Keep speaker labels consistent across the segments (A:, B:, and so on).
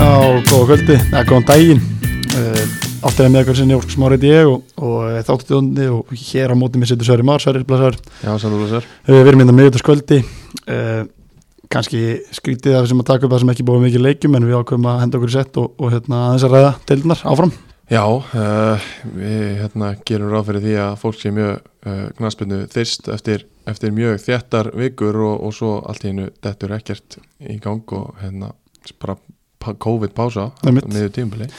A: góð kvöldi, eða góðan daginn uh, Allt er með ykkur sinni Ósk Smárið ég og, og þáttuðundi og hér á móti mér situr Sverri Már, Sverri Blasar uh,
B: Já, sannúlega sér
A: Við erum hérna miðutaskvöldi uh, kannski skrítið af sem að taka upp það sem ekki búið mikið leikjum en við ákveðum að henda okkur í sett og, og hérna, aðeins að ræða deildunar áfram
B: Já, uh, við hérna, gerum ráð fyrir því að fólk sé mjög uh, knaspinu þyrst eftir, eftir mjög þjættar vikur og, og svo allt í hennu dettur ekkert í gang og hérna bara pa- COVID-pása
A: Einmitt.
B: meðu tímabili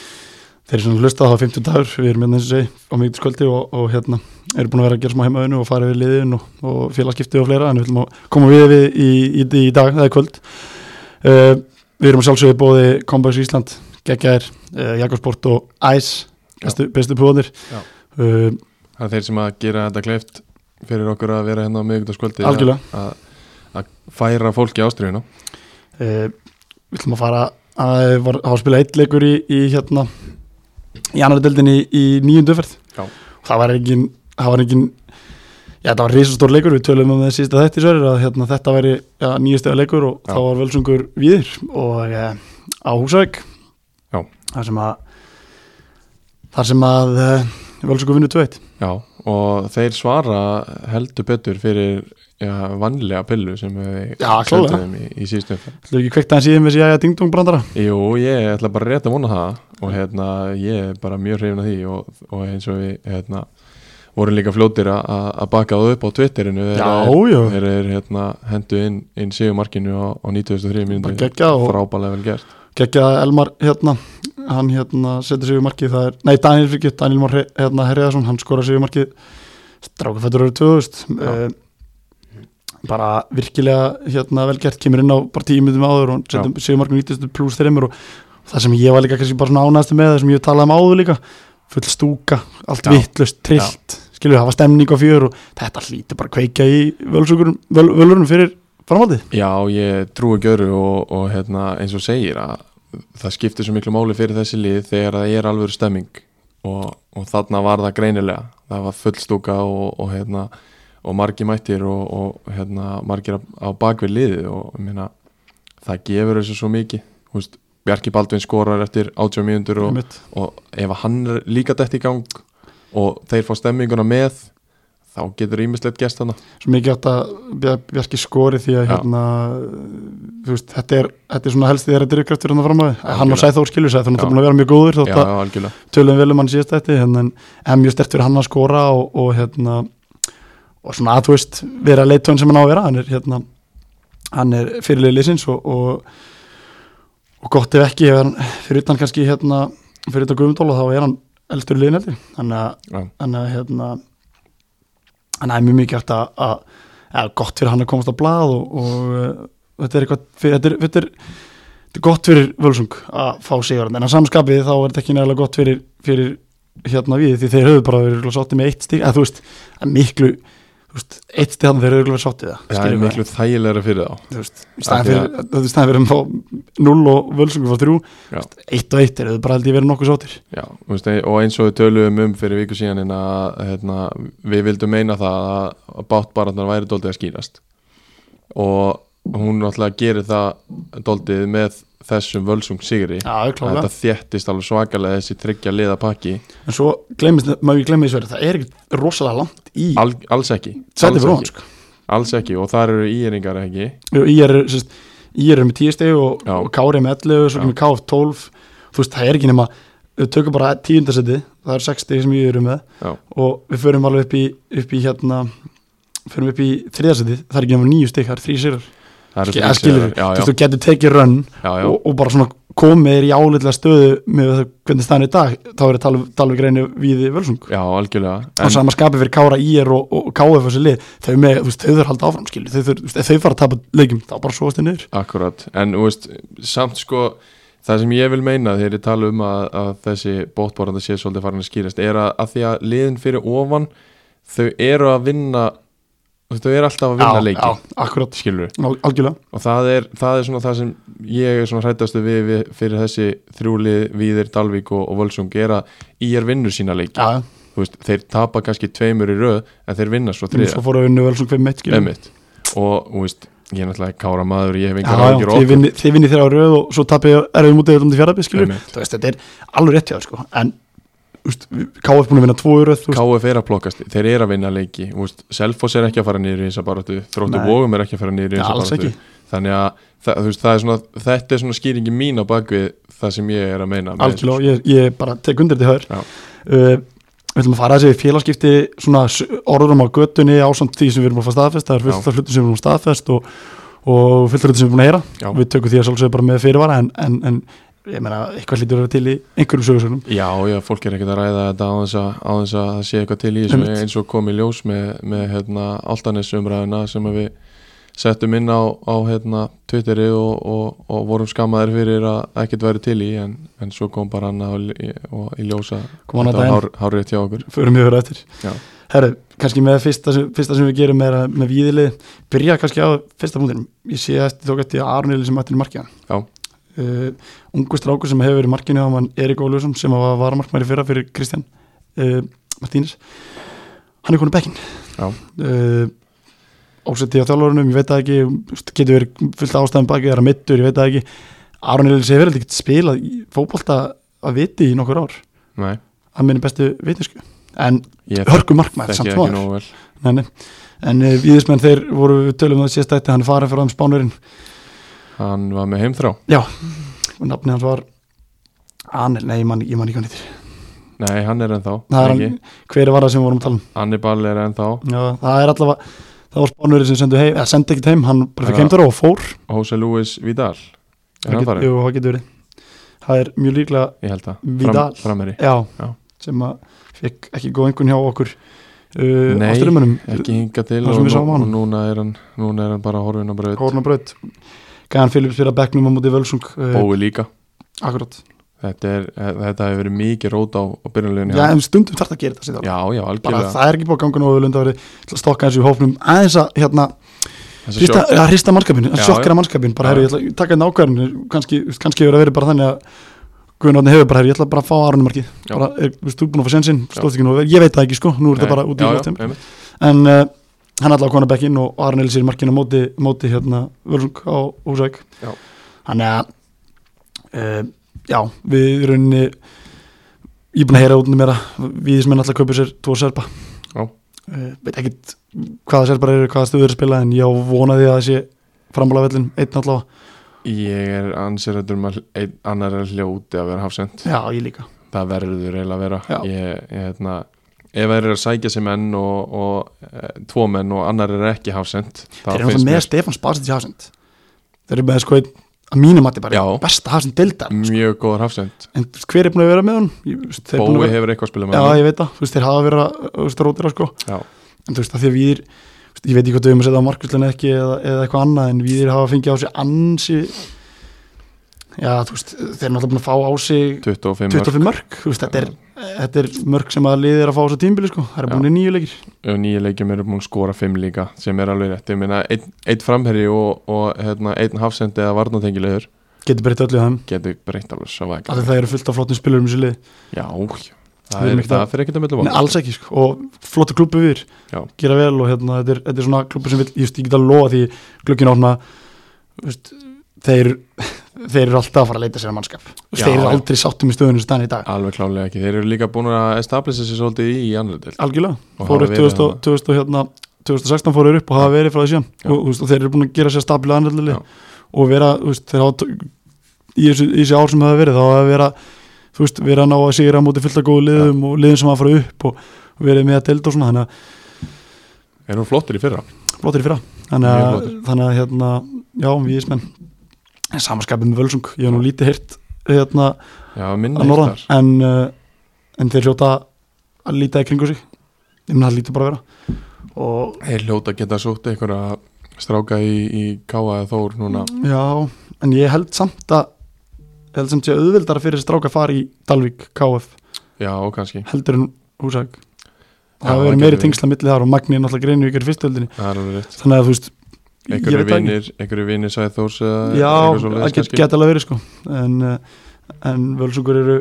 A: Þeir eru svona hlusta það á 50 dagur, við erum hérna eins og segi á miðutaskvöldi og, og hérna erum búin að vera að gera smá heimaðinu og fara við liðin og, og félagskipti og fleira en við viljum að koma við við í, í, í, dag, það er kvöld uh, Við erum að sjálfsögðu bóði Combos Ísland, GGR, uh, Jakobsport og Ice, bestu, bestu púðanir
B: Já.
A: uh,
B: Það er þeir sem að gera þetta kleift fyrir okkur að vera hérna á miðvíkutaskvöldi
A: Algjörlega.
B: að, að færa fólki ástriðuna
A: uh, Við ætlum að fara að var, hafa að spila eitt leikur í, í hérna í annar deildin í, í nýjundu ferð
B: Já.
A: það var engin það var engin Já, það var risastór leikur, við töluðum um það sísta þetta í sverjur að hérna, þetta væri ja, nýjastega leikur og
B: Já.
A: þá var völsungur viðir og e, á Húsavík
B: Já.
A: þar sem að þar sem að e, völsungur vinnur 2-1
B: Já, og þeir svara heldur betur fyrir já, vanlega pillu sem við
A: Já, klálega.
B: sendum þeim í, í síðustu umferð.
A: Þú ekki kveikt aðeins í þeim þessi jæja dingdung brandara
B: Jú, ég ætla bara rétt að vona það og hérna, ég er bara mjög hrifin að því og, og eins og við hérna, vorum líka fljótir að- að að baka það upp á Twitterinu þegar
A: Já, já.
B: þeir eru hérna, hendu inn, inn sigumarkinu á, á 93
A: Bara
B: mínúti
A: geggjað og-
B: frábælega vel gert
A: Gekkja Elmar hérna hann hérna setur sig í markið það er, nei Daniel fyrir Daniel Már Hre- hérna Herriðarsson hann skora sig í markið strákafættur eru 2000
B: Já.
A: uh, bara virkilega hérna vel gert, kemur inn á bara tíu myndum áður og setur sig í markið 90 pluss þeimur og það sem ég var líka kannski bara svona ánæðast með það sem ég talaði um áður líka full stúka, allt
B: Já.
A: vittlust, trillt skilur við hafa stemning á fjör og þetta hlýtur bara að kveikja í völsugurum völ, völurinn fyrir framhaldið
B: Já, ég trúi ekki öðru og, og hérna, eins og segir að það skiptir svo miklu máli fyrir þessi lið þegar það er alveg stemming og, og þarna var það greinilega það var fullstúka og, og, hérna, og margir mættir og, og hérna, margir á, á bakvið liðið og ég meina, það gefur þessu svo mikið Húst, Bjarki Baldvin skorar eftir 80 mínútur og,
A: Einmitt.
B: og ef hann er líka dætt í gang og þeir fá stemminguna með þá getur ímislegt gest hana
A: svo mikið átt að Bjar- Bjarki skori því að
B: Já.
A: hérna, þú veist, þetta er, þetta er svona helst þegar þetta er ykkuraftur hann hérna fram á því, hann og
B: Algjörlega.
A: Sæþór skilur Sæþór
B: Já.
A: er búin að vera mjög góður
B: Já,
A: þótt að
B: algjörlega
A: tölum vel um hann síðast þetta en, en, en mjög stert fyrir hann að skora og, og hérna og svona að þú veist, vera leittón sem hann á að vera hann er hérna, hann er fyrirlega leysins og, og og gott ef ekki, ef hann, fyrir utan kannski hérna, fyrir utan Guðmundóla þá er hann eldur liðneldi, þannig að
B: Já.
A: þannig að hérna þannig að er mjög mikið hægt að, að, að gott fyrir hann að komast á blað og, og eh, þetta er eitthvað fyrir, þetta, er, þetta, er, þetta er gott fyrir Völsung að fá sigurinn, en að samskapið þá er þetta ekki nægilega gott fyrir, fyrir hérna við því þeir höfðu bara verið sátti með eitt stík að þú veist, að miklu þú veist, eitt stík þannig þeir höfðu verið sátti það
B: Það er
A: skilurðu hvað
B: miklu þægilegra fyrir þá
A: þú veist, í staðin
B: Af því
A: fyrir, þú veist, í staðin fyrir að fá 0 og Völsungur fá 3
B: Já.
A: eitt og eitt er þau bara held ég verið nokkuð sáttir
B: Já, þú veist, og eins og við töluðum um fyrir viku síðan en að hérna, við vildum meina það að báttbarandar væri doldið að skýrast og hún náttúrulega gerir það doldið með þessum völsung sigri
A: Já,
B: að
A: klálega.
B: þetta þéttist alveg svakalega þessi tryggja liðapakki,
A: en svo glemist, má ég glemma í sverið það er ekkert rosalega langt í
B: Al, alls ekki
A: sæti
B: alls
A: fyrir hann
B: ekki,
A: sko.
B: alls ekki og þar eru íringar ekki
A: Jú, Í er, sérst, í er með 10 steg og,
B: Já.
A: og Kári er með 11 svo
B: Já.
A: kemur KF 12 þú veist það er ekki nema við tökum bara tíundasetti það er 6 steg sem ég eru með
B: Já,
A: og við förum alveg upp í, upp í hérna förum upp í þriðasetti það er ekki nema 9 steg það er 3 sigrar
B: það eru
A: Skil-
B: þrír
A: skilur
B: sigrar. já,
A: þú
B: já,
A: veist þú getur tekið rönn
B: já, já,
A: og, og bara svona komið er í álitlega stöðu með það, hvernig staðan er í dag þá er það talveg reyni við völsung
B: já, algjörlega
A: á sama skapi fyrir Kára IR og, og KF og þessi lið, þau með, þú veist, þau þurfa halda áfram skilur, þau þurfa, þú veist, ef þau fara að tapa leikjum þá bara svoast þau niður
B: Akkurat, en þú veist, samt sko það sem ég vil meina þegar ég tala um að, að þessi bóttborðanda sé svolítið farin að skýrast er að, að því að liðin fyrir ofan þau eru að vinna þú veist, þau eru alltaf að vinna leiki
A: Já, akkurat,
B: skilur
A: Al algjörlega
B: og það er, það er svona það sem ég er svona hrættastu við, við fyrir þessi þrjúlið Víðir, Dalvík og, og Völsung er að í er vinnur sína leiki
A: Já,
B: þú veist, þeir tapa kannski tveimur í röð en þeir vinna svo
A: þeim
B: þriða
A: svo fóru að vinna vel svona hver meitt skilur
B: Einmitt. og þú veist, ég er náttúrulega kára maður ég
A: Já,
B: hef engar
A: já,
B: ágjur
A: þið vinni- þið vinni þeirra á röð og svo tapir erfum út eða um til fjaraðbyrð skilur
B: Einmitt.
A: þú veist, þetta er alveg rétt hjá þér, sko en úst, KF búin að vinna tvo í röð þú veist.
B: KF er að plokkast, þeir eru að vinna leiki Úst, Selfoss er ekki að fara niður í þessa baráttu Þróttu
A: Nei.
B: Vógum er ekki að fara niður í
A: Ja,
B: þessa
A: alls
B: baráttu þannig að það, þú veist, það er svona, þetta er svona skýringi mín á bakvið það sem ég er að meina með
A: algjörlega, ég, ég bara tek undir þetta hör
B: Já.
A: uh, við ætlum að fara þessi félagskipti svona s- orðum á göttunni ásamt því sem við erum að fá staðfest það er fullt
B: Já.
A: af hlutum sem við erum staðfest og, og fullt af hlutum sem við erum búin að heyra
B: Já.
A: við tökum því að sjálfsögðu bara með fyrirvara en, en, en ég meina, eitthvað hlýtur að vera til í einhverjum sögursögnum
B: Já, já, fólk er ekkert að ræða þetta á þess að, á þess að það sé eitthvað til í þessu
A: Einmitt.
B: eins og kom í ljós með, með hérna, altanessumræðina sem að við settum inn á, á hérna, Twitteri og, og, og vorum skammaðir fyrir að ekkert væri til í en, en svo kom bara hann og, og í ljósa
A: Kom hann á daginn.
B: hár, hárið hjá okkur
A: förum við vera eftir
B: Já.
A: Herru, kannski með fyrsta sem, fyrsta sem við gerum er að- með víðilið, byrja kannski á fyrsta múndinum, ég sé eftir tók eftir að Aron Eli sem ættir í markiðan
B: Já.
A: uh, ungu strákur sem hefur verið í markinu á hann Erik Óljósson sem var varamarkmæri fyrra fyrir Kristján uh, Martínes hann er konið bekkin
B: Já.
A: uh, ásetti á þjálfurunum, ég veit það ekki þú veist, getur verið fullt af ástæðum baki, er að mittur, ég veit það ekki Aron Eli sem hefur verið ekkert spilað í fótbolta að viti í nokkur ár
B: Nei,
A: að minni bestu vitnisku en
B: ég
A: hörgu markmæð
B: þekki
A: samt
B: ekki
A: maður
B: nógu vel
A: Nei, nei. en uh, viðismenn þeir voru við tölum um það síðast ætti hann er farið frá þeim spánverinn
B: Hann var með heimþrá
A: og nafni hans var Anel, nei, ég man, ég man ekki hann eitthvað
B: Nei, hann er ennþá
A: Það er
B: ekki.
A: hann- hver var það sem við vorum að tala um
B: Hannibal er ennþá
A: Já, það er allavega, það var spánverinn sem sendu heim eða sendi ekkert heim, hann bara
B: Já.
A: fikk heimdara og fór
B: Jose Luis Vidal Er
A: það
B: hann
A: get,
B: farið?
A: jú, það getur verið það er mjög líklega,
B: Ég held að
A: Vidal.
B: Frameri
A: já,
B: Já.
A: sem að fekk ekki góð einhvern hjá okkur uh,
B: Nei,
A: ástyrumönum
B: ekki hinga til
A: Það
B: og,
A: sem við
B: nú,
A: sáum á
B: og
A: hann.
B: núna, er hann, núna er hann bara horfin á braut
A: Hórnabraut Gæðan Phillips fyrir að bekknum á móti Völsung uh,
B: bói líka
A: akkurat
B: þetta, er, þetta hefur verið mikið rót á, á byrjunlegin
A: Já, en stundum þarf það að gera þetta síðan
B: já, já,
A: bara
B: algjörlega
A: það er ekki búið að ganga nógu lunda ári til að stokka þessu í hófnum aðeins að hérna
B: Þessi
A: hrista,
B: sjokk-
A: að hrista mannskapinu, að
B: Já,
A: sjokkera mannskapinu bara
B: Já,
A: herru, ég ætla að taka þetta ákvæðinu kannski, þú veist, kannski hefur það verið bara þannig að Guðnarni hefur bara herru, ég ætla bara að fá Arunumarkið
B: Já.
A: bara, er, þú veist, þú er búin að fá sensin, stóðst ekki nú vel ég veit það ekki sko, nú er
B: Nei,
A: þetta bara út í
B: já, já,
A: loftum
B: einmitt.
A: en uh, hann allavega konar bekkinn og Arun Elisir markinu á móti, móti hérna Völsung á Húsæk
B: Já.
A: þannig að uh, já, við í rauninni ég er búin að heyra út um mér að viðismenn alltaf kaupir sér tvo serpa
B: Já.
A: Eh, veit ekkit hvaða serpar eru, hvaða stöður eru að spila en ég vonaði að það sé framlega vellin einn allavega,
B: ég er ansirættur um að einn annar er hljóti að vera hafsend
A: já ég líka
B: það verður eiginlega að vera
A: Já.
B: ég, ég, hérna, ef það er að sækja sér menn og, og e, tvo menn og annar er ekki hafsend
A: þeir eru náttúrulega með Stefán Spásins í hafsend þeir eru með sko einn að mínu mati bara
B: Já.
A: besta hafsend deildar
B: mjög góður hafsend
A: en þú veist, hver er búin að vera með hún? Ég- þú veist, sko. þeir eru búin að
B: bói
A: vera-
B: hefur eitthvað að spila með
A: Já,
B: honum.
A: ég veit það, þú veist, þeir hafa verið að þú veist, rótira sko,
B: Já.
A: en þú veist, að því að við er, veist, ég veit ekki hvað við erum að setja á markvíslun ekki eða, eða eitthvað annað, en við hafa fengið á sig ansi já, þú veist, þeir eru náttúrulega búin að fá á sig
B: 25 mörg
A: 25 mörg, þú veist, þetta er, þetta er mörg sem að liðið er að fá á þessu tímbili sko, það er
B: Já.
A: búin í nýju leikir
B: og nýja leikjum eru búin að skora fimm líka sem er alveg rétt, ég meina einn ein framherri og, og hérna, einn hafsendi eða varnatengilegur
A: getur breytt öllu þeim,
B: getur breytt alveg svo væg
A: af því það eru fullt af flottum spilurum í þessu liði,
B: já,
A: Við
B: það,
A: erum
B: er,
A: ekkert
B: það
A: að-
B: fyrir ekkert að
A: Nei,
B: millum
A: alls ekki sko, og flottu klubbu við
B: Já.
A: gera vel og hérna, þetta er, þetta er svona klubbu sem vil, ég veist, ég get að lofa því glöggin opna þú veist, þeir, þeir eru alltaf að fara að leita sér að mannskap,
B: Já.
A: þeir eru aldrei sáttum í stöðunum sem þannig í dag,
B: alveg klálega ekki, þeir eru líka búin að establisa sér svolítið í annar del Og
A: algjörlega
B: hafa
A: fóru upp
B: verið
A: 2000, og-
B: þarna.
A: 2000, og hérna, 2016 fóru þeir upp og hafa verið frá því síðan
B: Já.
A: og, þú veist, og þeir eru búin að gera sér stabila
B: Já.
A: annaðlega og vera, þú veist, þeir hafa t- í þessu, í þessu ár sem hafa verið, þá hafa vera þú veist, vera að ná að sigra á móti fullt af góðu liðum og liðum sem hafa farið upp og og verið með að delta og svona, þannig að
B: er hún flottir í fyrra
A: flottir í fyrra þannig
B: Mjög
A: að,
B: flottir.
A: þannig að hérna, já, við ísmenn samanskapið með Völsung, ég hef nú lítið hirt hérna
B: já,
A: að
B: minna eitt
A: norðan
B: þar
A: en, uh, en þeir hljóta að líta í kringu sig ég meina það lítur bara að vera og
B: þeir hljóta að geta sótt einhverja stráka í, í Káa eða Þór núna
A: Mm. já, en ég held samt að ég held samt sé auðvildar fyrir þessi stráka að fara í Dalvík KF
B: já, og kannski,
A: heldur en Húsæk
B: Já,
A: það hefur
B: það
A: verið
B: getur
A: meiri
B: verið.
A: tengsla milli þar og Magni er náttúrulega greinu ykkur fyrstöldinni
B: það er alveg rétt
A: þannig að þú veist, ég
B: einhverju
A: veit það ekki
B: vinir, einhverju vinir sæði Þórs eða
A: Já,
B: eitthvað svoleiðis
A: það get,
B: kannski.
A: geta alveg verið sko en, eh, en völsungur eru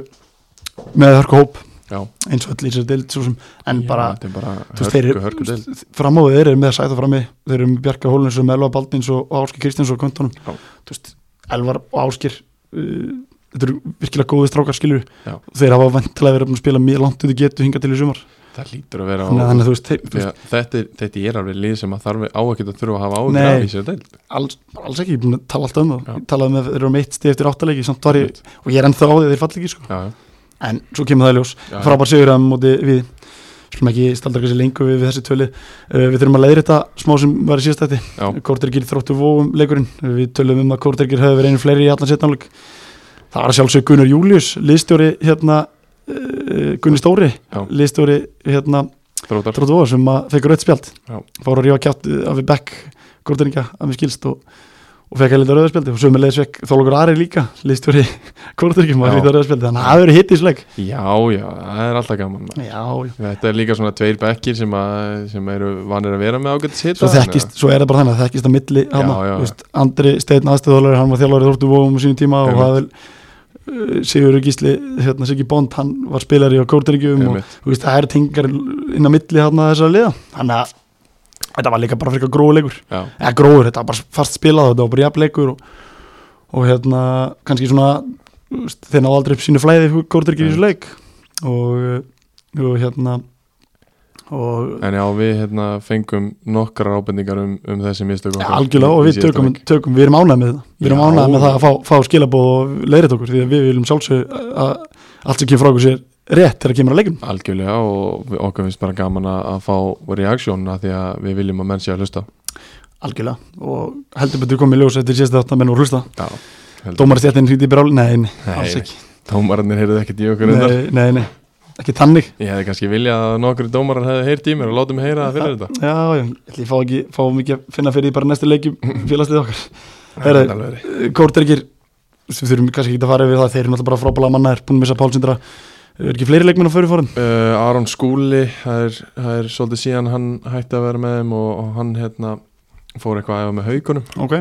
A: með hörku hóp
B: já,
A: eins og öll í sér dild svo sem en
B: já,
A: bara
B: þetta er bara
A: þú veist,
B: hörku,
A: þeir-
B: hörku deild
A: fram á við þeir eru með sæta frammi þeir eru með Bjarka Hólins og Melva Baldins og Áskir Kristjáns og Kvöntunum
B: Já.
A: Þú veist, Elvar og Áskir uh, þetta eru virkilega góði strákar skilur
B: Já.
A: þeir hafa vantilega verið búin að spila mjög langt út í getu hinga til í sumar
B: það lítur að vera á,
A: þannig að þannig að þú veist, þeir, þú
B: því
A: veist
B: að þetta, er- þetta er alveg lið sem að þarf á ekkert að þurfa að hafa áhugur
A: Nei.
B: af í sér deild
A: alls, alls ekki, ég er búin að tala alltaf um það
B: Já.
A: ég talaði með þeir eru um eitt stið eftir áttalegi samt var ég,
B: Einmitt.
A: og ég er ennþá á því að þeir falli ekki sko.
B: já, já,
A: en svo kemur það í ljós
B: já, já,
A: frábær sigur að móti við skulum ekki staldra kannski lengur við, við þessi tölu uh, við þurfum að leiðri þetta smá sem var í síðastætti
B: Já.
A: Kortergir þróttu vóum leikurinn við tölum um að Kortergir höfðu verið einu fleiri í allan setnáleik það var sjálfsög Gunnar Július liðstjóri hérna uh, Gunni Stóri
B: Já.
A: liðstjóri hérna
B: þróttar
A: þróttu vóa sem að fekk rautt spjald
B: Já.
A: fór að rífa kjátt af við bekk Korteringa að mér skilst og og fekk að lita rauðarspjaldi og sömu leiðis fekk þólokur Ari líka liðstjóri Korteringjum að
B: Já.
A: lita rauðarspjaldi þannig að það hefur hitt í sleg
B: já, já, það er alltaf gaman
A: já, já
B: þetta er líka svona tveir bekkir sem, að, sem eru vanir að vera með ágætt sitt
A: svo þekkist, svo er það bara þannig að þekkist að milli hana,
B: já, já.
A: Veist, Andri Steinn aðstöðalari hann var þjálfari Þórtu Vóum á sínum tíma og
B: Einmitt.
A: það er uh, Sigur Gísli, hérna Siggi Bond hann var spilari á Kórtryggjum um og
B: Einmitt.
A: þú veist, það er tingar inn á milli hana, þessara liða þannig að þetta var líka bara frekar gróðulegur
B: já,
A: eða gróður, þetta var bara fast spilað þetta var bara jafnleikur og, og hérna, kannski svona þú veist, þeir náðu aldrei upp sínu flæði Kórtryggjum í þessu leik og, og hérna og
B: En já, við hérna, fengum nokkrar ábendingar um, um þessi mistök
A: Já,
B: okkar
A: algjörlega
B: í-
A: og
B: í
A: við
B: síðasta
A: tökum,
B: leik.
A: tökum við erum ánægð með það við erum
B: Já.
A: ánægð með það að fá, fá skilabóð og leiðrætt okkur því að við viljum sjálfsög að allt sem kemur frá okkur sér rétt þegar kemur að leikum
B: Algjörlega og við- okkur finnst bara gaman að að fá reaksjónuna því að við viljum að menn sé að hlusta
A: algjörlega og heldur betur komið í ljós eftir síðast þátt að menn voru að hlusta
B: Já, heldur
A: dómarstjættin hrýtti í bráli, nei, nei, alls ekki
B: Dómararnir heyrðu ekkert í okkur undar
A: nei, nei, nei, ekki þannig
B: Ég hefði kannski viljað að nokkru dómarar hefði heyrt í mér og láti mig heyra það fyrir þetta
A: já, já, ég ætli ég fá ekki, fá mikið að finna fyrir því bara í næstu leikjum félagslið okkar
B: Það
A: Heyrðu.
B: er alveg verið.
A: Kórtergir við þurfum kannski ekki að fara yfir það, þeir eru náttúrulega bara frábæla mannaðir, búin að missa Pálsindra er ekki fleiri leikmenn á fyrirfórum?
B: uh, Aron Skúli það er, það er svolítið síðan hann hætti að vera með þeim og, og hann hérna, fór eitthvað að æfa með haukunum
A: Ok,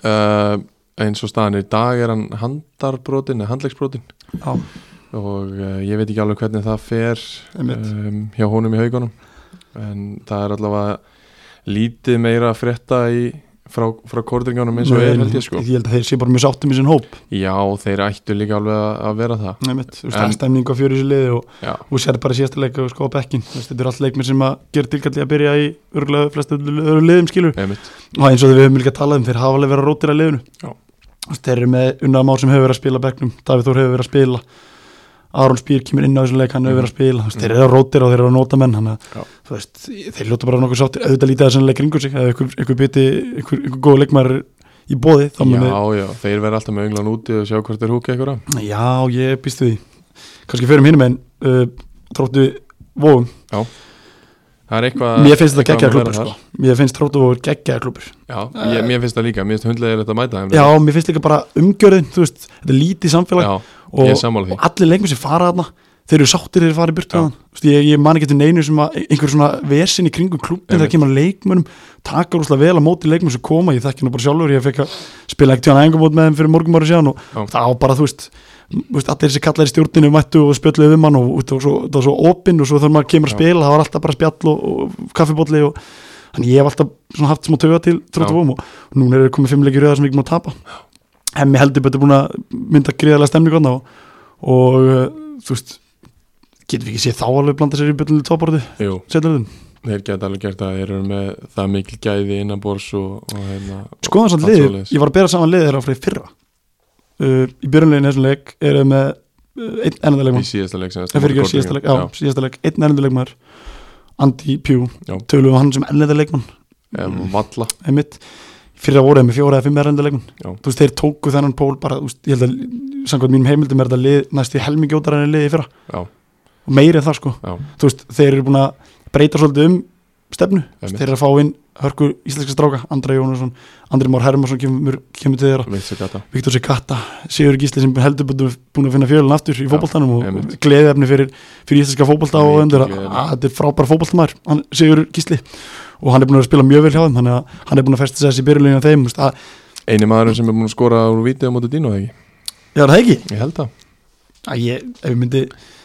B: uh, eins og staðan er í dag er hann handarbrotin eða handlegsbrotin
A: já,
B: og uh, ég veit ekki alveg hvernig það fer
A: einmitt
B: um, hjá honum í haugunum en það er allavega lítið meira að frétta í, frá, frá kordringunum eins og
A: Nei,
B: er held ég sko
A: Ég held að þeir sé bara mjög sáttum í sinn hóp
B: já þeir ættu líka alveg að- að vera það
A: einmitt, þú veist,
B: En-
A: það er stemning á fjöru í þessu liði og,
B: já,
A: og sér bara síðasta leik og sko á bekkin, þú veist, þetta eru allt leikmið sem að gera tilkalli að byrja í örgulega flestu öru liðum skilur
B: einmitt
A: og eins og þegar við höfum líka talað um, þeir hafa alveg verið að rótir að liðinu
B: Já.
A: Þú veist, þeir eru með Unnar Már sem hefur verið að spila á bekknum, Davíð Þór hefur verið að spila Aron Spýr kemur inn á þessum leik, hann hefur verið að spila Þú veist, þeir eru að rótir og þeir eru að nota menn hann að,
B: Já.
A: þú veist, þeir ljóta bara nokkuð sáttir auðvitað lítið þessum leik ringur sig, ef ykkur, ykkur biti ykkur, ykkur góð leikmar í bóði þá
B: já,
A: muni
B: já, þeir verða alltaf með önglan úti og sjá hvort þeir húkja ykkur að
A: Já, ég býst við því kannski fyrir hinum en uh, Tróttu vóum
B: það er eitthvað
A: Mér finnst þetta
B: eitthvað
A: geggjaða
B: að vera
A: klubur
B: þar.
A: sko. Mér finnst Tróttu vóum geggjaða klubur
B: Já, ég, mér finnst það líka, mér finnst hundlegilegt að mæta þeim
A: Já, mér finnst líka bara umgjörðin þú veist, Þetta er lítið samfélag
B: já
A: og,
B: ég er sammála því.
A: og allir lengur sem fara þarna Þeir eru sáttir þeir fara í burtu
B: Já.
A: þaðan Þú veist, ég, ég man ekki eftir neinu sem að einhver svona vesin í kringum klubin þegar
B: Einmitt.
A: kemur að leikmönum taka rúslega vel á móti leikmönum sem koma ég þekki nú bara sjálfur, ég fekk að spila ekkert hjá æfingumót með þeim fyrir morgum ára síðan og
B: Já.
A: það var bara, þú veist, þú veist allir þessi kallar í stjórninu mættu og spjölluðu um hann og það var svo, það var svo opinn og svo þegar maður kemur að
B: Já.
A: spila það var alltaf bara spjall og, og kaffibótli og þannig ég hef alltaf svona haft smá töga til
B: Já.
A: tróttu vóm og núna eru komið fimmleikir röða sem ekki má tapa hemmi heldur betur búin að mynda gríðarlega stemning hann og, og uh, þú veist getum við ekki séð þá alveg blanda sér í byrjunni tóparðu
B: Jú,
A: setluðum
B: þeir geta alveg gert það, þeir eru með það mikil gæði innanbors og, og hérna
A: skoðan samt
B: Allt
A: liðið,
B: svoleiðis.
A: ég var að bera saman liðið þeirra frá í fyrra uh, í byrjunlegin þessum leik eru þeir með uh, einn ennandilegum
B: í síðasta leik sem
A: Það fyrir ekki síðasta leik, já, síðasta leik, einn erlendur leikmaður Andy Pjú,
B: Já.
A: tölum við hann sem erlendur leikmann
B: um, Valla,
A: einmitt, fyrir að voru þeir með fjóra eða fimm erlendur leikmann,
B: Já.
A: þú veist, þeir tóku þennan pól bara, þú veist, ég held að samkvæmt mínum heimildum er þetta lið, næst í helmingjótar en liði fyrra,
B: já,
A: og meiri en það sko
B: já,
A: þú veist, þeir eru búin að breyta svolítið um stefnu, Þú veist,
B: Einmitt.
A: þeir eru að fá inn hörku íslenska stráka, Andra Jónasson Andri Már Hermansson kemur, kemur til þeirra
B: veist það gata
A: Viktor Sikata, Sigur Gísli sem heldur betur búin að finna fjölun aftur í
B: Já,
A: fótboltanum og
B: einmitt.
A: gleðiðefni fyrir, fyrir íslenska fótbolta og
B: Mikið
A: öndur að
B: gleðiefni.
A: að þetta er frábær fótboltamæður, hann, Sigur Gísli og hann er búin að vera að spila mjög vel hjá þeim þannig að hann er búin að festa þessi byrjulegin af þeim þú veist, Ah, að,
B: Einu maðurinn sem er búin að skora úr vítið á móti Dino, eða ekki?
A: já, er það ekki?
B: Ég held það
A: Að ég, ef ég myndi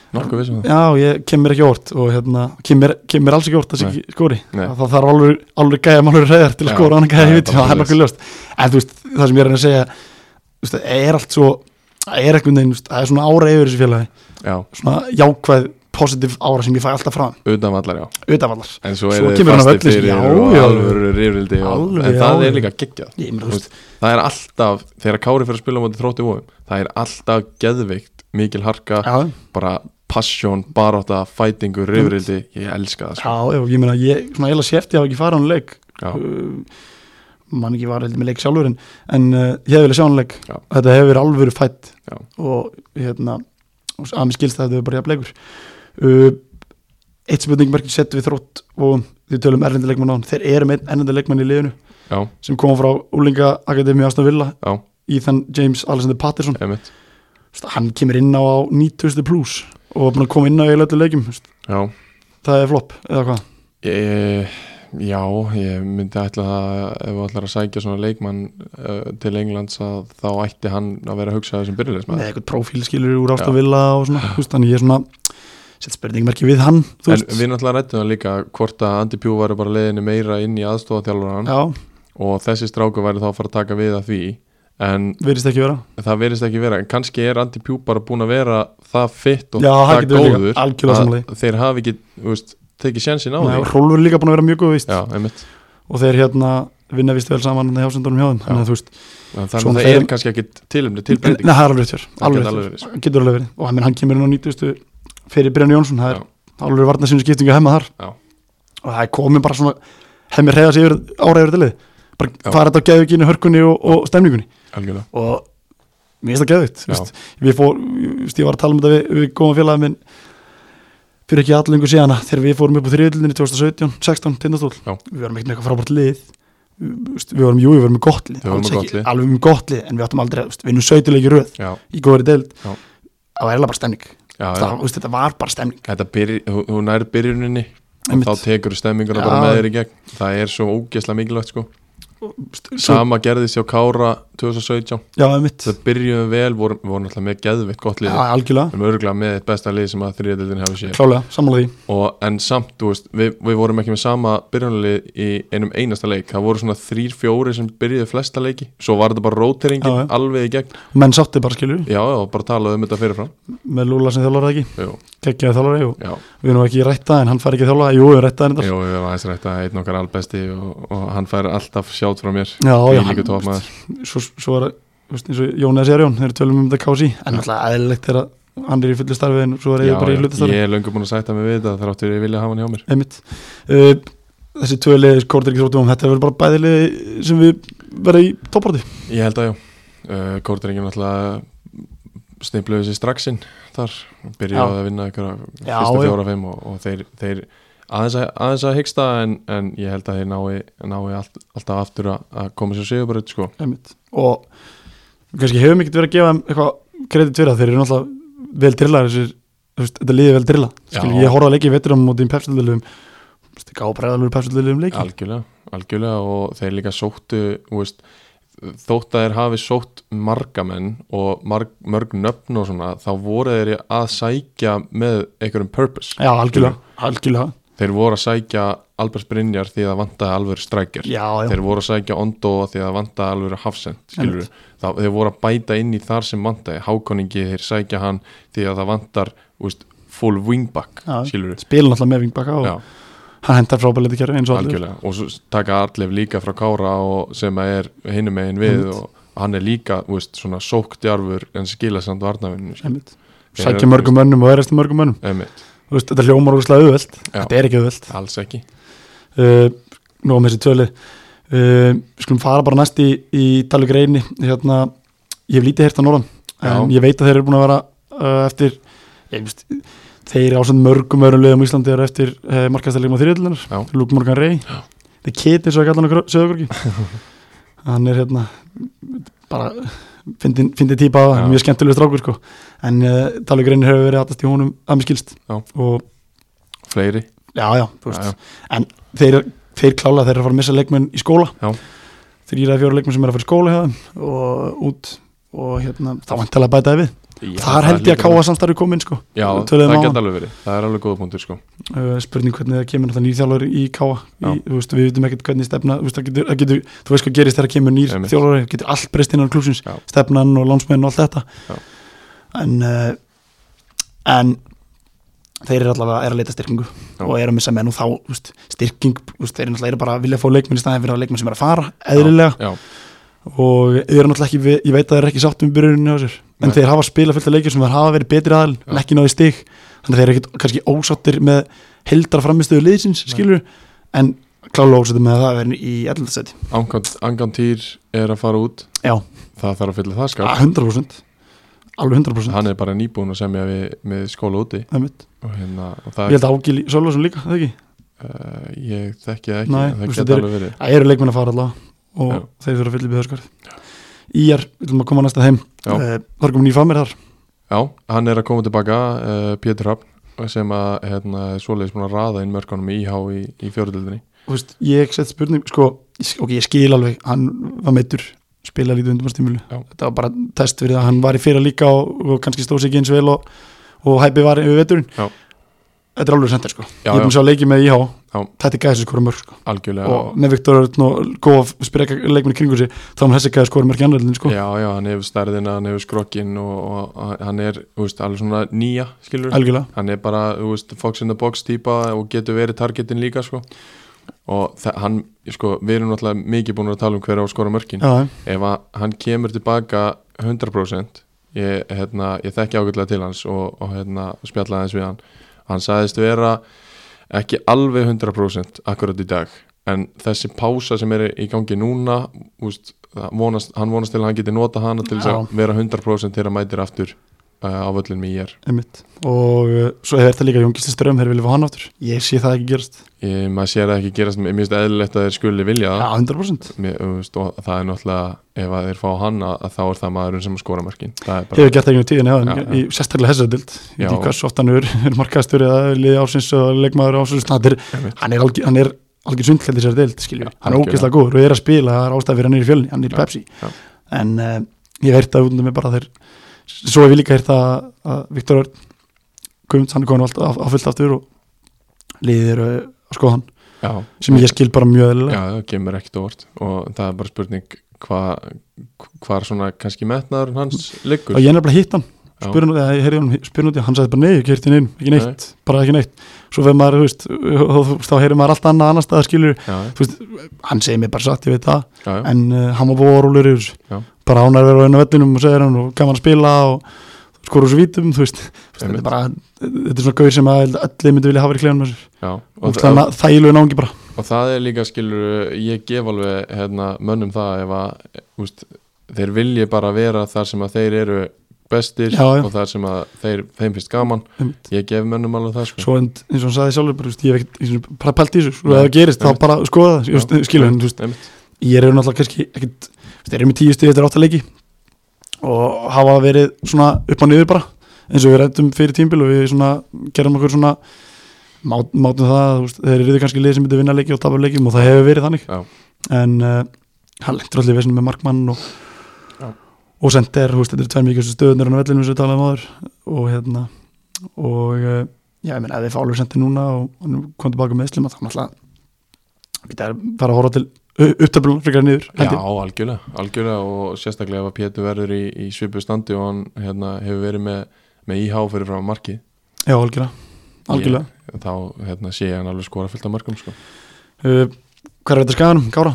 B: nokkuð vissum það
A: Já, ég kem mér ekki óvart og hérna, kem mér, kem mér alls ekki óvart að sé
B: Nei.
A: ekki skori
B: Nei.
A: það það þarf alveg, alveg gæja málur reyðar til að
B: Já,
A: skora annan gæja í
B: það er
A: viti
B: bara
A: það er nokkuð ljóst en þú veist, það sem ég er að reyna að segja þú veist, það er allt svo það er eitthvað neginn, það er svona ára yfir þessu félagi
B: Já,
A: svona jákvæð, positív ára sem ég fæ alltaf fram,
B: utan vallar, já
A: utanvallar
B: En svo
A: Svo
B: eru þið
A: kemur hann á
B: fastir
A: völlinn,
B: fyrir
A: já,
B: og
A: já.
B: alvöru rifrildi og,
A: Alveg,
B: En það
A: já.
B: er líka geggjað
A: ég meina,
B: Þú
A: þú veist,
B: Það er alltaf, þegar Kári fyrir að spila á móti þrótti vóðum Það er alltaf geðveikt, mikil harka
A: já,
B: Bara passion, baráta, fætingur, rifrildi Ég elska
A: já,
B: það sko.
A: já, ég meina ég, svona eila séfti að hafa ekki farið á hann leik
B: Já.
A: uh, mann ekki var heldur með leik sjálfur en, en uh, ég hef vilja sjá hann leik
B: Já.
A: þetta hefur verið alvöru fætt
B: Já.
A: og hérna og s- að mér skilst að þetta hefur bara jafn leikur uh, eitt spurningmerki settum við þrótt og við tölum erlendileikmann á hann þeir eru með erlendileikmann í liðinu
B: Já.
A: sem kom frá Úlinga Akademi Aston Villa
B: Já.
A: Ethan James Alexander Patterson
B: Einmitt.
A: Þú veist, hann kemur inn á, á 9000 pluss og er búin að koma inn á eiginlega öllu leikum Þú veist,
B: Já.
A: það er flop eða hvað
B: Ég, Eh, já, ég myndi ætla að ef við ætlar að sækja svona leikmann uh, til Englands að þá ætti hann að vera að hugsa þessum
A: með
B: byrjulegismæður
A: eitthvað prófílskilur úr
B: Já.
A: Aston Villa og svona, þú veist, þannig ég er svona sett spurningmerki við hann, þú
B: En
A: veist
B: við náttúrulega rættum það líka hvort að Andy Pjú væri bara leiðinni meira inn í aðstofatjálfur hann
A: já,
B: og þessi stráku væri þá að fara að taka við að því en
A: verðist ekki vera
B: það verist ekki vera, en kannski er Andy Pjú bara búin að vera það fitt og
A: Já, það
B: það
A: getur verið líka.
B: góður
A: Algjörlega sammála
B: að þeir hafi ekki, þú veist, tekið sjensin á því
A: Rólfur er líka búin að vera mjög góð víst
B: Já, einmitt
A: og þeir hérna vinna vist vel saman hjá sendunum hjá þeim þannig að þú veist,
B: En Þannig
A: Svona
B: að það er
A: þeir-
B: kannski ekki tilumni til
A: en,
B: breyting
A: neða, það er alveg rétt
B: Það
A: fyrir
B: gæti
A: alveg
B: alveg
A: rétt fyrir, getur alveg verið og hann, hann kemur inn á 90 fyrir Brynjan Jónsson, það er
B: Já.
A: alveg varna sinni skiptingu hemma þar
B: Já.
A: og það er komið bara svona hemmi reyða sig yfir ára yfir tilið bara
B: Já.
A: fara þetta á geðuginu, hörkunni og, og stemningunni
B: Algjörlega
A: og mér finnst það geðvikt
B: Já.
A: veist. við fór, veist, ég var að tala um þetta við, við góðan félagið minn fyrir ekki allengu síðana þegar við fórum upp á þriðildinni 2017, 16, tindastól
B: Já.
A: við varum ekkert með eitthvað frábært lið Við- veist, við varum, jú, við varum með gott lið,
B: Við vorum
A: alls
B: með
A: ekki,
B: gott lið.
A: alveg með gott lið en við áttum aldrei, veist, við erum sautilegi röð
B: Já,
A: í góðri deild,
B: Já.
A: það var eiginlega bara stemning
B: já, já.
A: það, veist, þetta var bara stemning
B: Þetta byrj, þú, þú nær byrjuninni og
A: Einmitt.
B: þá tekur stemminguna
A: Já.
B: bara með þér í gegn það er svo ógeðslega mikilvægt sko
A: Veist, svo,
B: sama gerðist hjá Kára 2017
A: já, það er mitt,
B: það byrjuðum vel, vorum, vorum alltaf með geðvitt gott
A: já,
B: lið,
A: algjörlega
B: við erum örgulega með eitt besta lið sem að þriðadeldin hefur séð
A: klálega, sammála því
B: og, en samt, þú veist, við, við vorum ekki með sama byrjunalið í einum einasta leik það voru svona þrír, fjóri sem byrjuðu flesta leiki svo var þetta bara róteringin
A: Já, já.
B: alveg í gegn já,
A: menn sátti bara skilur,
B: já, bara talaðu um þetta fyrirfram
A: með Lúla sem þjálfara ekki
B: jú,
A: kekkjaði þjálfari og
B: já,
A: við erum ekki rætta en hann fær ekki þjálfara, jú, við rætta
B: jú,
A: hann
B: við erum aðeins rætt að einn okkar albesti og, og hann fær alltaf sjátt frá mér
A: Já, já,
B: Þvílíkur
A: hann-
B: topmaður.
A: svo, svo er þú veist, eins og Jón eða sér Jón þeir tölum um þetta kási en
B: Já.
A: alltaf eðlilegt er að hann er í fullu starfi en svo er
B: Já,
A: ég bara í
B: já,
A: hlutastarfi
B: Ég er löngu búin að sætta mig við þetta þar áttur ég vilja hafa hann hjá mér
A: einmitt uh, þessi tvöliðis kórtir ekki þróttum þetta er vel bara bæðilið sem við verða í topparti
B: Ég held að já uh, Kórdringin alltaf snipluðu sér straxinn þar
A: Já.
B: byrjaði að vinna ykkur
A: Já,
B: fyrsta
A: já.
B: fjóra fimm og, og þeir, þeir aðeins, að, aðeins að hyggsta en, en ég held að þeir nái, nái allt, alltaf aftur að, að koma sér sigurbröð sko.
A: einmitt og við kannski hefum ekkert verið að gefa þeim eitthvað kredit fyrir það þeir eru náttúrulega vel drillað þessir þú veist, þetta liðið vel drilla
B: Já.
A: Skil, ég horfði að leikið veturum mótið í pepsildilum gábræðalur pepsildilum leikið
B: algjörlega, algjörlega og þeir líka sóttu þú veist, þótt að þeir hafi sótt marga menn og marg, mörg nöfn og svona þá voru þeir að sækja með einhverjum purpose
A: já, algjörlega, algjörlega.
B: Þeir voru að sækja Albers Brynjar því að það vantaði alvöru strækjur
A: Já, já.
B: Þeir voru að sækja Ondo því að það vantaði alvöru hafsend skilurðu. það, Þeir voru að bæta inn í þar sem vantaði Hákoningi þeir sækja hann því að það vantar úst, full wingback
A: Já.
B: skilur
A: spilum alltaf með vingbaka og
B: Já,
A: hann hendar frábælið kerfi eins og allir
B: algjörlega og svo taka Arleif líka frá Kára og sem að er hinum megin við
A: Einmitt.
B: og hann er líka úst, svona sóktjarfur en skila samt varnavinn
A: Einmitt. sækja mörgum mönnum og verðast mörgum mönnum
B: Einmitt,
A: Þú veist, þetta hljómar úrslega auðvelt
B: Já.
A: þetta er ekki auðvelt
B: alls ekki
A: uh, nú með þessi tölu uh, skulum fara bara næst í, í talug reyni hérna, ég hef lítið heyrt á norðan en
B: Já.
A: ég veit að þeir eru búin að vera uh, eftir ég, veist, þeir eru ásand mörgum öðrum liðum á Íslandi eru eftir uh, markastæðleikum á
B: Já.
A: þriðlunar Luke Morgan Rey það keti svo ekki allan að sögurkorki hann er hérna bara fyndi, fyndi típa á
B: Já.
A: það, mjög skemmtileg strákur sko. en uh, talug reyni hefur verið aðtast í honum að mér skilst
B: Já.
A: og
B: Fleiri,
A: já já, þú veist
B: Já, já.
A: þeir, þeir klála þeir eru að fara að missa leikmenn í skóla
B: Já.
A: þrýra fjóra leikmenn sem eru að fara í skóla hjá þeim og út og hérna, þá vantilega bætaði við Þar held ég að káa samstarfi komin sko
B: Já, það
A: Töluðum á
B: geta
A: hann.
B: alveg verið, það er alveg góða punktur sko
A: uh, Spurning hvernig það kemur náttúrulega nýr þjálfari í káa í,
B: Já.
A: þú veist, Við vitum ekkert hvernig stefna þú veist, það getur, það getur, Þú veist hvað gerist þegar kemur nýr
B: Einmitt.
A: þjálfari það Getur allt breyst innan klúsins
B: Já.
A: Stefnan og lánsmenn og allt þetta
B: Já.
A: En uh, En Þeir eru allavega er að leita styrkingu
B: Já.
A: og eru að missa menn og þá þú veist, styrking, þú veist, þeir eru náttúrulega eru bara að vilja fá leikmenn í staðin fyrir að leikmenn sem er að fara eðlilega
B: Já,
A: og þeir eru náttúrulega ekki, ég veit að þeir eru ekki sátt um byrjuninu á sér, en
B: Nei.
A: þeir hafa spilað fullt af leikir sem þeir hafa verið betri aðal, en
B: Já.
A: ekki náði stig þannig að þeir eru ekkit kannski ósáttir með heldar framistöðu liðsins,
B: Nei.
A: skilur en klála ósáttir með að það að vera í 11. seti,
B: Angant, Angantýr er að fara út
A: já,
B: Það þarf að fylla það skap
A: 100% Ah, alveg 100%
B: Hann er bara nýbúin að semja við, með skóla úti
A: það er mitt,
B: og hérna, og
A: ég
B: það er,
A: held að Ágil Sölvason líka, það ekki,
B: uh, ég þekki það
A: Nei,
B: ekki en
A: þú
B: það
A: veist,
B: geta
A: þetta er-
B: alveg verið
A: það eru leikmenn að fara allavega og
B: Já.
A: þeir þurfa að fylla upp í höskarð Íjar, við viljum að koma næsta heim
B: Já.
A: þar kom nýr framir þar,
B: Já, hann er að koma tilbaka, uh, Pétur Hafn sem að, hérna, er svoleiðis búin að raða inn mörkunum í IH í, í fjóruðildinni
A: þú veist, ég sett spurning sko, ég- ok, ég skil alveg hann var meittur, spila lítið undumastímulu
B: Já.
A: þetta var bara test fyrir það, hann var í fyrra líka og, og kannski stóð sig ekki eins vel og, og hæpi var yfir veturinn
B: Já.
A: þetta er alveg sendir sko,
B: Já,
A: ég er búin að sjá leiki með IH
B: Já.
A: þetta er gæðis skora mörg sko
B: algjörlega
A: og með Viktor Örn og Góf spyrja leikmenn í kringu sig, þá er hann þessi gæðis skora mörg í annaðlinn sko,
B: Já, já, hann hefur stærðina, hann hefur skrokkin og, og hann er, þú veist, alveg svona nýja, skilur
A: algjörlega
B: Hann er bara, þú veist, fox in the box típa og getur verið targetin líka, sko Og þa- hann, sko, við erum náttúrulega mikið búin að tala um hver á að skora mörkin
A: Já,
B: Ef að hann kemur tilbaka 100% Ég, hérna, ég þekki ágætlega til hans og, og hérna, spjallaði hans við hann Hann sagðist vera ekki alveg 100% akkurat í dag En þessi pása sem er í gangi núna úst, vonast, Hann vonast til að hann geti nota hana til þess að vera 100% þegar hann mætir aftur uh, á völlin með ég
A: einmitt og uh, svo er þetta líka Jón Gísli Ström, þeir vilja fá hann aftur ég sé það ekki gerast,
B: Ég, maður sér það ekki gerast, mér finnst eðlilegt að þeir skuli vilja
A: já,
B: það
A: 100%
B: mér, þú veist, og það er náttúrulega ef að þeir fá hann að, að þá er það maðurinn sem skora mörkin það er bara,
A: hefur gert það ekki með tíðin
B: Já,
A: eða
B: já.
A: í sérstaklega þessari dild ég veit
B: Já.
A: ekki hversu oft hann er, er markaðstur eða liði ásins og leikmaður ásins hann er,
B: Einmitt.
A: hann er, algjör, hann er algjör sundklæð þessari dild skilju,
B: Já,
A: hann er
B: algjörlega.
A: ógeðslega góður og er að spila það er ástæð fyrir hann er í fjölni, hann er í
B: Já,
A: Pepsi
B: já.
A: en uh, ég hef heyrt að útundum er bara þeir svo hef ég líka heyrt að, að Viktor Örn Guðmunds, hann er komin á allt- á, á fullt aftur og liðið eru að skoða hann
B: já,
A: sem ég skil bara mjög eðlilega
B: já, það kemur ekkert óvart og það er bara spurning hvað hva svona kannski metnaðurinn hans liggur
A: og ég er nefnilega hitt hann
B: Já.
A: spurði hann, eða ég heyrði hann spurði hann, hann sagði bara nei, ég heyrði hann inn, ekki neitt bara ekki neitt, svo fyrir maður, þú veist og þú- þá heyrði maður allt annað annar staðar skilur
B: já,
A: hann segir mér bara satt, ég veit það
B: já, já,
A: en uh, hann var búið órúlegur yfir
B: Já.
A: þessu bara hann er verið á einu vellinum og segir hann og gaman að spila og skora svo vítum, þú veist Þú veist, þetta
B: Einmitt.
A: er bara, þetta er svona gaur sem að allir myndi vilja hafa í klefnum þessu,
B: já. Og,
A: og þannig að þælu náðungi bara
B: og það er líka skilur ég gef alveg hérna, mönnum það ef að úst, þeir vilji bara vera þar sem að þeir eru bestir
A: Já, já.
B: og þar sem að þeir, þeim finnst gaman
A: Einmitt.
B: ég gef mönnum alveg það sko.
A: svo en, eins og hann sagði sjálfur, bara, þú veist, ég hef ekkert eins og bara pælt í þessu, svo
B: Nei,
A: ef það gerist þá
B: einmitt.
A: bara skoða það, ég veist, skilur hann, þú veist
B: Einmitt.
A: ég er náttúrulega kannski ekkit þeir eru með tíu stíð eftir áttaleiki og hafa verið svona upp og niður bara eins og við rættum fyrir tímbil og við svona gerum okkur svona mát, mátum það, þú veist, þeir eru kannski liðið sem myndi vinna leiki og tapa leikim og það hefur verið þannig
B: Já.
A: en uh, hann lendur allir vesinu með markmann og,
B: Já.
A: og sendir, þú veist, þetta eru tveir mikið stöðunir á vellinu sem við talaðum áður og hérna og uh, já, ég meina, ef við fálur sendir núna og hann kom tilbaka með Islima, þá náttúrulega við það er bara að horfa til upptöflun frekar en niður,
B: Já,
A: held ég.
B: algjörlega, algjörlega og sérstaklega ef að Pétur verður í, í svipu standi og hann hérna, hefur verið með, með íhá fyrir frá marki
A: Já, algjörlega Algjörlega
B: þá hérna, sé ég hann alveg skora fullt af markum sko.
A: uh, Hvað er þetta skaganum, Kára?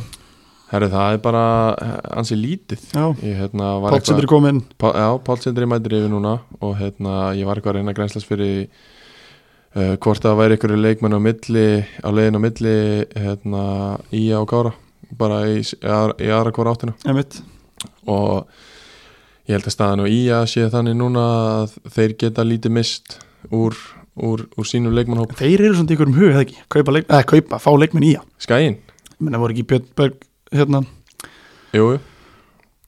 B: Herru, það er bara eh, ansi lítið
A: Já,
B: ég hérna, var
A: Pálsindri komið inn
B: Pá, já, Pálsindri mætir yfir núna og hérna, ég var eitthvað að reyna að grænslast fyrir uh, hvort það væri einhverju leikmenn á milli, á leiðin á milli hérna, í á kára bara í, s- í aðra í aðra hvora áttina
A: Einmitt.
B: og ég held að staðan og í að sé þannig núna að þeir geta lítið mist úr, úr, úr sínu leikmannhóp
A: Þeir eru svona í einhverjum hug, eða ekki Kaupa, leik, eða, kaupa fá leikmenn í að
B: Skæin,
A: Menna voru ekki Björn Berg hérna
B: jú, jú.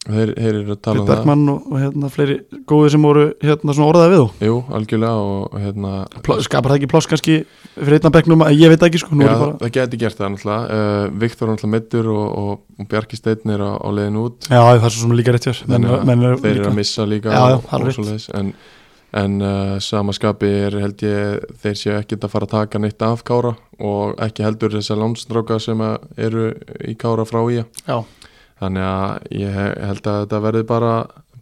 B: þeir, þeir eru að tala
A: Björn
B: um það
A: Bergmann og, og hérna fleiri góðir sem voru hérna svona orðaði við þú
B: Jú, algjörlega og og hérna
A: Plá- skapar það ekki pláss kannski fyrir einna bekknum að ég veit það ekki sko, nú
B: Já,
A: er ég bara
B: það geti gert það náttúrulega uh, Viktor er náttúrulega meittur og, og, og Bjarki Steinn er á, á leiðin út
A: Já, það er svo svona líka rétt hér menn,
B: þannig að
A: menn er
B: þeir eru
A: líka,
B: að missa líka
A: Já, já,
B: og,
A: það er
B: og
A: rétt.
B: svoleiðis en, en uh, samaskapi er held ég þeir séu ekkert að fara að taka neitt af Kára og ekki heldur þessar landstráka sem að eru í Kára frá í
A: já,
B: þannig að ég he- held að þetta verði bara,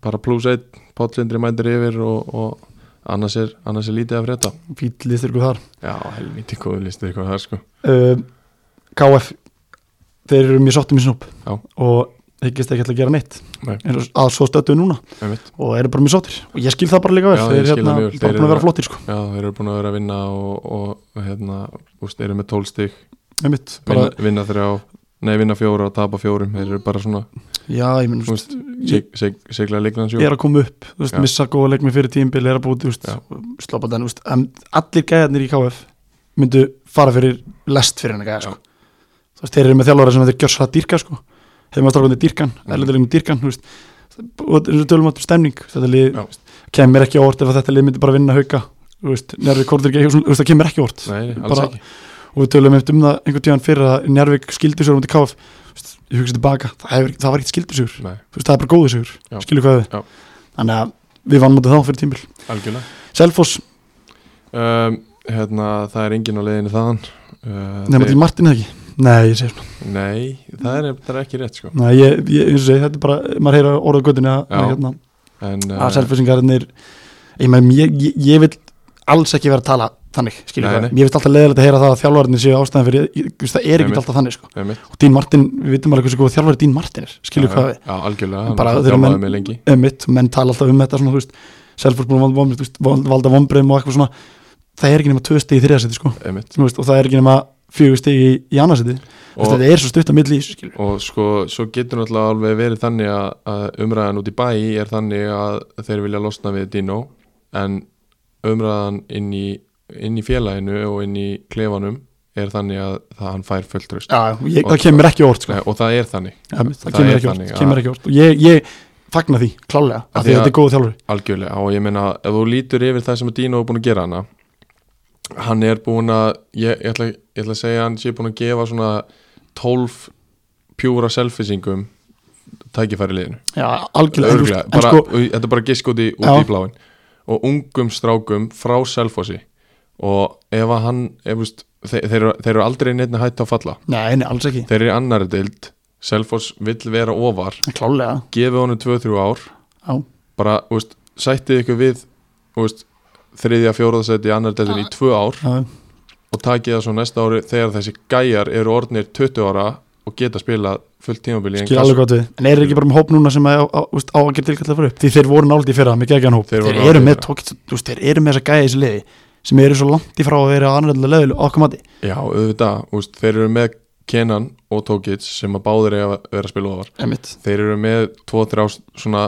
B: bara plus 1 pátlindri mændir yfir og, og annars, er, annars er lítið að frétta
A: fýll listur ykkur þar
B: Já, helviti góðu listir eitthvað það sko
A: uh, KF þeir eru mjög sáttum í snúpp
B: Já.
A: og hyggist ekki ætla að gera neitt
B: Nei.
A: Eins og- að svo stöttu núna
B: Einmitt.
A: og þeir eru bara mjög sáttir og ég skil það bara líka vel
B: Já,
A: þeir
B: ég skil
A: eru hérna,
B: það mjög vel.
A: bara búin
B: Þeir
A: að
B: eru-
A: vera flottir sko,
B: Já, þeir eru búin að vera að vinna og, og, og hérna, úst, eru með 12 stík
A: einmitt bara,
B: vinna, vinna þrjá, nei vinna fjóra og tapa fjórum, þeir eru bara svona
A: já, ég minn,
B: Þú
A: þú
B: veist,
A: veist, ég
B: sig, sig, sigla leiknans
A: er að koma upp þú veist,
B: Já.
A: missa góða leikmi fyrir tímbili, er að búið þú veist,
B: Já.
A: sloppa þenn, þú veist, en allir gæðarnir í KF myndu fara fyrir lest fyrir henni gæða,
B: Já.
A: sko þú veist, þeir eru með þjálfara sem þeir gjör svo að dýrka, sko hefum að strákunni dýrkan,
B: Mhm.
A: erlendulegum dýrkan, þú veist og þetta er eins og tölum átt um stemning þetta lið
B: Já.
A: kemur ekki á óvart ef að þetta lið myndi bara vinna hauka, þú veist, njárvík kortir ekki eitthvað svona, þú veist, það kemur ekki á óvart
B: Nei, nei, alls
A: bara-
B: ekki
A: og við tölum eftir um það einhvern tíðan fyrir að njárvík skildi sér um til KF Þú veist, ég hugsa tilbaka, það, hefur, það var ekkert skildi sér
B: Nei,
A: þú veist, það er bara góður sigur,
B: Já.
A: skilur hvað
B: Já.
A: við þannig að við vannum þetta þá fyrir tímil
B: algjörlega
A: Selfoss,
B: um, hérna, Það er engin á leiðinu þaðan uh,
A: nema til Martin eða ekki nei, ég segir svona,
B: Nei, það er, það er ekki rétt sko
A: nei, ég, ég, eins og segi þetta er bara, maður heyra orðað göttinu að,
B: Já.
A: að, hérna,
B: en, uh,
A: að Selfossingarnir ég, meina, ég, ég, ég vil alls ekki vera að tala þannig, skilur
B: Nei,
A: hvað,
B: nei.
A: ég vil alltaf leiðilegt að heyra það að þjálfararnir séu ástæðan fyrir, ég, ég, það er ekki
B: Einmitt.
A: alltaf þannig sko.
B: uh, einmitt.
A: og Dín Martin, við vitum alveg hversu góð þjálfari Dín Martin er, skilur
B: Já,
A: hvað við
B: Já,
A: Bara
B: algjörlega, hann
A: þeir eru
B: þjálfaði
A: menn-
B: mig lengi
A: emitt, menn tala alltaf um þetta svona, þú veist, Selfoss búin að valda vonbrigðum, þú veist, val- valda vombriðum og eitthvað svona það er ekki nema tvö stið í þriðasæti sko.
B: einmitt.
A: Þú veist, og það er ekki nema fjögur stið í, í annarsæti
B: Og-
A: þetta er svo stutt að milli í þessu, skilur.
B: og sko, svo getur náttúrulega alveg verið þannig að, að umræðan út í bæ er þannig að þeir vilja losna við Dino en umræðan inn í, inn í félaginu og inn í klefanum er þannig að það hann fær fulltröst
A: Já, ég,
B: Og-
A: það kemur ekki á óvart sko.
B: Nei, og það er þannig,
A: Emitt, það,
B: það
A: kemur
B: er
A: ekki á óvart,
B: þannig að-
A: kemur ekki á óvart. og ég, ég fagna því, klálega
B: Af
A: af því
B: því
A: að
B: að-
A: þetta er góð þjálfur
B: algjörlega og ég meina, ef þú lítur yfir það sem að Dino er búin að gera hana hann er búin að ég, ég, ætla, ég ætla að segja að hann sé búin að gefa svona 12 pjúra selfisingum tækifæri liðinu
A: Já, algjörlega, en, þú
B: Örgulega,
A: veist, en
B: bara,
A: sko,
B: þetta er bara gisk út í, út
A: Já.
B: í bláin og ungum strákum frá Selfossi og ef að hann ef, veist, þeir, þeir, eru- þeir eru aldrei neitt að hætta að falla
A: nei, nei, alls ekki
B: þeir eru í annari deild Selfoss vill vera ofar
A: klálega,
B: gefið honum 2-3 ár
A: já,
B: bara, þú veist, sættið ykkur við þú veist, þriðja, fjóraðsæti í annar deildin í 2 ár
A: já,
B: og takið það svo næsta ári þegar þessi gæjar eru orðnir 20 ára og geta spilað fullt tímabili
A: skil alveg gott við en eru ekki bara með hóp núna sem að, á, á, þú veist, á að gera tilkallega fyrir upp því þeir voru náldi í fyrra með gegjan hóp
B: Þeir
A: þeir,
B: voru
A: eru
B: nálægt í
A: með
B: fyrra.
A: tókitt, þú veist, þeir eru með þessa gæja í þessu liði sem eru svo langt í frá að vera á annaðlega leðilu okkur mati
B: Já, auðvitað, úst, þeir eru með Kenan og Tókic sem að báðir eiga að vera að spila ofar
A: Einmitt.
B: þeir eru með 2-3 svona,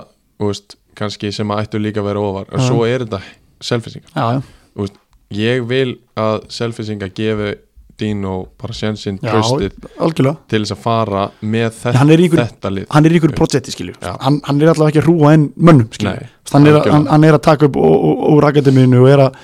B: úst, kannski sem að ættu líka að vera ofar en
A: Já.
B: svo er þetta selfisingar
A: já, já,
B: ég vil að selfisingar gefi Dino bara sjansinn
A: Já,
B: tröstið
A: algjörlega
B: til þess að fara með
A: En
B: þetta,
A: hann er Ah. í einhverju-
B: þetta lið
A: hann er í ykkur projekti skilur
B: Já.
A: hann, hann er allavega ekki að rúa inn mönnum skilur
B: Nei,
A: Þú veist, hann, er að,
B: algjörlega.
A: hann, hann er að taka upp og- og- úr akademíinu og er að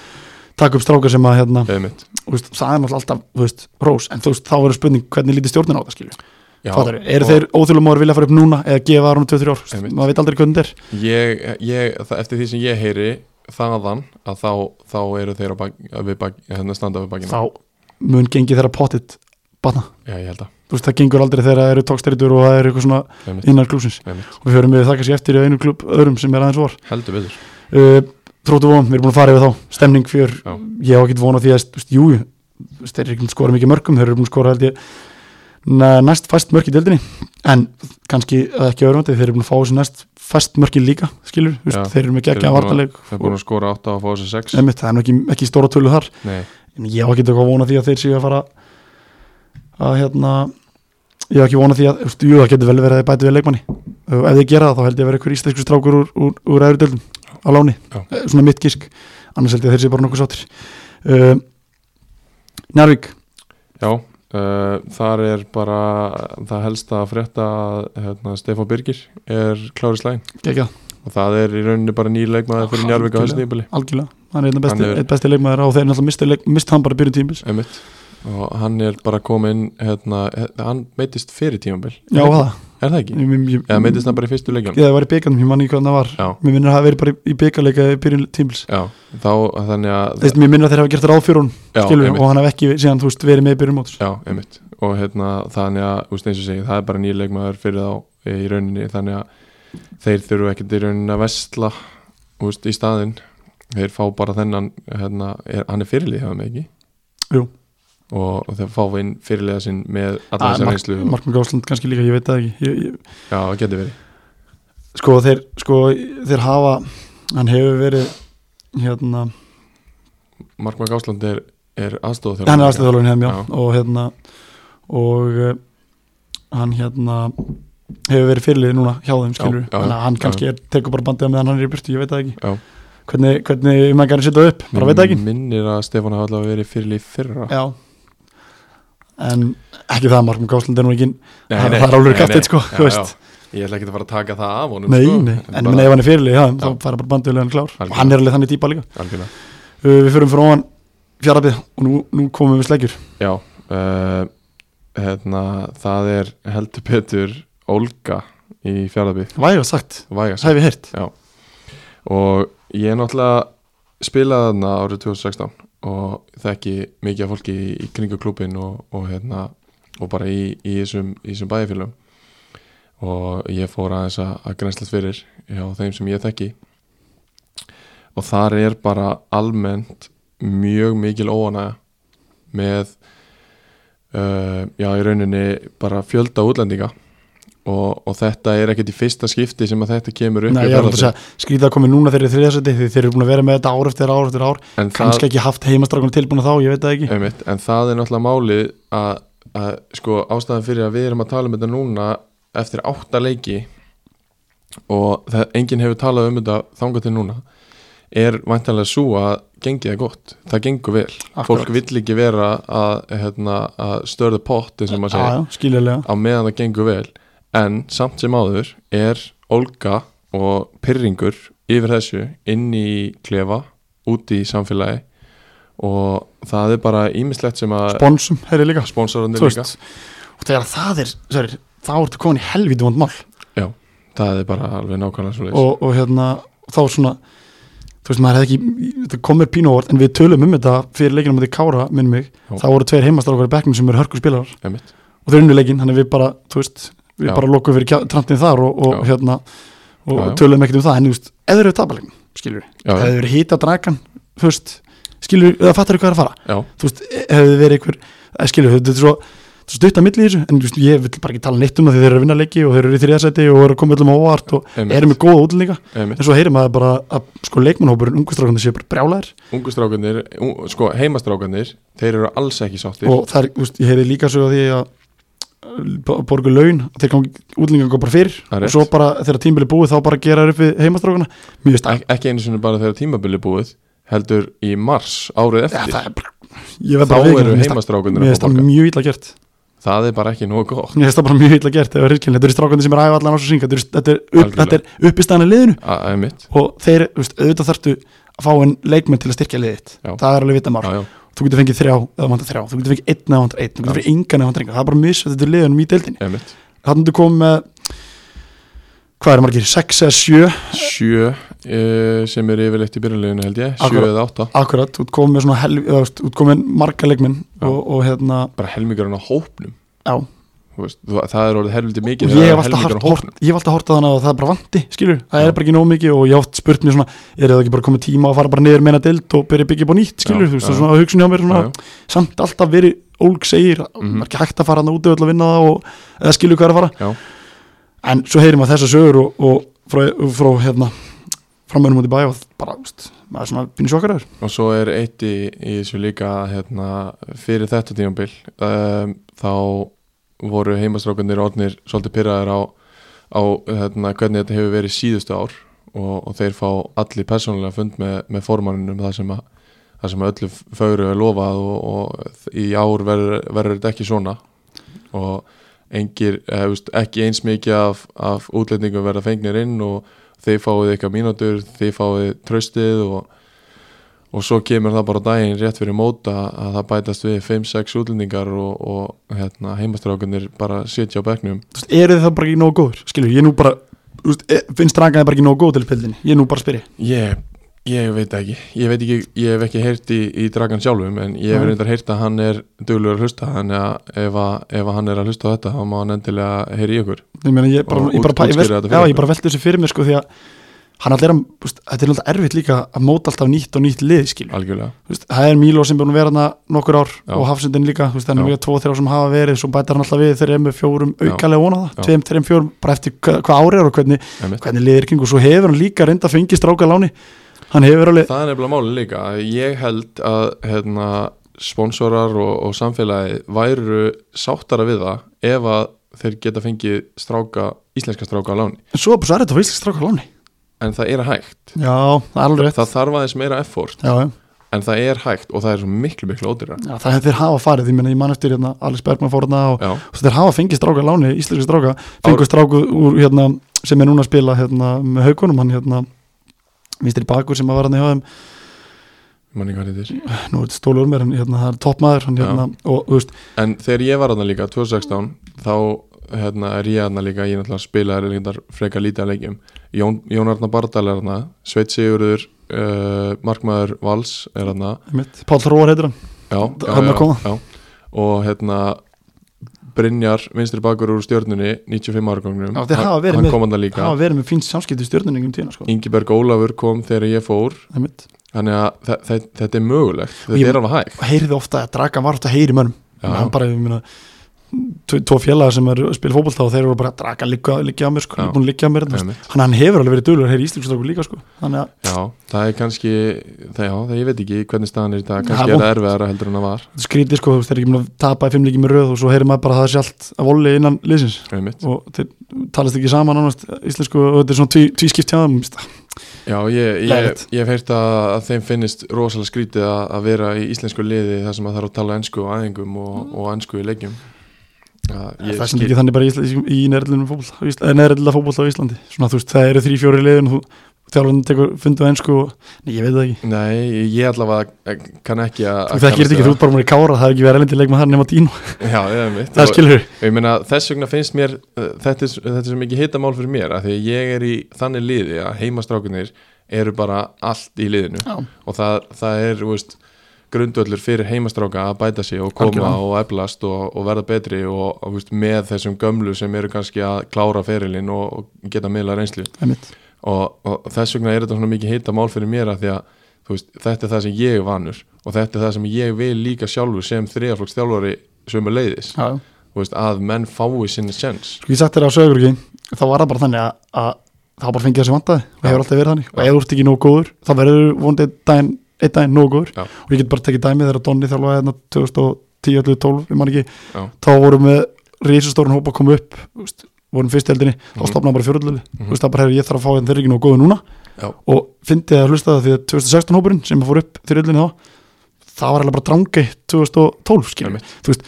A: taka upp strákar sem að hérna,
B: auðvitað
A: þú veist, það er náttúrulega alltaf þú veist, rós, en þú veist, þá verður spurning hvernig lítið stjórnin á það skilur
B: Já,
A: Fattar, eru
B: og
A: þeir óþjóðlega móður vilja að fara upp núna eða gefa árunum 2-3 ár, Þú veist,
B: Einmitt.
A: maður veit aldrei hvernig þetta er
B: ég, ég, það, eftir því sem ég heyri þaðan að þá, þá eru þeir að, bak, að við bak, hérna standa við bakina
A: þá mun gengið þeirra pottit batna,
B: Já, ég held að
A: þú veist það gengur aldrei þegar það eru tókstæritur og það eru eitthvað svona
B: Einmitt.
A: innan klúsins
B: Einmitt.
A: og við höfum við það kannski eftir í einu klub öðrum sem er aðeins vor
B: heldur betur
A: uh, Tróttu von, við erum búin að fara yfir þá stemning fjör,
B: Já.
A: ég hef ekki von á því að þú veist, jú, þú veist, þeir eru ekki búin að skora mikið mörgum þeir eru búin að skora held ég na- næst fast mörk í deildinni en kannski að ekki öðrumandi, þeir eru búin að fá þessi næst fast mörki líka, skilur þú veist,
B: Já.
A: þeir eru með geggja
B: Þeir eru búin að-
A: vartaleg
B: Það er búin að skora 8 og fá þessi 6
A: Einmitt, það er nú ekki, ekki stóra tölu þar
B: Nei,
A: en ég hef ekki eitthvað vona því að þeir séu að fara að hérna ég hef ekki vona því að, þú veist, jú það getur vel verið að þeir bæti við leikmanni og ef þeir gera það þá held ég að vera einhver íslensku strákur úr, úr, úr æðri döldum á láni,
B: Já.
A: Eh, svona mitt gísk Eh, annars held ég að þeir séu bara nokkuð sáttir uh, Njárvík
B: já, Uh, þar er bara það helsta að frétta að, hérna, Stefán Birgir er klári slæðin
A: Gekja,
B: og það er í rauninni bara nýr leikmaður fyrir Njarvík á
A: Algjörlega.
B: höstnýbili
A: algjörlega Hann er einn besti,
B: Hann hefur-
A: einn besti leikmaður á þeir náttúrulega misti, leik, misti hann bara byrjun tímis
B: Einmitt. og hann er bara kominn hérna, he- hann meitist fyrir tímabil
A: Já,
B: er,
A: það
B: er það ekki?
A: Ég- ég-
B: eða meitist hann bara í fyrstu leikjum
A: Ég það var í byggarnum, ég man ekki hvernig það var
B: já,
A: Mér minnir að það hafi verið bara í- í byggarleika byrjun tímils
B: já, þá þannig að
A: Þeist, Mér minnir að þeir hafa gert ráð fyrir hún
B: já,
A: skilur,
B: einmitt.
A: og hann hafi ekki síðan, þú veist, verið með í byrjun móts
B: Já, einmitt og hérna þannig að, þú veist eins og segi, það er bara nýr leikmaður fyrir þá eh, í rauninni þannig að þeir þurfu ekkert í rauninni að vestla þú veist, í staðinn þeir fá bara þennan hérna, er, hann er fyrirlið hefðum ekki
A: Jú.
B: og, og þeir fá inn fyrirliða sinn með
A: Ah,
B: alla þessar
A: Mark-
B: reynslu og-
A: Markmann Gásland kannski líka, ég veit það ekki ég, ég,
B: Já, það getur verið
A: sko þeir, sko þeir hafa hann hefur verið hérna,
B: Markmann Gásland er, er aðstofa
A: hann er aðstöðalun hefum já,
B: Já.
A: og hérna og uh, hann hérna hefur verið fyrirlið núna hjá þeim skilur
B: Já, já,
A: þannig að hann
B: já.
A: kannski er, tekur bara bandið á meðan hann er í burtu, ég veit það ekki
B: Já. Mm,
A: hvernig, hvernig um hann kannar setja upp, bara veit það ekki
B: Minnir að Stefán hafa allavega verið fyrirlið í fyrra
A: já en ekki það að Markmann Gásland er nú ekki
B: Nei,
A: það-
B: nei,
A: það er alveg
B: nei,
A: kapteinn,
B: nei.
A: sko,
B: Já,
A: þú veist.
B: já. Ég ætla ekki að fara að taka það af honum
A: nei,
B: sko.
A: nei, en
B: bara-
A: bara, ef hann er fyrirlið já, þá
B: Já.
A: fara bara bandið á meðan klár
B: Algjörlega.
A: og hann er alveg þannig típa líka
B: Algjörlega
A: uh, við fyrum frá hann fjarafið og nú, nú komum við sleggjur
B: Já, uh, hérna, það er heldur betur Olga í fjárðabíð,
A: væga sagt,
B: Vægas.
A: það hef ég heyrt
B: Og ég náttúrulega spilaði þarna árið 2016 og þekki mikið af fólki í, í kringu klubin og, og, hérna, og bara í, í þessum, í þessum bæjarfélum. Og ég fór aðeins að, að grenslast fyrir hjá þeim sem ég þekki. Og þar er bara almennt mjög mikil óanæða með uh, já, í rauninni bara fjölda útlendinga og, og þetta er ekkert í fyrsta skipti sem að þetta kemur upp
A: Nei,
B: hjá
A: ég er að
B: Fjarðabyggð.
A: segja, skrítið að komi núna þeirri þriðarsæti því þeir eru búin að vera með þetta ár eftir ár eftir ár
B: en
A: kannski ekki haft heimastrákunum tilbúin þá, ég veit það ekki
B: það, einmitt, en það er náttúrulega málið að, að sko ástæðan fyrir að við erum að tala um þetta núna eftir átta leiki og það, enginn hefur talað um þetta þangað til núna er væntanlega svo að gengið er gott, það gengur vel
A: Akkurat.
B: fólk vill ekki vera að, hérna, að störðu pott eins og maður
A: Já,
B: segir
A: já, skiljulega,
B: á meðan það gengur vel en samt sem áður er olga og pyrringur yfir þessu inn í klefa úti í samfélagi og það er bara ímislegt sem að
A: sponsum, heyrði líka
B: sponsorarnir
A: þú
B: líka
A: veist, og þegar það er sorry, þá ertu komin í helvítið vond mál
B: það er bara alveg nákvæmlega svo leiðis
A: og, og hérna, þá svona þú veist, maður hefði ekki, það komur pínu ávart en við tölum um þetta fyrir leikinu mútið Kára, minnum mig,
B: Já.
A: þá voru tveir heimastrákar í bekknum sem eru hörku spilarar
B: einmitt,
A: og þeir unnu leikinn, þannig við bara, þú veist við
B: Já.
A: bara lokum fyrir kjá- trantinn þar og, og
B: Já.
A: hérna, og
B: Já, já.
A: tölum ekkert um það en þú veist, eða þeir eru tapalegnum, skilur
B: já,
A: hefði
B: já,
A: verið hýta dragan þú veist, skilur, eða fattar hvað er að fara
B: já,
A: þú veist, e, hefði verið einhver eða skilur, þetta er svo þetta er stutt að milli í þessu, en þú veist, ég vil bara ekki tala neitt um það því þeir eru að vinna leiki og þeir eru í þriðasæti og eru að koma öllum á óvart og
B: einmitt,
A: eru með góða útlendinga
B: einmitt.
A: en svo heyrir maður bara að sko leikmannhópurinn ungustrákandi séu bara brjálæðir
B: ungu strákanir, un, sko heimastrákanir þeir eru alls ekki sáttir
A: og það er, þú veist, ég heyri líka svo því að uh, borgu laun, þeir gangi útlendinga bara fyrir
B: Það er
A: og svo
B: rétt.
A: bara þegar tímbili búið þá bara gera þeir upp við heimastrákana mjög stæk,
B: Ek, ekki einu sinni bara þegar tímabili er búið heldur í mars árið
A: ja,
B: eftir
A: það er bara ég verð
B: þá
A: bara að viðurkenna,
B: eru
A: mér finnst það-
B: heimastrákanir
A: mér
B: að
A: finnst það
B: fá bakka
A: mjög illa gert
B: það er bara ekki nógu gott
A: Mér finnst það bara mjög illa gert eða rilkjölin, þetta eru strákandi sem er æfa allan ás og syng þetta eru- þetta er, upp,
B: Algjörlega.
A: þetta er upp í stæðan liðinu
B: A- einmitt,
A: og þeir, þú veist, auðvitað þarftu að fá en leikmenn til að styrkja liðið þitt.
B: Já.
A: það er alveg vita mál,
B: já, já
A: þú getur fengið þrjá eða vantar þrjá, þú getur fengið einn eða vantar einn þú getur
B: Já.
A: fengið engan eða vantar engan, það er bara mjög þetta er liðunum í deildinni,
B: Einmitt.
A: þannig þú komið með hvað er margir, 6 eða 7
B: Sjö uh, sem er yfirleitt í byrjunleginu held ég, sjö
A: Akkurat.
B: eða átta
A: akkurat, þú ert komið með svona helvi, eða, þú veist, þú ert komið með marga leikmenn
B: Já.
A: og, og hérna,
B: bara helmingur hann á hópnum
A: já,
B: Þú veist, þú- það er orðið helviti
A: og
B: mikið
A: ég
B: þegar
A: hef alltaf
B: helmingur
A: hort, hort, ég hef alltaf hortað þannig að það er bara vandi skilur, það
B: Já.
A: er bara ekki nóg mikið og ég hef oft spurt mér svona, er það ekki bara komið tíma að fara bara niður meina deild og byrja að byggja upp á nýtt skilur,
B: Já,
A: þú veist,
B: já.
A: það er svona hugsun hjá mér svona,
B: Já, já.
A: samt alltaf verið ólg segir, það
B: Mhm.
A: er ekki hægt að fara hann úti og öll að vinna það og, eða skilur hvað er að fara
B: Já.
A: en svo heyrim að þessa sögur og, og frá, frá hérna framönum út í bæ og bara, þú veist, maður er svona finnir sjokkar
B: og svo er eitt í, í þessu líka hérna, fyrir þetta tímabil um, þá voru heimastrákanir orðnir svolítið pyrraðir á, á hérna, hvernig þetta hefur verið síðustu ár og, og þeir fá allir persónulega fund með, með formanninum þar sem að, þar sem öllu fögru er lofað og, og í ár verður verður þetta ekki svona og engir, eh, veist, ekki eins mikið af, af útlendingum verða fengnir inn og þeir fáið eitthvað mínútur þeir fáið tröstið og, og svo kemur það bara á daginn rétt fyrir móta að það bætast við 5-6 útlendingar og, og hérna, heimastrákunir bara sitja á bekknum
A: Þú veist, eru þið það bara ekki nógu góður skilur, ég nú bara, þú veist, e- finnst rangaði bara ekki nógu góð til spildinni, ég nú bara spyrir
B: Ég, ég veit ekki Ég veit ekki, ég hef ekki heyrt í, í Dragan sjálfum en ég hef
A: Nei.
B: reyndar heyrt að hann er duglegur að hlusta þannig að ef, að, ef að hann er að hlusta á þetta þá má hann endilega heyri í ykkur
A: ég meina, ég bara,
B: Og
A: ég bara,
B: út-
A: ég
B: útskýra
A: velt,
B: þetta
A: já,
B: fyrir
A: ég bara velti þessu fyrir mér sko því að hann allir, að- þú veist, þetta er alltaf erfitt líka að móta alltaf nýtt og nýtt lið skilur
B: algjörlega
A: Þú veist, það er Míló sem búin að vera hana nokkur ár
B: Já.
A: og Hafsundin líka, þú veist, þannig
B: Já.
A: að við tvo þrjá sem hafa verið, svo bætar hann alltaf við þegar er með fjórum aukalega óna það,
B: Já.
A: tveim, þreim, fjórum bara eftir hva- hvað ári er og hvernig,
B: einmitt.
A: hvernig liðir kring og svo hefur hann líka reynda að fengi stráka láni hann hefur alveg,
B: Það er nefnilega máli líka að ég held að hérna, sponsorar og, og samfélagi væru sáttara við það ef að þeir geta fengið stráka, íslenska stráka á láni
A: en svo er þetta á íslensk stráka láni
B: en það er hægt
A: já, það er alveg rétt
B: það þarf aðeins meira effort
A: já, já.
B: en það er hægt og það er svo miklu miklu ódýra
A: Já, það hefur þeir hafa farið, ég menna ég man eftir hérna, Alex Bergman fór hérna og
B: Já,
A: og þeir hafa fengið stráka láni, íslenski stráka fengið stráku úr hérna sem er núna að spila hérna með haugunum hann hérna, vinstri bakur sem að var hann í höfum
B: manni hvað þetta er
A: nú er þetta stólu úr mér, en hérna, það er toppmaður hann, hérna, og þú veist,
B: En þegar ég var aðna líka 2016 þá hérna, er ég aðna líka ég náttúrulega spilaði reyndar freka lítið að leikjum Jón, Jón Arna Bardal er aðna Sveit Sigurður uh, Markmaður Vals er aðna
A: mitt, Pál Róar heitir hann
B: já, já,
A: Hann er að koma.
B: já, já. og hérna Brynjar, vinstri bakur úr stjörnunni 95 árgangnum
A: Já, þeir hafa verið
B: hann
A: með-
B: kom aðna
A: það
B: líka
A: hafa verið með fínt samskipti í stjörnuningum tíðina sko.
B: Ingiberg Ólafur kom þegar ég fór
A: einmitt.
B: þannig að þe- þe- þetta er mögulegt
A: Og
B: þetta
A: ég-
B: er alveg hægt
A: og heyrði ofta að Dragan var ofta að heyri mönnum
B: Já.
A: hann bara, ég meina tvo- tvo félagar sem er að spila fótbolta og þeir eru bara Dragan liggja, liggja á mér, sko,
B: Já.
A: búin að liggja á mér þú veist.
B: Einmitt.
A: hann, hann hefur alveg verið dölur að heyri íslenski stráku líka sko. þannig að
B: Já, það er kannski, það, já, það ég veit ekki hvernig staðan er í dag, kannski
A: Já,
B: er það erfiðara heldur en það var
A: þetta er skrítið sko, þú veist, þeir eru ekki búin að tapa í fimm leiki með röð og svo heyrir maður bara að það sé allt að voli innan liðsins
B: einmitt.
A: og þeir talast ekki saman annars íslensku og þetta er svona tví, tvískipt hjá þeim þú veist.
B: Já, ég, ég,
A: Leiðinlegt.
B: ég hef heyrt að, að þeim finnist rosalega skrítið að, að vera í íslensku liði þar sem að þarf að tala ensku á æðingum og, og ensku í leikjum Já,
A: Mm. Það er sem ekki þannig bara í, Ísla- í neðrildinu fótbolta neðrilda fótbolta á Íslandi svona þú veist það eru þrý fjóri liðin og þú þjálfurinn tekur fundu ensku og nei ég veit það ekki
B: Nei, ég allavega eh, kann ekki að
A: þú þekkir þetta ekki þú ert bara múin í kára það er ekki verið erlendi leikmann þar nema dínu
B: Já, einmitt
A: það
B: Og-
A: skilur við
B: Ég meina, þess vegna finnst mér uh, þetta er, s- þetta er sem ekki hitamál fyrir mér af því að ég er í þannig liði að heimastrákunir eru bara allt í liðinu
A: Já.
B: og það, það er þú veist, grundvöllur fyrir heimastráka að bæta sig og koma
A: Algjörlega.
B: og eflast og, og verða betri og, og þú veist, með þessum gömlu sem eru kannski að klára ferilinn og, og geta miðla reynslu
A: Einmitt.
B: og, og þess vegna er þetta svona mikið heita mál fyrir mér að því að þú veist, þetta er það sem ég er vanur og þetta er það sem ég vil líka sjálfur sem þriðaflokksþjálfari sömu leiðis
A: Já, já.
B: þú veist, að menn fái sinni sjens
A: sko ég sagt þér á sögur ekki þá var það bara þannig að, að það var bara fengið þessi vandaði og
B: Já.
A: hefur alltaf verið þannig og
B: Já.
A: ef þú ert ekki nóg góður þá verður vonandi einn daginn, einn daginn nóg góður
B: Já.
A: og ég get bara tekið dæmi þegar Donni þjálfaði hérna 2010, 11, 12, ég man ekki
B: Já.
A: þá vorum við risastórun hópa að koma upp þú veist, vorum fyrst eldinni, þá
B: Mhm.
A: stopnaði bara fjörðlöfi
B: Mhm.
A: þú veist það bara hefur ég þarf að fá hérna þeir eru ekki nóg góður núna
B: Já.
A: og fyndi að hlusta það því að 2016 hópurinn sem fór upp þyrjöldinni þá það var alveg bara drangi 2012 skilur
B: Einmitt.
A: þú veist,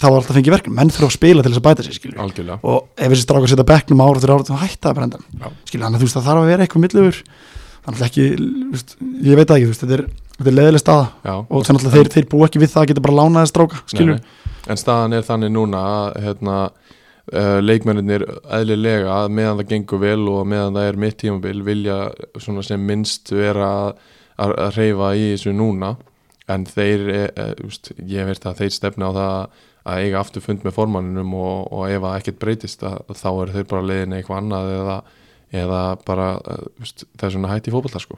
A: það var alltaf fengið verkefni menn þurfa að spila til þess að bæta sig skilur
B: algjörlega
A: og ef þessi strákar setja bekknum ára til ára þá hætta það brendan
B: Já.
A: skilja þannig að þú veist það þarf að vera eitthvað millifur þannig að ekki, þú veist, ég veit það ekki þú veist, þetta er, þetta er leðileg staða
B: Já,
A: og þannig að þeir, þeir bú ekki við það að geta bara lánaði stráka skilju,
B: En staðan er þannig núna að hérna, uh, leikmennir eðlilega að meðan það gengur vel og meðan það er mitt tímabil vilja svona sem minnst vera að- að að hreyfa í þessu núna en þeir, uh, úst, ég veit að þeir stefna á það að eiga aftur fund með formanninum og, og ef að ekkert breytist að, þá eru þeir bara leiðin eitthvað annað eða, eða bara uh, úst, það er svona hætt í fótbolta sko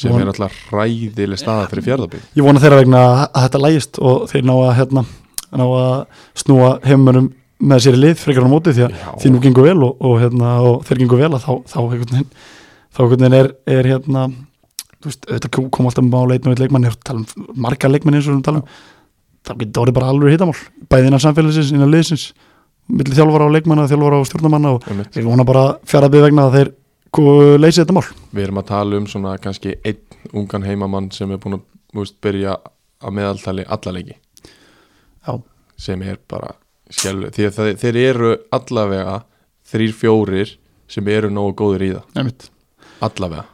B: sem
A: Von-
B: er alltaf ræðileg staða fyrir fjörðabíl
A: ég vona þeirra vegna að að þetta lægist og þeir ná að, hérna, ná að snúa heimönum með sér í lið frekar á móti því að
B: Já.
A: því nú gengur vel og, og, hérna, og þeir gengur vel að þá, þá einhvern veginn þá einhvern veginn er, er hérna þú veist, auðvitað kom alltaf mál einn og einn leikmann ég er að tala um marga leikmann eins og við tala um þá getur það orðið bara alveg hittamál bæði innan samfélagsins, innan liðsins milli þjálfara og leikmanna, þjálfara og stjórnumanna og
B: Einmitt.
A: ég vona bara fjaraðbið vegna að þeir ko- leysi þetta mál
B: við erum að tala um svona kannski einn ungan heimamann sem er búin að þú veist, byrja að meðaltali alla leiki
A: Já.
B: sem er bara skellu því að það, þeir eru allavega þrír fjórir sem eru nógu góður í það,
A: einmitt
B: allavega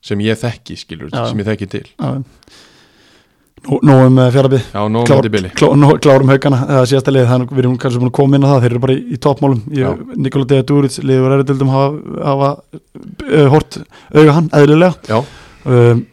B: sem ég þekki, skilur,
A: Já.
B: sem ég þekki til
A: Já. Nú, nú um fjarlabið
B: Já, nógu
A: Klár,
B: mætti bili
A: klá, nú, klárum haugana, það er síðasta liðið þannig við erum kannski búin að koma inn á það, þeir eru bara í, í toppmálum
B: Já.
A: Nikola Dea Duric, liður erðildum hafa, hafa uh, hort auga hann, eðlilega
B: Já,
A: um,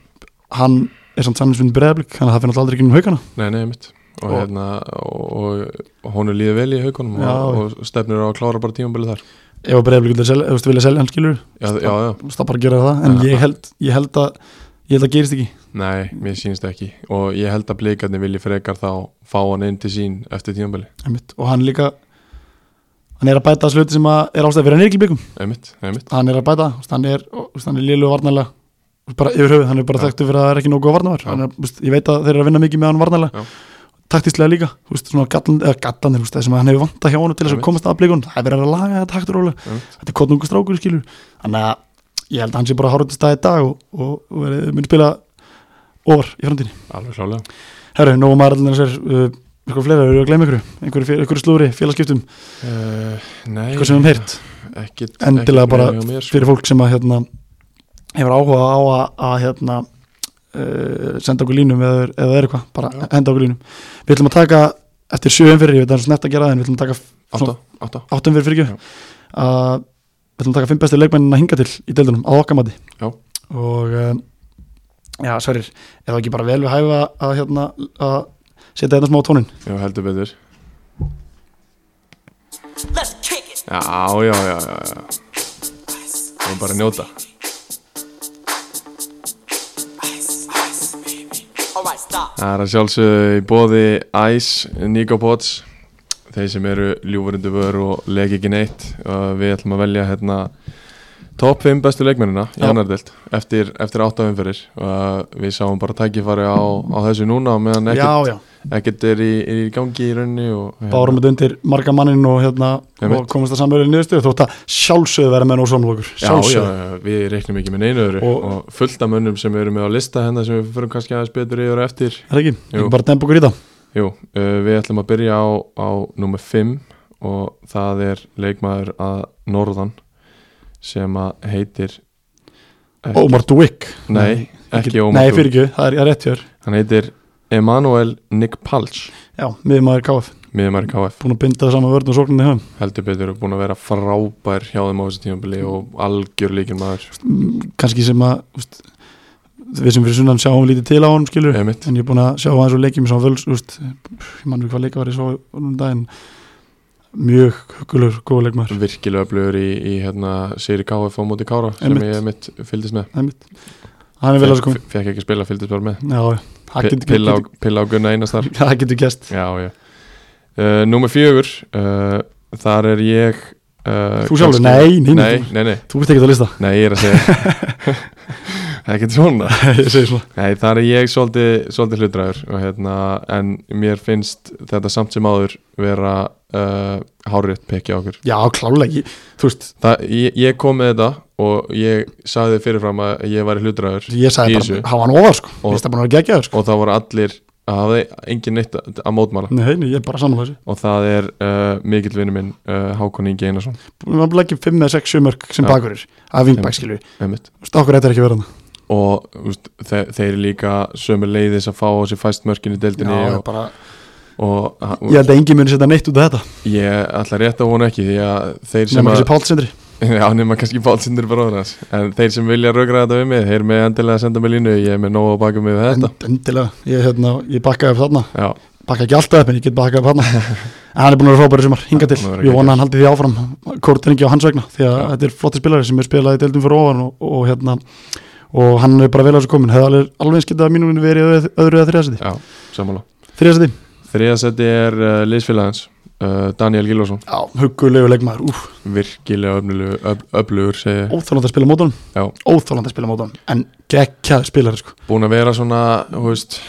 A: hann er samt sanninsvinn breðablik, þannig að það finnst aldrei ekki um haugana
B: nei, nei, mitt og,
A: Og-
B: hérna, og, og honum líður vel í haukunum og, og stefnir á að klára bara tímabilið þar
A: ef að breðablik vilja selja, ef þú vilja selja hann skilur
B: Já, já, já,
A: það er bara að gera það, en
B: Já.
A: ég held ég held að, ég held að gerist ekki
B: nei, mér sýnst ekki og ég held að blikarnir vilji frekar þá fá hann inn til sín eftir tímabili
A: einmitt. og hann líka hann er að bæta sluti sem að er ástæði fyrir hann er ekki í byggum
B: einmitt, einmitt,
A: hann er að bæta, þú veist, hann er, þú veist, hann er lélu varnarlega Þú veist, bara yfir höfuð, hann er bara
B: Já.
A: þekktu fyrir að það er ekki nógu að varnar
B: Já.
A: hann er, þú veist, ég veit að þeir eru að vinna mikið með hann varnarlega
B: Já.
A: taktislega líka, þú veist, svona gallan, eða gallanir þú veist, það sem hann hefur vantað hjá honum til þess
B: Einmitt.
A: að komast að blíkun það er verið að laga þetta hægt og rólega
B: einmitt.
A: þetta er kotnungu strákur skilur þannig að ég held að hann sé bara að horfa til staði í dag og, og, og verið, mun spila orð í framtíðinni
B: alveg klálega
A: herru, nóg maður allir sér uh, eitthvað fleira, eru að gleyma ykkur einhverju, fe- einhverju slúri, félagskiptum,
B: uh, nei,
A: eitthvað sem við höfum heyrt
B: ekkit,
A: endilega
B: ekkit
A: bara
B: meira hjá mér, sko.
A: fyrir fólk sem að hérna, hefur áhuga á að, að hérna, uh, senda okkur línum eða, eða er eitthvað, bara
B: Já.
A: henda okkur línum við ætlum að taka, eftir sjöum fyrir ég veit að það er snett að gera það, en við ætlum að taka
B: átta, átta,
A: áttum fyrir fyrir
B: Já.
A: ekki að við ætlum að taka fimm bestu leikmennin að hinga til í deildunum að okkar mati
B: Já.
A: og uh, já, sverir, er það ekki bara vel við hæfa að, hérna, að setja þetta smá á tónin
B: já, heldur betur
C: Let's kick it.
B: já, já, já, já, já. það er bara að njóta
C: Alright, stop.
B: Það er að sjálfsögðu í bóði Ice, Nicopods þeir sem eru ljúfurindu vör og leik ekki neitt og við ætlum að velja hérna top 5 bestu leikmennina í
A: Já.
B: annardelt eftir, eftir 8 umferðir og við sáum bara tækifæri á, á þessu núna á meðan
A: já,
B: ekkert,
A: já,
B: ekkert er, í, er í gangi í raunni og hérna,
A: bárum þetta undir marga mannin og, hérna,
B: Einmitt.
A: og komast að samverju niðurstöðu þótt að sjálfsögðu verða menn og samlokur
B: Já, já, já, við reiknum ekki með neinu öðru
A: Og-
B: og, fullt af mönnum sem eru með á lista hennar sem við förum kannski aðeins betur yfir á eftir
A: er það ekki,
B: Jú.
A: ekki bara dempa okkur í það
B: Jú, uh, við ætlum að byrja á, á nummer 5 og það er leikmaður að norðan sem að heitir ekki,
A: Ómar Duik
B: Nei, ekki Ómar
A: nei
B: Dúk.
A: fyrir ekki, það er, það er rétt hjör
B: Hann heitir Emanuel Nick Palch
A: já, miðmaður KF,
B: miðumæri KF,
A: búin að binda það saman vörn og sókninni höfum
B: heldur betur og búin að vera frábær hjá þeim á þessu tímabili og algjör líkir maður
A: kannski sem að úst, við sem fyrir sunnan sjáum lítið til á honum skilur
B: Eða mitt,
A: en ég er búin að sjá aðeins og leikjum sem völs úst, ég mann við hvað leika var ég svo um daginn mjög huggulur, góð leikmaður
B: virkilega blöður í, í hérna, Siri KF á móti Kára sem
A: Einmitt.
B: ég mitt fylgdist með
A: hann er vel að sko
B: Fekk- Fekk ekki spila, fylgdist bara með
A: já, já. það
B: Pi-
A: getur-
B: Pilla
A: getur-
B: á- Pilla á Gunna Einastar
A: það getur gæst
B: Já, já uh, Númer fjögur uh, Þar er ég uh,
A: Þú sjálfur? Nei, nei, nei,
B: nei, nei, nei,
A: þú veist ekki að lista
B: nei, ég er að segja Ekki svona
A: ég segi svona
B: Nei, þar er ég svolítið, svolítið hlutræður og, hérna, En mér finnst þetta samt sem áður vera uh, hárétt pekja okkur
A: já, klálega, ég- þú veist
B: Það, ég, ég kom með þetta og ég sagði fyrirfram að ég væri hlutræður
A: ég sagði
B: í
A: bara,
B: þessu.
A: hafa hann ofar sko
B: Og-
A: Mér finnst það bara að vera geggjaður sko
B: og það voru allir að hafði engin neitt að, að mótmála
A: Nei, nei, ég er bara saman á þessu
B: og það er uh, mikill vinnu minn uh, Hákon Ingi Einarsson
A: Við varum ekki 5 eða 6 sjömörk sem
B: Já.
A: bakurir að vingbæk skilur við
B: einmitt.
A: Þú veist, okkur þetta er ekki verðan
B: og úst, þe þeir líka sömu leiðis að fá á sig fæst mörkin í deildinni
A: Já,
B: og,
A: bara
B: og, og
A: Ég held að engin muni setja neitt út af þetta
B: ég ætla rétt að vona ekki því að þeir sem
A: Nefnum
B: að
A: þessi pálsindri
B: já, nema kannski bálsindur bróður hans en þeir sem vilja rögra þetta við mig þeir með endilega að senda mig línu ég er með nóg á bakum við þetta
A: Endilega, ég, hérna, ég bakkaði upp þarna
B: já,
A: Bakkaði ekki alltaf upp en ég get bakkað upp þarna En hann er búin að vera frábæri sumar, hinga til
B: Búinn að vera
A: Ég vona að
B: geggjaður.
A: hann haldi því áfram Kortinningi á hans vegna Því að
B: Já.
A: þetta er flotti spilari sem er spilað í deildum fyrir ofan og, og hérna Og hann er bara vel á þessu komin Hefði alveg, alveg eins getað að mínum minni verið í öðru- öðru eða þriðasæti
B: já, samanlá
A: Þriðasæti,
B: þriðasetti er uh, liðsfélagans uh, Daniel Gilvason
A: já, huggulegu leikmaður Úf,
B: virkilega öflugur, öf, öflugur segi, ég.
A: óþálandi að spila mótunum
B: Já.
A: óþálandi að spila mótunum en geggjaður spilari sko
B: búin að vera svona þú veist,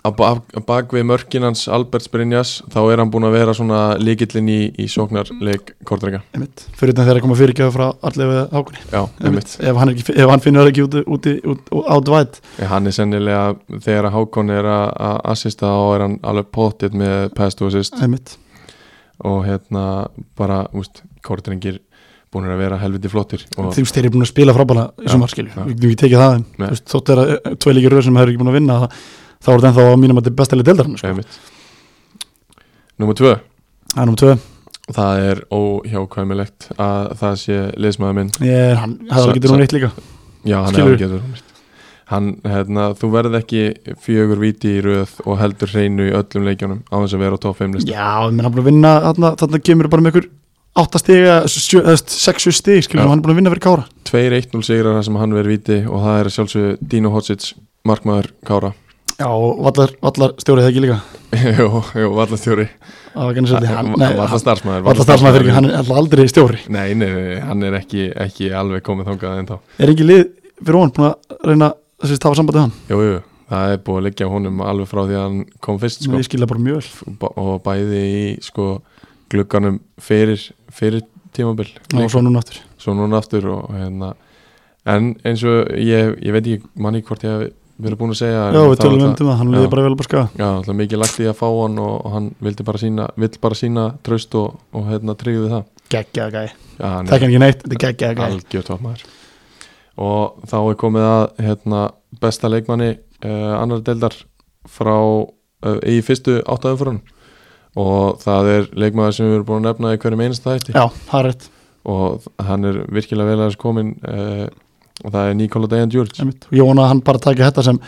B: að bak- að bak við mörkin hans Albert Brynjas þá er hann búin að vera svona líkillin í, í sóknarleik Kortreika
A: einmitt, fyrir utan þegar að koma fyrirgjöðu frá allir við hákunni
B: já, einmitt,
A: ef hann, er ekki, ef hann finnur það ekki úti, úti, úti átvæð
B: Ég, hann er sennilega þegar að Hákon er að að assista þá er hann alveg pottitt með pest og assist
A: einmitt,
B: og hérna bara, úst, Kortrengir búin að vera helviti flottir og
A: því þeir eru búin að spila frábæla í
B: Já,
A: sumar skilju,
B: já.
A: við getum ekki tekið það þeim.
B: Nei.
A: Þú veist, þótt eh, er að tvei líkir röð sem þeir eru ekki búin að vinna það- þá er þetta ennþá að mínum að þetta er bestæli deildar sko.
B: einmitt Númer tvö,
A: það er nummer tvö,
B: það er óhjákvæmilegt að það sé liðsmaður minn
A: ég er hann hefði
B: Sa-
A: alveg getur
B: sa-
A: hún eitt líka
B: Já, hann
A: Skilurðu?
B: er ágætur Hann, hérna, þú verð ekki fjögur viti í röð og heldur hreinu í öllum leikjónum á þess að vera á top 5 listu
A: Já, menn hann er búin að vinna þarna, þarna kemur bara með ykkur 8 stig eða sjö- eða 6 stig,
B: Já.
A: skiljum, hann er búin að vinna fyrir Kára
B: 2-1-0 sigrar þar sem hann verið viti og það er að sjálfsögðu Dino Hotsic, markmaður Kára
A: Já, og vallar, vallar stjórið það ekki líka
B: Jú, jú, vallastjóri
A: Það var ekki eins og þetta, hann- nei, hann-
B: Vallastarsmaður
A: Vallar starfsmæður fyrir ekki, hann er alltaf aldrei stjóri
B: Nei, nei, nei, hann er ekki, ekki alveg komið þangað en þá
A: Er engin lið fyrir hún búin að reyna þessi tafa sambandi við hann?
B: Jú, jú, það er búið að liggja á honum alveg frá því að hann kom fyrst
A: Sko.
B: sko.
A: Ég skilja bara mjög vel
B: B- og bæði í sko, glugganum fyrir, fyrir tímabil
A: Já, og svo núna aftur
B: svo núna aftur og hérna en eins og ég, ég veit ekki manni hvort ég hef verið búin að segja en
A: Já, við
B: það
A: tölum
B: var
A: um
B: alltaf-
A: það, hann
B: já.
A: liði bara vel bara skaga
B: Já, alltaf mikið lagt í að fá hann og, og hann vildi bara sína, vill bara sína tröst og, og hérna tryggði það
A: Geggjaða gæ,
B: Já, hann
A: það er ekki neitt, þetta er geggjaða
B: er
A: gæ
B: algjör topmaður og þá er komið að hérna, besta leikmanni uh, annar deildar frá uh, í fyrstu áttaðumfórun og það er leikmaður sem við erum búin að nefna í hverjum einasta þætti
A: Já, það er rétt,
B: og hann er virkilega vel aðeins komin uh, og það er Nikola Dejan Djurc
A: einmitt Og ég vona að hann bara taki þetta sem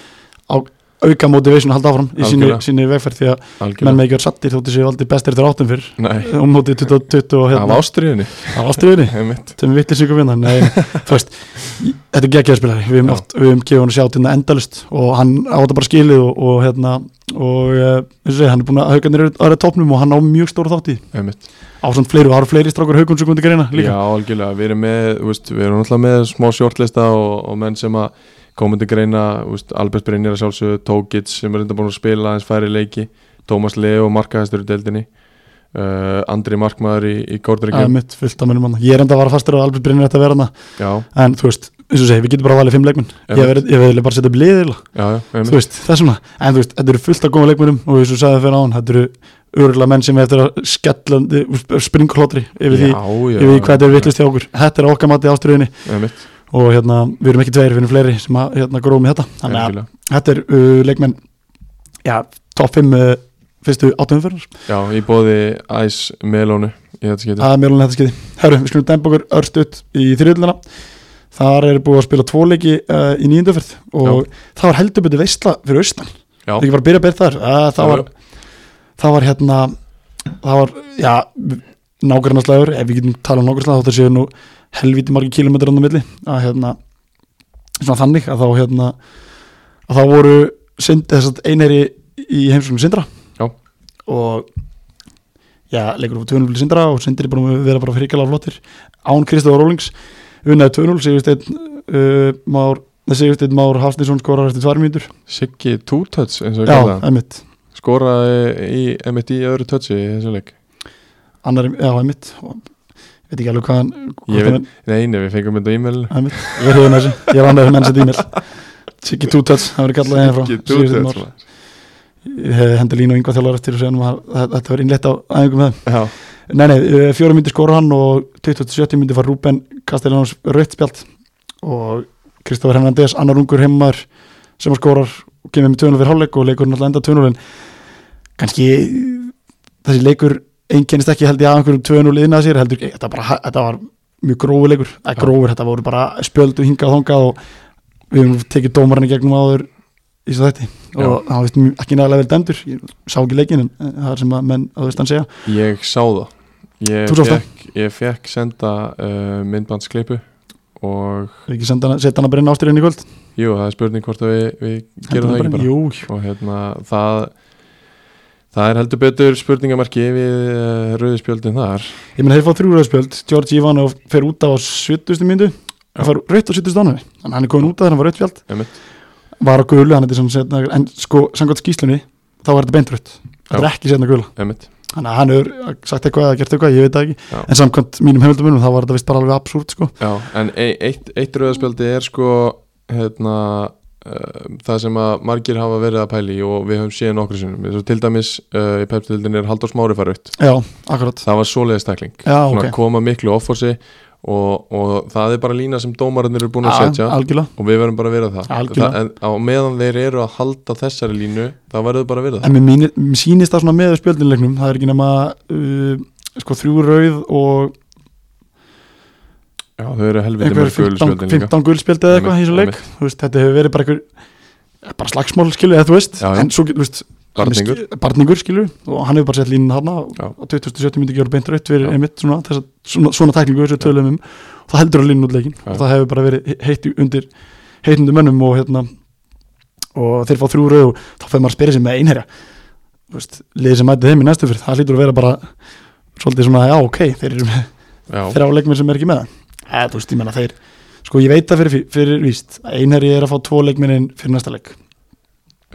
A: á, auka motivation að halda áfram í síni,
B: Algjörlega.
A: síni vegferð því að menn
B: algjörlega
A: með ekki verið sattir þóttu séu aldrei bestir eftir áttum fyrr
B: Nei,
A: um mótið 2020 og
B: af
A: hérna
B: ástriðinni
A: á ástriðinni,
B: einmitt.
A: sem við vitlis ykkur vinna Nei, þú veist, ég- þetta er geggjaðspilari við höfum
B: Já.
A: oft, við höfum gefið hann að sjá til þetta endalust og hann á þetta bara skilið og, og hérna, og eh, eins og segja, hann er búin að hauga nýra aðra topnum og hann á mjög stóra þátti
B: einmitt
A: á svona fleiri, og það eru fleiri strákur haugum sem kundi greina
B: Já,
A: líka,
B: algjörlega, við erum með þú veist, við erum alltaf með smá sjórtlista og, og menn sem að komandi greina þú veist, Albert Brynjar að sjálfsögðu, Tókits sem er enda búin að spila aðeins færi leiki Tómas Leo, markahæstur í deildinni uh, Andri Markmaður í, í
A: að
B: Kortreikjum
A: mitt fullt að munum hann ég er enda að vara fastur á að Albert Brynir þetta að vera hann
B: Já,
A: en þú veist, eins og segja, við getum bara valið fimm leikmenn ég
B: Einmitt.
A: verði ég verði bara að setja upp liðið
B: já, já,
A: þú
B: einmitt
A: veist, þessum það, en þú veist, þetta eru fullt af góða leikmennum og eins og sagði fyrir án, þetta eru örgulega menn sem er eftir að skellandi springklotri yfir því,
B: já,
A: yfir því hvað þetta er vittlust hjá okkur þetta er okkar mati ástriðinni
B: Einmitt,
A: og hérna, við erum ekki tveir, við erum fleiri sem að hérna, gróðum í þetta, þannig að
B: algjörlega
A: þetta er uh, leikmenn, já, top 5 uh, fyrstu áttumferðar,
B: Já, ég bóði Æs Melónu í þetta skipti
A: það er mjög alveg þetta skeiði herru, við skulum dæmpa okkur örst ut í þriðluna þar er búið að spila tvo leiki uh, í nýjunduferð og það var heldur betur veistla fyrir austan
B: Já,
A: ekki bara að byrja að byrja þar uh, það, var, það var hérna það var, já, nágrannaslægur ef við getum talað um nágrannaslægur þá séu nú helviti margir kilometrar á milli að hérna, svona þannig að þá hérna, að þá voru sind, þess að einari í heimsóknu sindra
B: Já.
A: og já, leikur upp 2-0 til sindra og sindri búin að vera bara fríkjala flottir án Kristof Rólings unnaði 2-0, Sigursteinn uh, Már, Sigursteinn Már Hafsnisson skorar eftir tvær mínútur
B: Siggi Tútöts eins og ég
A: já,
B: kalla það
A: emitt
B: skoraði í, einmitt í öðru tötsi í þessu leik
A: annar, já, einmitt og veit ekki alveg hvað hann hvort
B: Ég veit-
A: hann-
B: Nei, nei, við fengum þetta e-mail
A: einmitt, ég er hefðin þessu, ég er annar hefðin þessu dímil Siggi Tútats, hann verið kallað hérna frá
B: Siggi
A: Sigurður
B: Tútöts
A: Már. Ég hefði hendi Línu og Yngvar þjálfur eftir og segja hann að þetta var innleitt á aðingum með þeim.
B: Já,
A: nei, nei, eh, fjóra myndi skora hann og 27 myndi var Rúben Castellanos rautt spjald og Kristofur Hernandez, annar ungur heimar sem að skorar og kemur með 2-0 fyrir hálfleik og leikur náttúrulega enda 2-0 en kannski eh, þessi leikur einkennist ekki held ég að einhverjum 2-0 inn að sér heldur, eh, þetta, bara, þetta var mjög grófur leikur, að
B: Já.
A: grófur, þetta voru bara spjöldu hingað og þangað og við höfum tekið dómarinn í gegnum áður í svo þetta
B: Já.
A: og hann veist mjög- ekki nægilega vel dæmdur ég sá ekki leikinn en eh, það er sem að menn að veist hann segja
B: ég sá það Ég
A: Þú sást það?
B: fekk, ég fekk senda uh, myndbandsklipu og
A: Við ekki senda hana, setja hana bara inn ásturinn í kvöld
B: jú, það er spurning hvort að við, við
A: Hendur
B: gerum
A: hana
B: það ekki
A: bara
B: bara
A: inn? Jú,
B: og hérna, það það er heldur betur spurningamarki við uh, rauðispjöldin þar
A: ég meina þeir fá þrjúraðspjöld George Ivanov fer út af á 70. myndu
B: Já.
A: hann fær rautt á 70. ánum þannig að hann er komin út af þegar hann var rautt fjöld
B: Einmitt.
A: var á gulu hann þetta er svona setna, en sko, samkvæmt skýslunni þá var þetta beintrött, þetta er ekki setna gula
B: einmitt
A: þannig að hann hefur sagt eitthvað eða gert eitthvað, ég veit það ekki
B: Já.
A: en samkvæmt mínum heimildamunum þá var þetta vist bara alveg absúrt sko.
B: Já, en e- eitt, eitt rauðaspjaldi er sko hérna, uh, það sem að margir hafa verið að pæli og við höfum séð nokkru sinnum Eins og til dæmis uh, í pepsildin er Halldór Smári farið
A: já, akkurat
B: það var svoleiðis tækling
A: já, ok,
B: Svona koma miklu offorsi og, og það er bara lína sem dómararnir eru búin að
A: Já,
B: setja
A: algjörlega
B: og við verðum bara að vera það,
A: Algjörlega.
B: það en, á meðan þeir eru að halda þessari línu þá verður bara að vera það
A: en mér mínir- mér sýnist það svona með spjöldinleiknum það er ekki nema uh, sko, þrjú rauð og
B: Já, þau eru helviti
A: einhver
B: mörg gulu
A: 15,
B: spjöldin líka
A: 15 guldspjöld eða eitthvað í
B: Einmitt,
A: þessu leik Þú veist, þetta hefur verið bara einhver bara slagsmál skilu eða þú veist
B: Já, já.
A: en svo, get- þú veist, hann er
B: Barningur.
A: skil- barningur skilu og hann hefur bara sett línuna hana
B: Já.
A: á 2070 myndi ekki voru beint rautt fyrir
B: Já.
A: einmitt svona, þessa, svona, svona tæklingu þessu tölum um og það heldur að línun út leikin
B: Já.
A: og það hefur bara verið he- heitt í- undir heitundu mönnum og hérna og þeir fá þrjú rauð og þá fyrir maður að spyrja sig með einherja Þú veist, liðið sem mæti þeim í næstu fyrir það lítur að vera bara svolítið svona já ok, þeir eru með
B: Já, Eh,
A: þrjá leikmenn sem er ekki með það eða þú veist, ég menna þeir sko ég veit það fyrir, fyrir víst að einherji er að fá tvo leikmennin fyrir næsta leik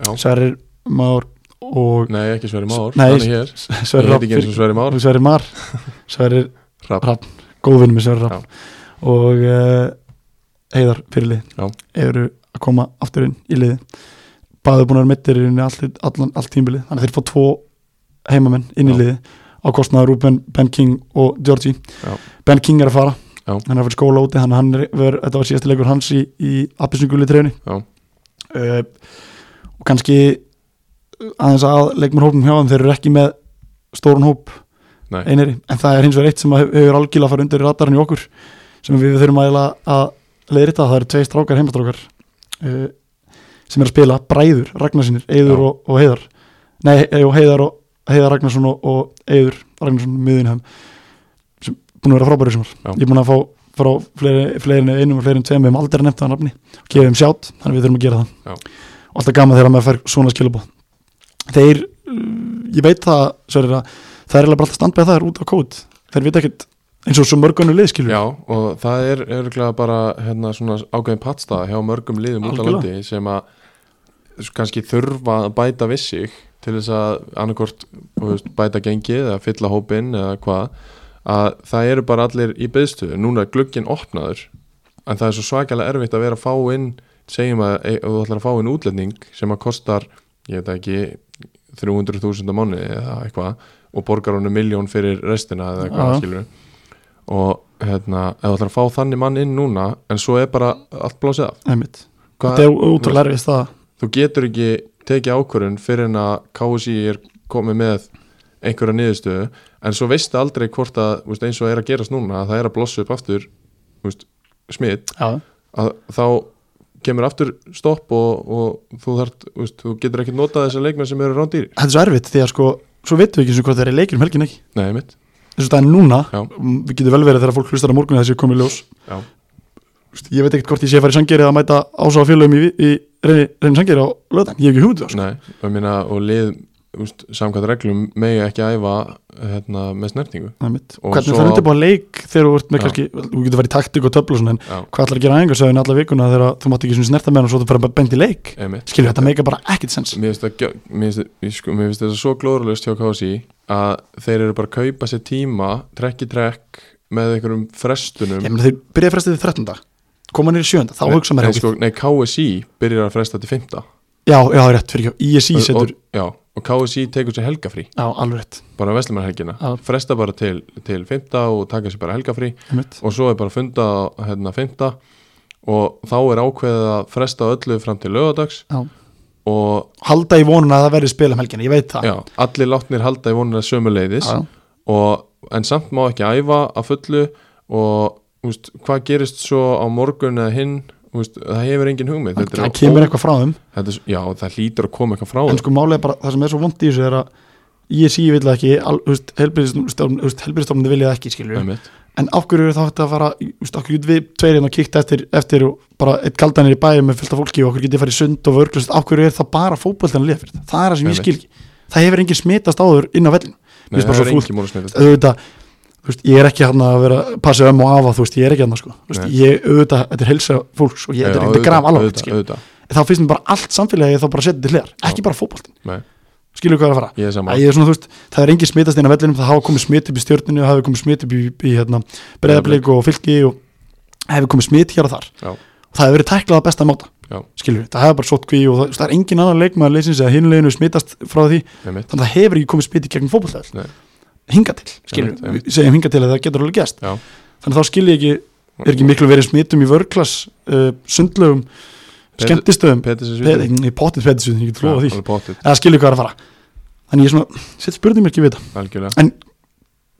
B: já,
A: Sverrir Már og
B: nei ekki Sverri Már
A: Nei,
B: hann er hér, ég
A: Sverrir
B: heiti ekki eins og
A: Rapp
B: Sverri Már
A: Sverrir Már Sverrir
B: Rapp.
A: góðvinn með Sverrir Rapp og uh, heiðar fyrir
B: Já.
A: lið eru að koma aftur inn í liði báðu búin að vera mittir í rauninni allt, allan, allt tímbili þannig að þeir fá tvo heimamenn inn í
B: Já.
A: liði á kostnaður Ruben, Ben King og Georgi
B: Já.
A: Ben King er að fara
B: Já.
A: hann er að fara í skóla úti þannig að hann er, ver, þetta var síðasti leikur hans í, í appisninguli trefni
B: Já.
A: uh, og kannski aðeins að leikmenn hópum hjá þeim þeir eru ekki með stórun hóp
B: Nei.
A: einari, en það er hins vegar eitt sem að hef- hefur algjörlega að fara undir radarinn í okkur sem við þurfum að, að leiðrita það eru tvei strákar, heimastrákar uh, sem er að spila bræður Ragnarsinir, Eiður
B: Já.
A: og, og Heiðar nei, He- og Heiðar og Heiðar Ragnarsson og, og Eiður Ragnarsson miðinhæm sem búin að vera frábæri sem
B: Já.
A: var ég er búin að fá frá fleiri, fleiri einum og fleiri tveim við hefum aldrei nefnt það nafni og gefum sjátt, þannig að við þurfum að gera það
B: Já.
A: og alltaf gaman þegar maður fær svona skilabóð þeir, uh, ég veit það Sverrir, að það er eiginlega bara alltaf standbæð það er út á kót, þeir veit ekkit eins og svo mörgunni liðskilur
B: Já, og það er örgulega bara hérna, svona ágæðin pattstaða hjá mörgum liðum út á
A: Algjörlega.
B: landi sem að s- kannski þurfa að bæta við sig til þess að annarkort þú veist, bæta gengið eða fylla hópinn eða hvað að það eru bara allir í byðstöðu núna er glugginn opnaður en það er svo svakalega erfitt að vera að fá inn segjum að e, ef þú ætlar að fá inn útlending sem að kostar, ég veit það ekki 300.000 á mánu eða eitthvað og borgar honum miljón fyrir restina eða eitthvað
A: Já.
B: skilur og hérna, ef þú ætlar að fá þannig mann inn núna en svo er bara allt blásið af
A: einmitt,
B: Hvað-
A: þetta er útrúlega erfist það
B: þú getur ekki tekið ákvörðun fyrir en að KSI er komið með einhverja niðurstöðu en svo veistu aldrei hvort að þú veist, eins og er að gerast núna að það er að blossa upp aftur þú veist, smitt
A: já,
B: að þá kemur aftur stopp og, og þú, þart, veist, þú getur ekki notað þessar leikmenn sem eru rándýri
A: þetta er svo erfitt því að sko svo veitum við ekki eins og hvað þeir eru leikir um helgin ekki
B: Nei, mitt
A: eins og það er núna,
B: Já.
A: m, við getum vel verið þegar fólk hlustar á morgun að þessi komið í ljós
B: Já.
A: Vist, ég veit ekkert hvort ég sé að fara í sangeri að mæta ásá félögum í, í reyni, reyni sangeri á löðan, ég hef ekki hugmynd um það, sko.
B: Nei, og, minna, og lið úst, samkvæmt reglum megi ekki æfa hérna, með snertingu
A: Einmitt.
B: Og
A: hvernig
B: svo
A: það er
B: á-
A: undirbúa leik þegar þú ert með
B: Já.
A: kannski, þú getur farið í taktík og töflu og svona, en
B: Já,
A: hvað ætlar að gera æfingarsöðin alla vikuna þegar þú mátt ekki svona snerta með hann og svo þú bara beint í leik
B: einmitt
A: skilur þetta meika bara ekkit sens
B: Mér finnst það gjör- mér finnst- ég sko- mér finnst þetta svo glóðurlust hjá KSI að þeir eru bara að kaupa sér tíma trekk í trekk með einhverjum frestunum
A: ég meina þeir byrjaði frestið til 13. koma nýri 7. þá
B: Nei,
A: hugsa maður
B: nei,
A: ekki
B: sko, nei, KSI byrjar að fresta til 5
A: já, já, rétt, fyrir ekki, ISI
B: og,
A: setur
B: já, og KSI tekur sér helgafrí
A: já, alveg rétt,
B: bara veslamarhelgina,
A: Já.
B: fresta bara til, til 5 og taka sér bara helgafrí
A: einmitt
B: og svo er bara funda á, hérna 5 og þá er ákveðið að fresta öllu fram til lögadags
A: já.
B: og
A: halda í vonuna að það verði spil um helgina, ég veit það
B: já, allir látnir halda í vonuna sömu leiðis
A: Já, já.
B: og, en samt má ekki æfa að fullu og úst, hvað gerist svo á morgun eða hinn úst, það hefur engin hugmið þetta
A: það
B: er
A: kemur
B: ó-
A: eitthvað frá þeim
B: þetta er, s- já, það hlýtur að koma eitthvað frá
A: en
B: þeim
A: sko málið er bara, það sem er svo vond í þessu er að E ISI vil það ekki, al- þú veist, helbriðstofnum vilja það ekki, skilur
B: Einmitt.
A: en af hverju er þá þetta að fara í- þú veist, af hverju getum við tveirinn að kíkta eftir, eftir og bara eitt kaldanir í bæum með fullt af fólki og okkur getið farið í sund og vörglust af hverju er það bara fótboltan að liða fyrir þetta það er það sem ég
B: Einmitt.
A: skil ekki, það hefur engin smitast áður inn á vellinu,
B: Nei,
A: finnst bara
B: það er
A: svo fúlt.
B: engin múl að smita
A: auðvitað þú veist, ég er ekki hann að vera passið um og afa, þú veist, ég er ekki hann sko. Þú veist,
B: Nei.
A: ég auðvitað, þetta er helsa fólks og ég, þetta er graf alveg,
B: auðvitað
A: þá finnst mér bara allt samfélagi þá bara setja til hliðar, ekki bara fótboltinn
B: Nei,
A: skilur hvað er að fara
B: ég er saman
A: Æ, ég er svona, þú veist, það er engin smitast inn á vellinum það hafa komið smit upp í stjórninu, það hefur komið smit upp í, í hérna, breyðablík og fylki og það hefur komið smit hér og þar
B: Já.
A: og það hefur verið tæklað að besta máta
B: Já.
A: skilur við, það hefur bara sótt kví og það, það er engin annar leikmaður leysins eða hinleginu smitast frá því
B: einmitt,
A: þannig að það hefur ekki komið smit í gegnum fótbolltæðil
B: Nei.
A: hinga til, skilur
B: Einmitt, einmitt.
A: við, segjum hinga til að það getur alveg gæst
B: Já.
A: þannig að þá skilur ég ekki, er ekki miklu verið smitum í vörklas, uh, sundlögum
B: Petur-
A: skemmtistöðum,
B: Petis er
A: Pe-
B: svítið
A: í pottið petisvið, ég get
B: Já,
A: lofa því
B: alveg pottþétt,
A: eða skilur hvað er að fara þannig ég svona, sett spurning mér ekki við það
B: algjörlega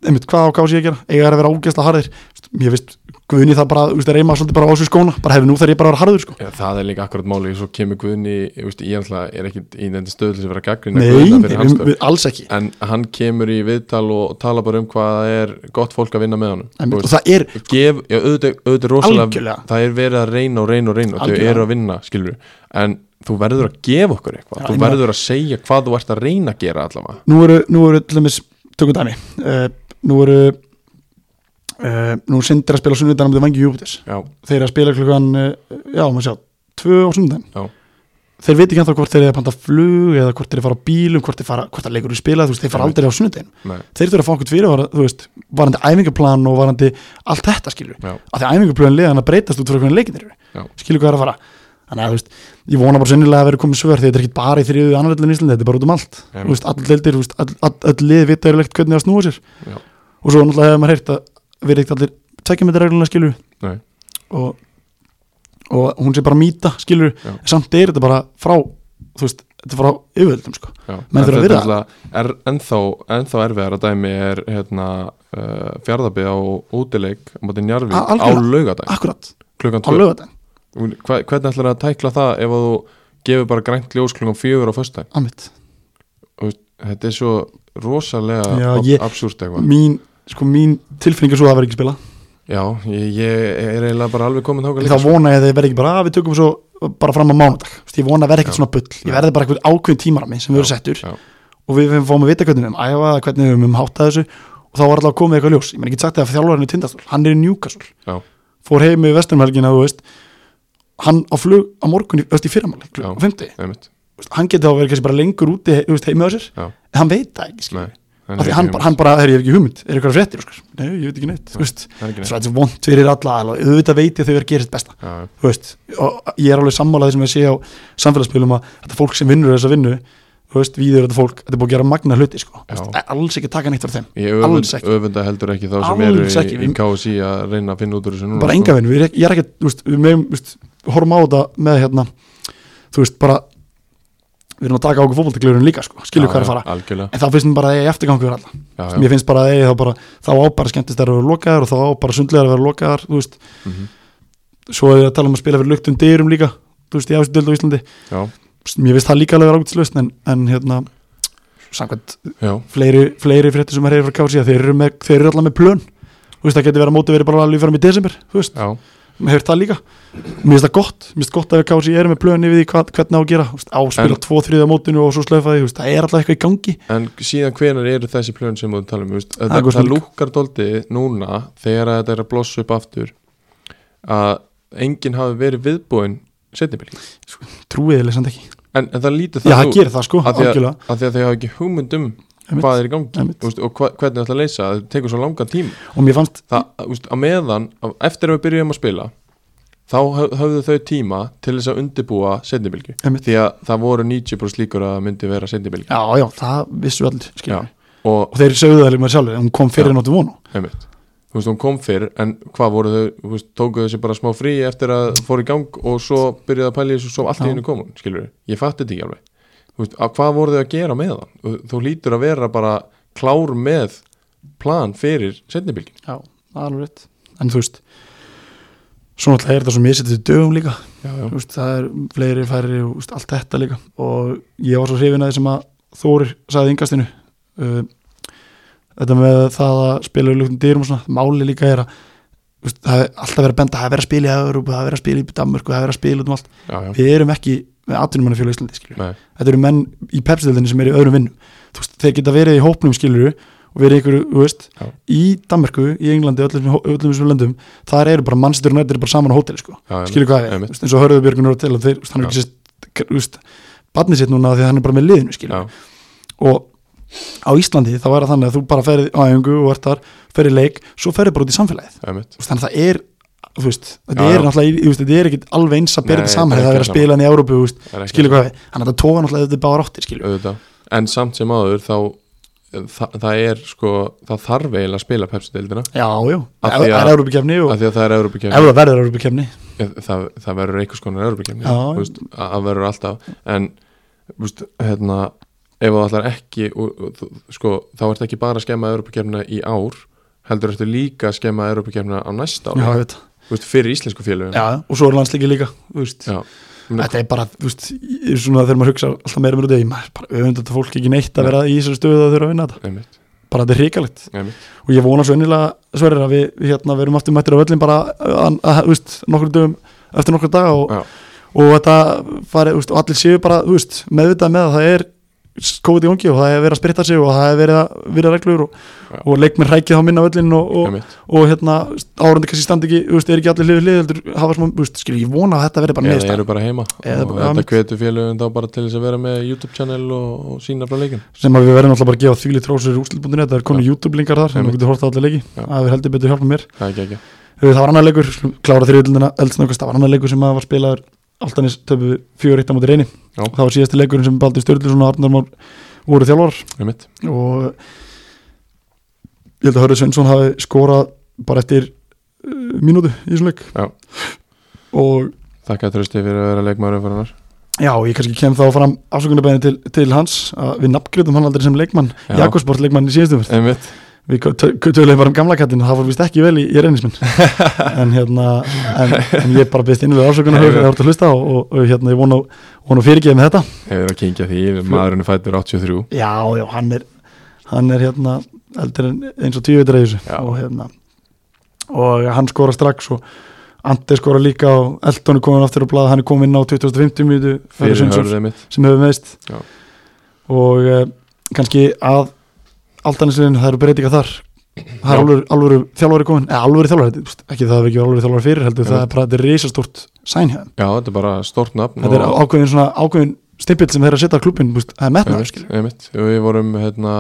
A: einmitt, hvað á gási ég að gera, eiga að vera ágæsla harðir Þú veist, ég veist, guðni það bara, þú veist, reyma svolítið bara á þessu skóna, bara hefur nú þar ég bara að vera harður sko.
B: Já, það er líka akkurat máli, svo kemur Guðni ég, veist, ég ætla, er ekkit í nefndi stöðlis að vera gaggrinn
A: nei, nei við, við, alls ekki
B: en hann kemur í viðtal og talar bara um hvað það er gott fólk að vinna með honum
A: einmitt, og
B: Þú veist,
A: það er,
B: gef, já, auðvitað, auðvitað er rosalega
A: Algjörlega.
B: það er verið að reyna og reyna og reyna og þau
A: Algjörlega.
B: eru að vinna, skilur en þú verður að gefa okkur eitthvað
A: Já,
B: þú
A: ég meina-
B: verður að segja hvað þú ert að reyna að gera allavega
A: nú eru, nú eru til dæmis, tökum dæmi uh, nú eru uh, nú er sindir að spila á sunnudanum til vangi júptis,
B: já,
A: þeir eru að spila klukkan uh, já, maður sjá, tvö á sunnudan
B: Já.
A: þeir veit ekki hann þá hvort þeir eru að panta flug eða hvort þeir eru að fara á bílum, hvort þeir fara hvort það leikur í spila, þú veist, þeir fara
B: Einmitt.
A: aldrei á sunnudaginn
B: nei,
A: þeir þurfa að fá okkur fyrir, þú veist, varandi æfingaplan og varandi allt þetta skilur
B: já,
A: af því að æfingaplan liðan að breytast út frá hvernig leikin
B: Já.
A: eru skilur hvað er að fara þannig að, þú veist, ég vona bara sennilega að vera komið svör því þetta er ekki bara í þriðu annarleitin í Íslandi, þetta er bara út um allt
B: Já.
A: þú veist, all deildir, þú veist, all, all, all lið vita er leikt hvernig það snúa sér
B: Já.
A: og svo náttúrulega hefur maður heyrt að við eitt allir tvekja metra regluna skilur
B: nei,
A: og, og hún sé bara mýta skilur,
B: Já.
A: samt er þetta bara frá þú veist, þetta er frá yfirvöldum sko.
B: já.
A: Menn þurfa að
B: þetta
A: virða
B: er náttúrulega- er ennþá, ennþá erfiðar að dæmi er hérna, uh, fjárðabíð á útileik á móti
A: A-
B: Njarvík á
A: algjörlega.
B: laugadag
A: akkurat,
B: klukkan
A: á
B: 2
A: lögadaginn
B: Hva, hvernig ætlar það að tækla það ef að þú gefur bara grænt ljós klukkan fjögur á föstudaginn
A: Amitt.
B: þetta er svo rosalega
A: Já,
B: ab
A: ég-
B: absúrt eitthvað
A: mín, sko, mín tilfinning er svo að það verði ekki spila
B: já, ég, ég er eiginlega bara alveg komin þáka
A: Ég þá vona ég að þeir verði ekki bara að við tökum svo bara fram á mánudag, Vist, ég vona að verði ekkert
B: Já.
A: svona bull ég verði bara eitthvað ákveðin tímarami sem við erum settur
B: já.
A: og við fáum að vita hvernig við um æfa hvernig við um hátta þessu og þá var alltaf komið eitthvað ljós, ég menn ekki sagt það að þjálfarinn er tindastól, hann er í Newcastle
B: Já.
A: fór heim með vestumhelgina, þú veist hann á flug á morgun í, þú veist, í fyrramáli,
B: Já.
A: á fymti
B: einmitt
A: hann geti þá verið kannski bara lengur úti þú veist, heimið á sér,
B: Já.
A: en hann veit það ekki skilur.
B: nei
A: Af því hann, bara- hann bara, heyrðu, ég hef ekki hugmynd, er eitthvað fréttir Óskar? nei, ég veit ekki neitt, þú veist
B: hann
A: svo þetta er vond fyrir alla aðila, auðvitað veit ég að þau er að gera sitt besta
B: já,
A: þú veist, og ég er alveg sammálað sem ég sé á samfélagsmiðlum að þetta fólk sem vinnur þessa vinnu, þú veist, við erum þetta fólk þetta er búið að gera magna hluti, sko Þú veist,
B: Já.
A: alls ekki að taka neitt frá þeim,
B: ég
A: Alls
B: öfund,
A: ekki.
B: öfunda heldur ekki þá sem
A: Alls
B: eru
A: ekki.
B: í, í KSI að reyna að finna út úr þessu núna
A: bara
B: sko.
A: enga vinnu ég er ekki- ég er ekki, þú veist, við meðum, þú veist, horfum á þetta með hérna, þú veist, bara við erum að taka ákveð fótboltaglurinn líka, sko skilur
B: Já,
A: hvað er að
B: já,
A: fara,
B: algjörlega
A: en þá finnst mér bara að ég eftirgangu fyrir alla
B: já, já.
A: mér finnst bara að eigi þá bara þá á bara skemmtistæðar að vera lokaðar og þá á bara sundlegar að vera lokaðar þú veist
B: Mhm.
A: svo er það að tala um að spila fyrir luktum dyrum líka þú veist, í ástu á Íslandi
B: já,
A: mér finnst það líka alveg ágætislaust en, en hérna samkvæmt
B: já,
A: fleiri, fleiri fréttir sem er hefur frá kási að þeir eru, með, þeir eru alltaf með plön þú veist, það getur verið að móti verið bara alveg fram í desember þú veist,
B: já,
A: mér hefur það líka mér finnst það gott, mér finnst gott að kási eru með plön yfir því hvað, hvernig á að gera, þú veist, áspila
B: En-
A: tvo þriða mótinu og svo slöfa því, þú veist, það er alltaf eitthvað í gangi
B: en síðan hvenar eru þessi plön sem um? þú talum veist,
A: er
B: það,
A: góð
B: það
A: spurning.
B: lúkar dóldi núna þegar að þetta er að blossa upp aftur að enginn hafi verið viðbúin setnibili
A: trúið eða samt ekki,
B: en, en það lítur
A: já
B: það
A: það gerir það sko,
B: að því að,
A: algjörlega
B: að, því að þau hafa ekki hugmynd um
A: Einmitt.
B: hvað er í gangi
A: Einmitt.
B: úst, og hva, hvernig ætla að leysa það það tekur svo langan tím
A: og mér fannst
B: það úst, að meðan, að eftir að við byrjum að spila þá höf- höfðu þau tíma til þess að undibúa setnibilgi
A: Einmitt.
B: því að það voru 90% líkur að það myndi vera setnibilgi
A: Já, já, það vissu allir skilur við.
B: og
A: Og þeir sögðu það líka með sjálfur Hún kom
B: Já.
A: fyrir náttu vonu
B: einmitt Þú veist, hún kom fyrr, en hvað voru þau, þú veist, tókuðu þessi bara smá frí eftir að fóru í gang og svo byrjuðu að pæla í þessu og svo allt í
A: Já.
B: hennu kom hún, skilur við, ég fatti þetta ekki alveg. Þú veist, að hvað voru þau að gera með það? Þú- Þú lítur að vera bara klár með plan fyrir setnibilgin.
A: Já, það er alveg rétt En þú veist Svo náttúrulega er þetta svo misettið dögum líka
B: Já, já,
A: Þú veist, Það er fleiri færri og þú veist, allt þetta líka Og ég var svo hrifin að því sem að Þórir sagði yngastinu uh, Þetta með það að spila í luktum dyrum og svona Máli líka er að þú veist, Það er alltaf verið að benda, það er verið að spila í Európa Það er verið að spila í Danmörku, það er verið að spila út um allt
B: já, já,
A: Við erum ekki með atvinnumannafjölu Íslandi skilur
B: nei,
A: þetta eru menn í pepsildinni sem eru í öðrum vinnum Þú veist, þeir geta verið í hópnum skiluru og og verið ykkur, þú veist
B: Já.
A: í Danmarku, í Englandi, öllum, öllum þessum löndum þar eru bara mannstyrur nættir bara saman á hóteli sko.
B: Já, einmitt.
A: skilur hvað
B: Einmitt.
A: við, eins og hörðu Björgun og til og þeir, þú veist, hann er
B: Já.
A: ekki sérst þú veist, barnið sitt núna af því að hann er bara með liðinu skilur
B: já,
A: og á Íslandi þá er það þannig að þú bara ferði á æfingu og ert þar, ferði leik svo ferði bara út í samfélagið,
B: einmitt
A: Þú veist, þannig að það er þú veist, þetta
B: Já, já.
A: er náttúrulega í- þú veist, þetta er ekkit alveg eins að bera
B: Nei,
A: þetta
B: þetta
A: saman
B: er
A: þegar það er að
B: ekki
A: spila hann í Európu, þú veist,
B: Það er ekki-
A: skilur hvað við þannig að það tóa náttúrulega þetta bara áttir, skilur
B: auðvitað en samt sem áður þá það, það er sko, það þarf eiginlega að spila Pepsi-deildina
A: já, já,
B: Af
A: það
B: því að-
A: er Európukefni og
B: af því að það er Európa-kefni
A: Evra verður Európukefni
B: það, það verður einhvers konar
A: Já.
B: Európa-kefni það verður alltaf en veist, hérna, ef það ætlar ekki og, og, þú- sko, þá ertu ekki bara að skemma Európa-kefna í ár heldur ertu líka að skemma Európa-kefna á næsta
A: já,
B: ár
A: ég veit það.
B: Þú veist, fyrir íslensku félögum
A: já, og svo er landsleiki líka, þú veist
B: Já.
A: þetta er bara, þú veist, ég er svona þegar maður hugsa alltaf meira mér út í, maður er bara öfund þetta fólk ekki neitt að vera í þessari stöðu að þurfa að vinna þetta
B: Einmitt,
A: bara þetta er hrikalegt
B: einmitt.
A: og ég vona svo ennilega sverðir að við, við hérna verum aftur mættir á öllin bara að, að, þú veist, nokkur dögum eftir nokkur daga og,
B: Já.
A: og þetta fari, þú veist, og allir séu bara, þú veist, meðvitað með að það er COVID í ungi og það er verið að spritta sig og það er verið að vera reglur og,
B: Já.
A: og leikmenn rækið þá minna öllin og, og,
B: Einmitt.
A: og hérna árandi kannski standi ekki, þú veist, er ekki allir hlifið hlið heldur hafa smá, þú veist, skilur, ég vona að þetta verði bara
B: eða
A: niðurstaðan.
B: eru bara heima
A: Eða
B: og
A: bara-
B: þetta
A: einmitt.
B: hvetur félögum þá bara til þess að vera með YouTube channel og, og sína frá leikin
A: sem að við verðum alltaf bara að gefa þvíli trósur úrslit.net, það er konu
B: Já.
A: YouTube-lingar þar sem
B: Einmitt.
A: við getum horta allir leiki,
B: Já.
A: það er heldur betur hjálpa mér
B: það er ekki ekki
A: Þú veist, það var annar leikur, skulum klára þriðutöldina eldsnöggast, það var annar leikur sem að var spilaður Altanis töpu fjögur eitt á móti reyni
B: Já.
A: það var síðasti leikurinn sem Baldur Sturluson og Arnar Már voru þjálfar
B: einmitt.
A: og ég held að Hörður Svensson hafi skorað bara eftir uh, mínútu í þessum leik
B: Já.
A: og
B: Þakka trösti fyrir að vera leikmaður umfæranar
A: já, ég kannski kem þá fram afsökunarbegni til, til hans að við nafngriðum hann aldrei sem leikmann
B: Já.
A: Jakobsport leikmann í síðustu verð
B: Einmitt,
A: Við tö- töluðum bara um gamla kattin og það fór vist ekki vel í, í reynismenn en hérna en, en ég bara byrst innlega ásökunar þegar það voru að hlusta og, og, og hérna ég vona, vona fyrirgeði með þetta
B: hefur að kynkja því maðurinn er fættur 83
A: Já, já, hann er hann er hérna eldur en eins og tíu eitthvað reyðis
B: Já.
A: og hérna og hann skora strax og Andi skora líka og Elton er komin aftur á blað hann er komin inn á 2050 mjöndu
B: fyrir hörðið mitt
A: sem hefur meðist
B: Já.
A: og eh, kannski að Aldanisliðin, það eru breytingar þar það er
B: Já.
A: alvöru, alvöru þjálfari komin eða alvöru þjálfari, þú veist, ekki það að við ekki alvöru þjálfari fyrir heldur,
B: Já.
A: það er bara, þetta er risastórt sænhjöðum,
B: Já, þetta er bara stort nafn
A: þetta er
B: og-
A: ákveðin svona ákveðin stimpill sem þeir eru að setja á klubbin, þú veist, það er metnaður,
B: Einmitt,
A: skilur
B: einmitt. Við vorum, hérna,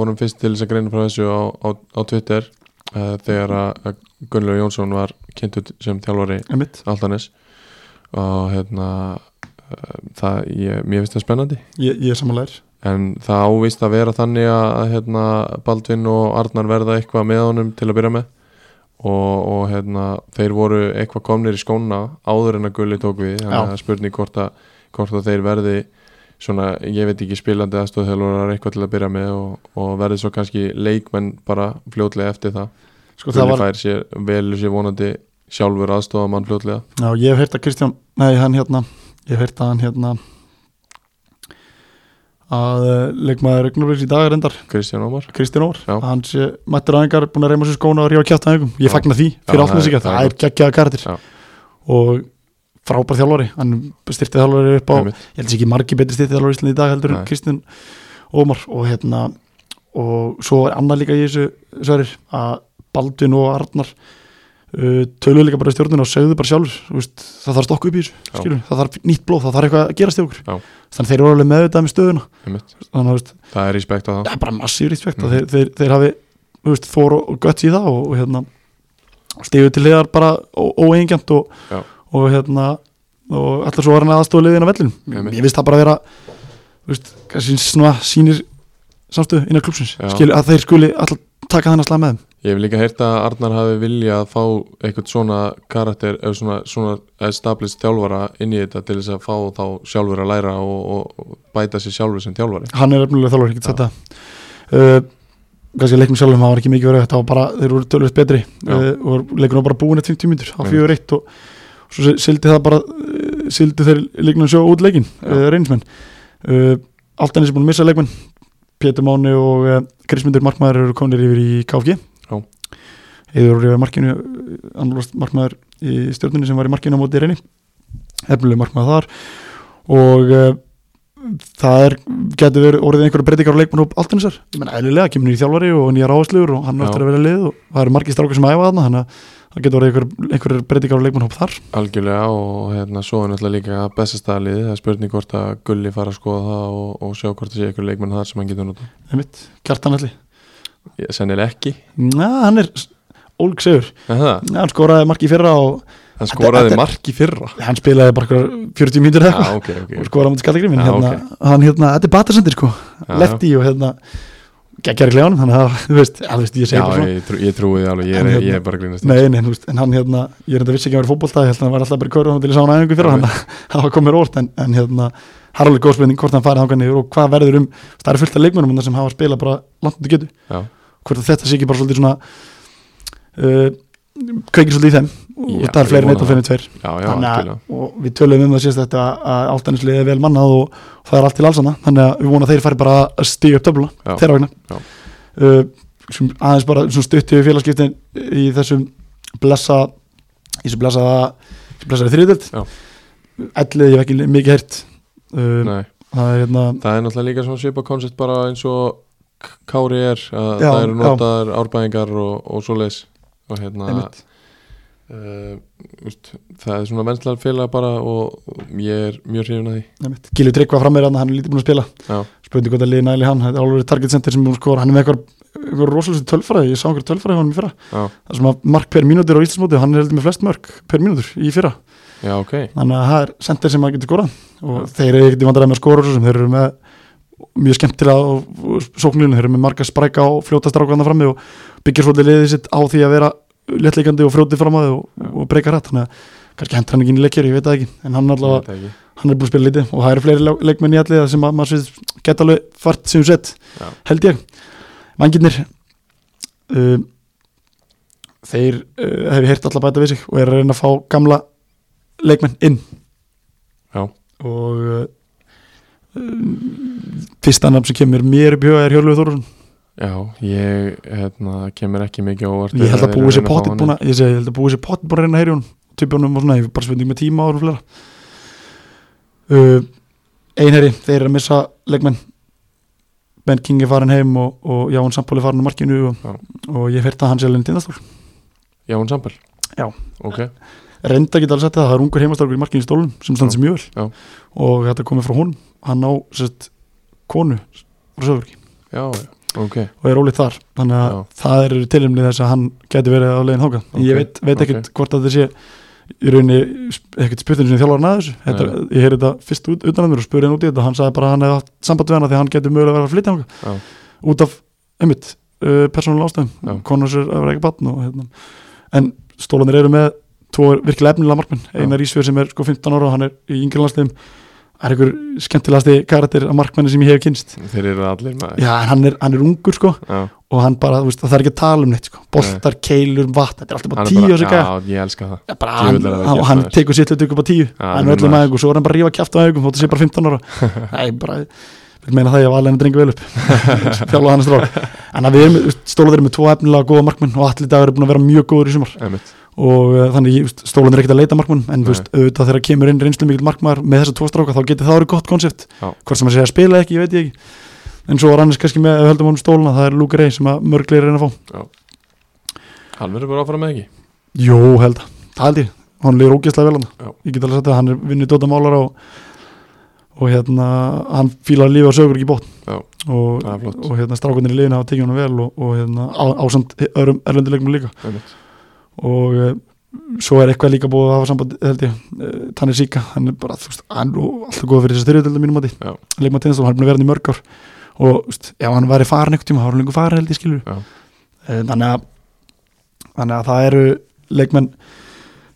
B: vorum fyrst til þess að greina frá þessu á, á, á Twitter uh, þegar að Gunnlaug Jónsson var kynntur sem þjálfari
A: einmitt,
B: Altanes og hérna uh, það, ég, mér finnst það spennandi
A: ég, ég er samanlegar
B: en það ávist að vera þannig að að, hérna, Baldvin og Arnar verða eitthvað með honum til að byrja með og, og hérna, þeir voru eitthvað komnir í skóna áður en að Gulli tók við þannig að
A: Já.
B: það er spurning hvort að, hvort að þeir verði svona, ég veit ekki spilandi aðstofþjálfurar eitthvað til að byrja með og, og verði svo kannski leikmenn bara fljótlega eftir það
A: sko, það
B: Gulli
A: var,
B: fær sér, velur sér vonandi sjálfur aðstofamann fljótlega
A: já, ég hef heyrt að Kristján nei, hann hérna, ég hef heyrt að hann hérna að eh, leikmaður Ragnaríks í dag er endar
B: Kristján Ómar
A: Kristján Ór,
B: Já.
A: hann sé mættur aðingar búin að reyma sér skóna og rífa kjátt aðingum ég
B: Já.
A: fagna því fyrir
B: Já,
A: allt með sig
B: það er-
A: það er geggjaða karatir
B: Já.
A: og frábær þjálfari hann styrtið þjálfari upp á
B: Einmitt.
A: ég held sér ekki margi betri styrtið þjálfari í Íslandi í dag heldur
B: Nei.
A: en Kristján Ómar og hérna og svo er annað líka í þessu sverir að Baldvin og Arnar uh, töluðu líka bara í stjórnuna og segðu bara sjálfur þú veist, það þarf stokku upp í
B: Já.
A: þessu skilur, það þarf nýtt blóð, það þarf eitthvað að gerast í okkur
B: Já.
A: þannig þeir eru alveg meðvitað með stöðuna
B: Einmitt.
A: þannig að þú veist,
B: það er respekt á það
A: það er bara massíf respekt
B: Mhm.
A: mm. þeir, þeir, þeir hafi þú veist, þor og, og gött í það og, og hérna stíðu til hliðar bara óeingjant og,
B: Já.
A: og hérna og allar svo var hann aðstofa liðin á vellinu
B: Einmitt.
A: ég veist það bara að vera þú veist, kannski svona sýnir samstöðu innan klúpsins
B: Já.
A: skil, að þeir skuli alltaf taka þennan slag með þeim
B: Ég hef líka heyrt að Arnar hafi viljað að fá eitthvað svona karakter eða svona, svona established þjálfara inn í þetta til þess að fá þá sjálfur að læra og, og bæta sér sjálfur sem þjálfari
A: hann er efnilega þjálfur, ekki
B: Já.
A: þetta uh, kannski leiknum sjálfum, það var ekki mikið verið þetta var bara, þeir voru tölvist betri
B: Já.
A: uh, og leikunum var bara búin eftir 50 mínútur á
B: Einmitt.
A: 4-1 og og svo sildi það bara uh, sildi þeir leiknum sjó út leikin
B: Já.
A: uh, reynismenn uh, Altanis er búin að missa leikmenn Pétur Máni og uh, Krismundur Markmaður eru kominir yfir í KFG
B: Já.
A: eður voru yfir markinu annarlóst Markmaður í stjórninu sem var í markinu á móti reyni efnilega Markmaður þar og uh, það er, getur verið orðið einhverja breytingar á leikmann og allt einsar ég menn eðlilega, kemur nýr þjálfari og nýjar áhersluður og hann
B: Já.
A: áttur að vera í lið og það eru margir strákar sem æfa þarna þannig að það getur orðið einhverjar einhver breytingar á leikmann hóp þar
B: Algjörlega og hérna svo er náttúrulega líka bestastæðalið, það er spurning hvort að Gulli fara að skoða það og, og sjá hvort það sé ykkur leikmenn þar sem hann getur nota
A: einmitt, kjartan allir
B: Ég- Sennilega ekki,
A: Næ, hann er ólgsegur,
B: en það,
A: hann skoraði marki í fyrra og
B: hann skoraði
A: þetta-
B: mark í fyrra
A: hann spilaði bara einhverjar 40 mínútur eða
B: Já,
A: eitthvað
B: ok, ok,
A: og
B: ok.
A: skoraði á mútið skallagrimin
B: Já,
A: hérna, hann hérna, þetta er batasendir sko
B: Já,
A: lefti og hérna geggjari kljáðum, þannig að þú veist, að, þú veist ég
B: Já,
A: segi bara svona
B: ég, trú, ég trúi því alveg, ég
A: En
B: er,
A: hérna-
B: ég er bara að grínast
A: Nei, nei, þú veist, en hann hérna, ég er enda vissi ekki að vera fótbolta, ég held að hann var alltaf bara í körðunum til ég sá hann aðeins fyrir
B: Já,
A: hann, það var komið rórt, en, en hérna, það er alveg góð spurning hvort hann farið þangað niður og hvað verður um, það eru fullt af leikmönum sem hafa spilað bara langt undir getu,
B: Já,
A: hvort að þetta sé ekki bara svolítið svona, uh, kveikir svolítið í þeim, og
B: Já,
A: það er
B: ég
A: fleiri
B: vona
A: neitt og fleiri tveir,
B: já, já,
A: þannig
B: algjörlega
A: að, og við töluðum um það síðast þetta að áltanisliðið er vel mannað og, og það er allt til allsanna, þannig að við vonum að þeir fari bara að stíu upp töfluna,
B: Já.
A: þeirra vegna
B: Já.
A: uh, sem aðeins bara svona stutti við félagskiptin í þessum blessa í þessum blessa blessaði þriðdelt
B: Já.
A: ellið ég hef ekki mikið hert uh,
B: Nei,
A: það er hérna
B: það er náttúrulega líka svona svipa koncept bara eins og K- Kári er, að
A: Já,
B: það eru
A: já.
B: notaðar árbæðingar og, og svoleiðis og hérna
A: einmitt.
B: uh, úst, það er svona vennslega félag bara og ég er mjög hrifin að því
A: Einmitt. Gilvi Tryggva frammeir hann, hann er lítið búin að spila
B: Já,
A: spurði hvað það liði næli hann, þetta er alveg target center sem er búin að skora, hann er með eitthvað, eitthvað rosalega tölfræði, ég sá einhver tölfræði á hann í fyrra
B: já,
A: það sem að mark per mínútur á Íslandsmóti hann er heldur með flest mörk per mínútur í fyrra
B: já, ok
A: þannig að það er sendir sem maður getur skorað og þeir eru ekkert í vandræði með að skora svo sem þeir eru með mjög skemmtilega og- og sóknlínu, þeir eru með marga spræka og fljóta strákana frammi og byggir svolítið liðið sitt á því að vera léttleikandi og fljótið fram að þau og, og breyka rætt þannig að kannski hendur hann ekki inn í leikjur, ég veit það ekki en hann,
B: Ég veit
A: allavega,
B: það ekki.
A: hann er búin að spila lítið og það eru fleiri leik- leikmenn í allir sem að maður svið geta alveg fart sem sett,
B: Já.
A: held ég vangirnir uh, þeir uh, hef ég heyrt alla bæta við sig og er að reyna að fá gamla leikmenn inn
B: Já,
A: og uh, fyrsta nafn sem kemur mér upp í huga er Hjörlegu Þórun
B: já, ég hérna, kemur ekki mikið á óvart
A: ég held að
B: þeir
A: búið sér
B: reyna fá
A: pottit
B: hann
A: búin
B: inn.
A: að ég segi, ég held að búið sér pottit búin að reyna að heyri hún typunum og svona, ég bara spurning með tíma og flera uh, einherri, þeir eru að missa leikmenn Ben King er farin heim og, og Ján Sampól er farin á markinu og,
B: Já.
A: og ég fyrir að hann sé alveg tindastól
B: Já, hún sambal
A: Já.
B: Ok,
A: reynda geta alveg sett það, það er ungur heimastálkur í markinu í stólum sem
B: Já.
A: standi sér mjög vel
B: Já.
A: og þetta komið frá honum, hann á sérst, konu frá Söðurki
B: já, já, ok
A: og er ólíkt þar þannig að
B: Já.
A: það eru tilimlið þess að hann getur verið á leiðin hóka ég
B: Ok,
A: veit, veit ekkert
B: ok.
A: hvort að það sé í rauninni sp- ekkert spurning sem þjálfarinn að þessu þetta,
B: Nei,
A: ég heyrði þetta fyrst út, utan að mér og spurði hann út í þetta hann sagði bara að hann hefði haft samband við hana því að hann getur mögulega verið að flytja
B: Já.
A: hóka út af, einmitt, uh, persónulega
B: Já.
A: ástöðum konur sér að vera ekki batn og, hérna. en stólanir eru með tvo virkilega efnilega markmenn,
B: Já.
A: einar Ísfjör sem er sko 15 ára og hann er í yngri landsliðum er einhver skemmtilegasti karakter að markmenni sem ég hef kynst
B: Þeir eru allir maður
A: Já, en hann er, hann er ungur sko
B: já.
A: og hann bara, þú veist, það er ekki að tala um neitt sko. boltar, keilur, vatn, þetta er alltaf
B: hann
A: bara
B: er
A: tíu
B: bara-
A: þessi gæja
B: Já, ég elska það
A: Ja, bara hann,
B: Djöfull er það
A: hann,
B: geggjað,
A: hann
B: maður.
A: tekur sitt hlut upp á tíu
B: Já,
A: hann
B: hann
A: er
B: er
A: öllum
B: maður.
A: aðeins og svo er hann bara að rífa kjæft á aðeins þótt að sé bara 15 ára Nei, bara, vil meina það ég var alveg að drengja vel upp þjálfa hann að strák en að við erum, stólandir eru með tvo efnilega góða markmenn og allir dagar eru búin að vera mjög góður í sumar
B: Einmitt.
A: og uh, þannig ég, veist, stólandir er ekkert að leita markmann en þú
B: Nei.
A: veist, auðvitað þegar kemur inn reynslu mikill markmaður með þessa tvo stráka þá geti það verið gott konsept
B: Já.
A: hvort sem að segja að spila ekki, ég veit ég ekki en svo er annars kannski með, ef við höldum honum stólana það er Luke Ray sem að mörgleir reyna að fá
B: Hann verður bara áfram með ekki
A: Jó, held að, það held ég hann lýr ógeðslega vel
B: Já.
A: hann ég get alveg sagt að hann er vinnið Dóta Málara og, og hérna hann fílar lífið á sögur ekki bótt
B: Já.
A: og,
B: Það er flott.
A: og hérna strákunir í liðinu hafa tekið hann vel og, og hérna á, ásamt öðrum erlendilegum líka
B: Einmitt.
A: og uh, svo er eitthvað líka búið að hafa samband held ég, uh, Tanni Sika hann er bara, þú veist, hann er alltaf góð fyrir þessi þriðutöldum mínum að
B: Já.
A: því leikmaður tennistól, hann er búin að vera hann í mörg ár og þú veist, ef hann væri farin einhvern tíma þá var hann lengur farin held ég skilur
B: Já.
A: Eh, þannig að þannig að það eru leikmenn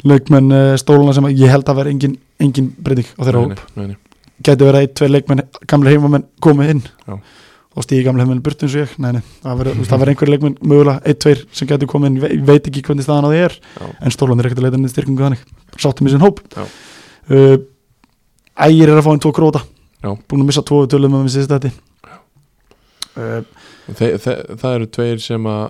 A: leikmenn uh, stóluna sem að ég held að vera engin, engin breyting á þeirra
B: Nei,
A: hóp
B: nei, nei, nei.
A: gæti verið að ein, tvei leikmenn, gamle heimamenn komið inn
B: Já.
A: og stíði gamle heimamenn burtu eins og ég nei, nei, það verður- þú veist, það verður einhver leikmenn mögulega ein, tveir sem gæti komið inn, ég veit ekki hvernig staðan á því er
B: Já.
A: en stólan er ekkert að leita niður styrkingu þannig sáttum í sinn hóp
B: Já.
A: uh, ægir er að fá inn tvo króta
B: Já.
A: búin að missa tvo við tölum um við sýst þetta uh,
B: Þe, þe, Það eru tveir sem að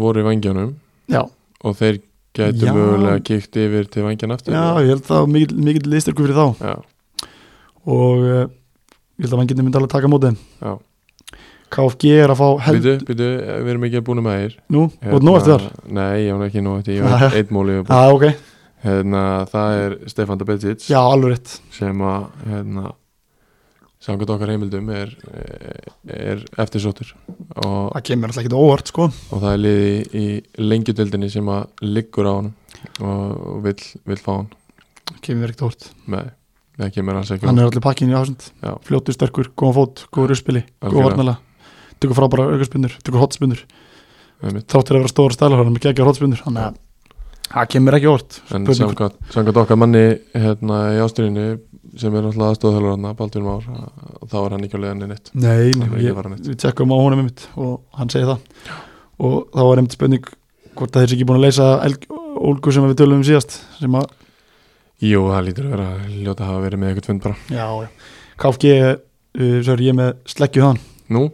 B: voru í vangjónum
A: já,
B: og þeir gætu
A: Já.
B: mögulega kíkt yfir til vangjan aftur
A: já, ég held það var mikill, mikill liðstyrku fyrir þá
B: já,
A: og uh, ég held að maður getur myndi alveg taka á móti þeim.
B: já,
A: KFG er að fá held,
B: býtu, býtu, við erum ekki búin með þér Hérna-
A: nú, og nú ertu þar
B: Nei, ég var ekki nú eftir, ég
A: Jæja.
B: var eitt móli
A: Já, ok,
B: hérna, það er Stefan Dabetic
A: já, alveg rétt
B: sem að hérna, samkvæmt okkar heimildum er, er eftirsóttur og,
A: það kemur alltaf ekki óvart, sko
B: og það er liði í lengjudöldinni sem að liggur á hann og vill, vill fá hann
A: kemur ekkert óvart,
B: með það kemur alls ekki á
A: hann er allir pakkin í ásund
B: Já.
A: fljótur, sterkur, góðan fót, góður uppspili góð
B: Algjörlega.
A: varnala, tökur frábæra aukarspinnur tökur hotspinnur,
B: einmitt.
A: þáttir að vera stóra stæla hann er ekki að hotspinnur, þannig að það kemur ekki óvart
B: en
A: Spurning-
B: samkvæmt, samkvæmt okkar manni hérna, í ástriðinu sem er alltaf aðstofþjálfur hann að Baldur Már að- þá er hann ekki á leiðinni neitt
A: Nei, nei
B: Hann er ekki að
A: ég,
B: fara neitt.
A: við tjekkum á honum einmitt og hann segir það og þá var einmitt spurning hvort að þeir sér ekki búin að leysa elg- ólgu sem við tölum um síðast sem að,
B: Jú, það lítur að vera ljóta að hafa verið með eitthvað fund bara
A: já, já KFG, uh, svo er ég með sleggju hann
B: Nú,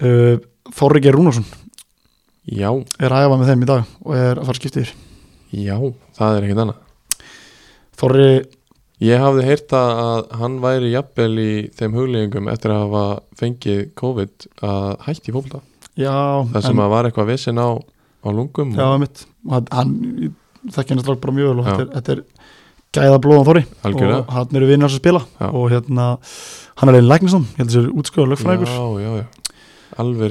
A: uh, Þorriki Rúnarsson
B: já,
A: er að æfa með þeim í dag og er að fara skiptið yfir
B: já, það er ekkert annað
A: Þorri,
B: Ég hafði heyrt að að hann væri jafnvel í þeim huglýðingum eftir að hafa fengið COVID að hætti fólta.
A: já
B: Það sem að var eitthvað vissin á, á lungum.
A: já, einmitt, Og hann, hann ég þekki hann strák bara mjög vel og
B: Já.
A: þetta er, þetta er gæða blóðan Þorri
B: Algjörlega.
A: og hann eru vinnar sem spila
B: Já.
A: og hérna, hann er einn læknistum ég held að þessi útskóða lögfræðingur
B: Já, já, já. Alveg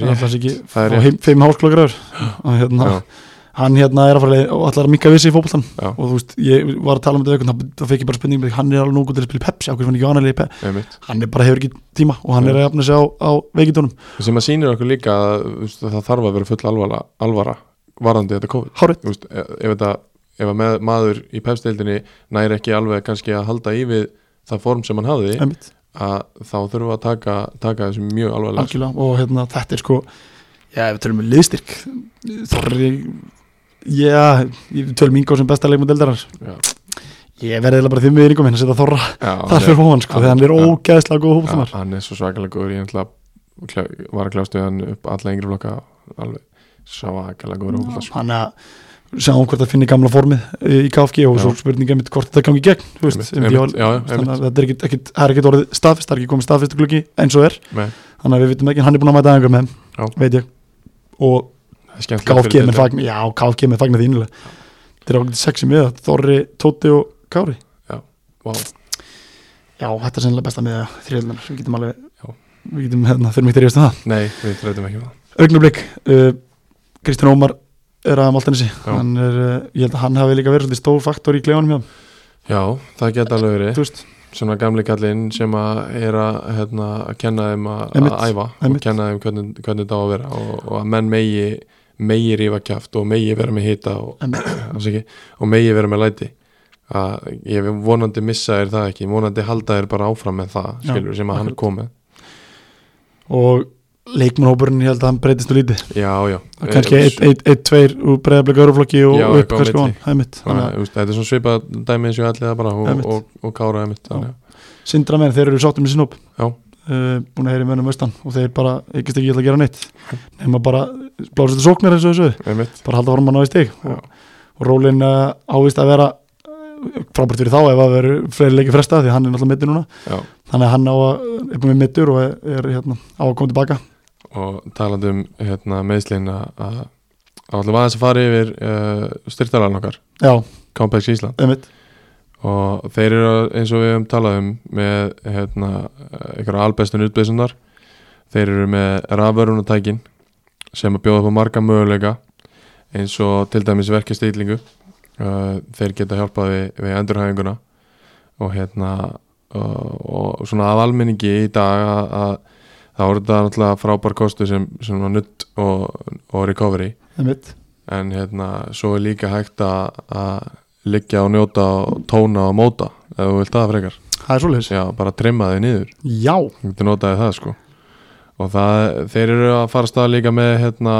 A: Það er
B: rétt.
A: alltaf ekki
B: Það er
A: og heim, fimm háskólagraður og hérna,
B: Já.
A: hann hérna er að fara leið- og allar að mikka vissi í fótboltan
B: Já.
A: og þú veist, ég var að tala um þetta vekun þá- þá fekk ég bara spurning, með, hann er alveg nógu til að spila í Pepsi á hverju fann ekki vanalegi Pepsi,
B: Einmitt.
A: hann er bara hefur ekki tíma og hann
B: Já.
A: er að jafna sig á, á veikitónum
B: Sem að sýnir okkur líka að þú veist, það þarf að vera full alvara, alvara varðandi þetta COVID.
A: Hárið,
B: Þú Veist, ef ef þetta, ef að með, maður í pepstildinni næri ekki alveg kannski að halda í við það form sem hann hafði,
A: einmitt,
B: að þá þurfum við að taka, taka þessu mjög alvarlega.
A: algjörlega og hérna, þetta er sko, já, ef við tölum með liðstyrk Þorri já, við tölum Ingo sem besta leikmund eldarar
B: Já.
A: ég verði eiginlega bara því með yringum minn að setja Þorra
B: Já,
A: þar fyrir um hóðan sko,
B: hann-
A: þegar hann er
B: já.
A: ógæðslega góð hóðumar
B: ja, hann er svo svakalega góður ég ætla, var að kljástu hann upp alla yngri flokka alveg svakalega góður hópa sko.
A: hann að sjáum hvort það finnir gamla formið eh, í KFG og
B: Já.
A: svo spurninga mitt hvort þetta gangi í gegn þú veist,
B: Einmitt,
A: einmitt,
B: einmitt, já, já,
A: þannig að þetta er ekkit, ekkit, það er ekkit orðið staðfist, það er ekki komið staðfist gluggi eins og er,
B: Nei.
A: þannig að við vitum ekki en hann er búin að mæta einhver með
B: Já.
A: þeim, veit ég og
B: Það er skemmtilegt fyrir
A: KFG með
B: deildina.
A: fagna, já, KFG með fagna þínulega þetta er ákveðið sexi með það, Þorri, Tóti og Kári
B: Vá,
A: já, þetta er sennilega besta með það, þriðlunar við getum
B: Já.
A: alveg, við getum hérna, þurfum ekki að ríðast um það
B: Nei, við þreytum ekki um það
A: augnablik uh, Kristján Ómar er að Maltanesi
B: Já.
A: hann er, uh, ég held að hann hafi líka verið svolítið stór faktor í klefanum hjá hann,
B: Já, það geta alveg verið
A: þú veist
B: svona gamli kallinn sem að er að, hérna, að kenna þeim að,
A: Einmitt,
B: að æfa
A: einmitt.
B: og kenna þeim hvernig, hvernig það á að vera og, og að menn megi megi rífa kjaft og megi vera með hita og,
A: Einmitt.
B: afsakið, og megi vera með læti að ég vonandi missa þér það ekki vonandi halda þér bara áfram með það
A: Já,
B: skilur, sem að hann
A: akkurat.
B: kom með
A: og leikmannhópurinn, ég held að hann breytist nú lítið
B: Já, já Eh,
A: Það er kannski eitt, eitt, eitt, tveir úr breyðablik öruflokki og
B: Já,
A: upp
B: eitthvað á
A: kannski á hann,
B: milli.
A: það er mitt
B: Þannig,
A: þannig
B: að, þú veist, Þetta er svona svipað dæmi eins og allir það bara og,
A: Einmitt.
B: og, og kára emitt þannig,
A: að sindra menn, þeir eru sáttum í sinóp
B: Já.
A: uh, búin að heyra í mönnum austan og þeir bara, ég ekki ég ætla að gera neitt nema bara blása þetta sóknar eins og þessu
B: emitt,
A: bara halda formann á í stig
B: já,
A: og, og rólinn uh, ávist að vera uh, frábært fyrir þá ef að vera fleiri leiki fresta því hann er náttúrulega mittur núna
B: já.
A: þannig að hann á að, er búin með mittur og er, er hérna, á að koma tilbaka
B: og talandi um hérna, meðslinn að að allir aðeins að fara yfir uh, styrtalarinn okkar,
A: já,
B: Complex Ísland
A: einmitt,
B: og þeir eru eins og við höfum talað um með hérna, eh, einhverja albestun utbyrðsunar þeir eru með raförunatækin sem að bjóða upp á marga möguleika eins og til dæmis verkjastýlingu uh, þeir geta hjálpað við, við endurhæfinguna og hérna uh, og svona af almenningi í dag að, að það voru þetta náttúrulega frábær kostu sem, sem var nutt og, og recovery
A: einmitt
B: en hérna, svo er líka hægt að, að liggja og njóta og tóna og móta, ef þú vilt það frekar
A: það er svoleiðis,
B: já, bara trimma þig niður
A: já,
B: þú getur notaði það sko og það, þeir eru að fara af stað líka með hérna,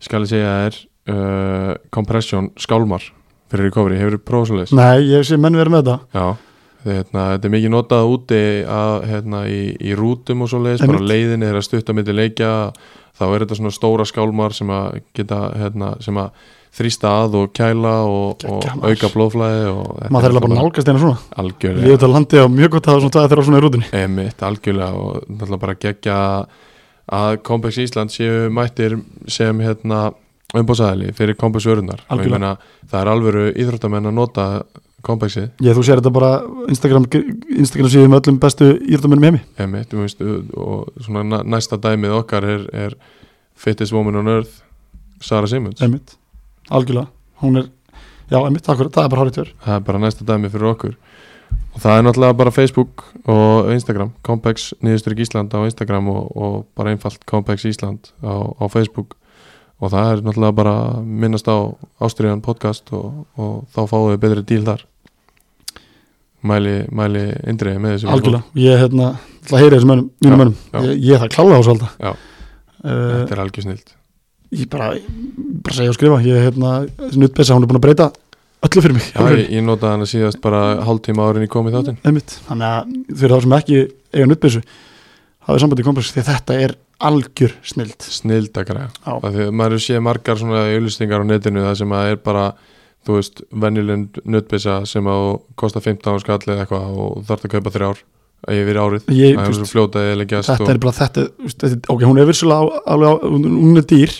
B: skal ég segja þér uh, compression skálmar fyrir recovery, hefur þú prófað svoleiðis?
A: nei, ég sé menn verið með þetta
B: já, þetta, hérna, þetta er mikið notað úti að, hérna, í, í rútum og svoleiðis, bara
A: Einmitt.
B: leiðinni þeirra stutta milli leikja þá er þetta svona stóra skálmar sem að geta hérna, sem að þrýsta að og kæla og, og
A: Geggjað, maður.
B: auka blóðflæði og
A: maður
B: þetta
A: þarf eiginlega bara að
B: náttúrulega
A: nálgast einu svona Lífið
B: algjörlega,
A: þetta landi á mjög gott að hafa svona tvað þeirra svona í rútunni
B: emitt, algjörlega og náttúrulega bara gegja að Komplex Ísland séu mættir sem hérna umbóðsæðili fyrir Komplex vörunar og ég
A: Algjörlega.
B: meina það er alvöru íþróttamenn að nota Komplexið
A: Ég þú sér þetta bara Instagram, Instagram síðum öllum bestu írdumennum heimi
B: Emitt, veist, og svona næ- næsta dæmið okkar er, er Fittest Woman on Earth Sara Simmons
A: Emmitt, algjörlega Hún er, já Emmitt, akkur, það er bara hárið tver
B: það er bara næsta dæmið fyrir okkur og það er náttúrulega bara Facebook og Instagram, Compex Niðurstyrk Ísland á Instagram og, og bara einfalt Compex Ísland á, á Facebook og það er náttúrulega bara minnast á Ástriðan podcast og, og þá fáum við betri díl þar mæli, mæli indriði með þessu
A: Algjörlega, ég hérna, ætla að heyra þessum mönnum, mínum
B: Já,
A: mönnum
B: já.
A: Ég, ég það klála á þessu alltaf Eh,
B: Já. þetta er algjör snilt
A: Ég bara, bara segja og skrifa Ég hérna, þessi nuttbessa, hún er búin að breyta öllu fyrir mig
B: Já, ég, ég notaði hana síðast bara hálftíma árin í komið þáttinn
A: Einmitt. Þannig að fyrir þá sem ekki eiga nuttbessu hafið sambandi í komplex því að þetta er algjör snild
B: snild að græða
A: Já.
B: af því að maður hefur séð margar svona auðlustingar á netinu það sem að er bara þú veist, venjuleg nutbissa sem að kosta 15 skall eða eitthvað og þarf að kaupa þrjár yfir árið
A: Ég-
B: það er sko-
A: þú
B: svo
A: veist,
B: fljóta eða leggjast
A: Þetta er bara þetta, veist, þetta ok, hún er vissulega á- alveg á, hún, hún er dýr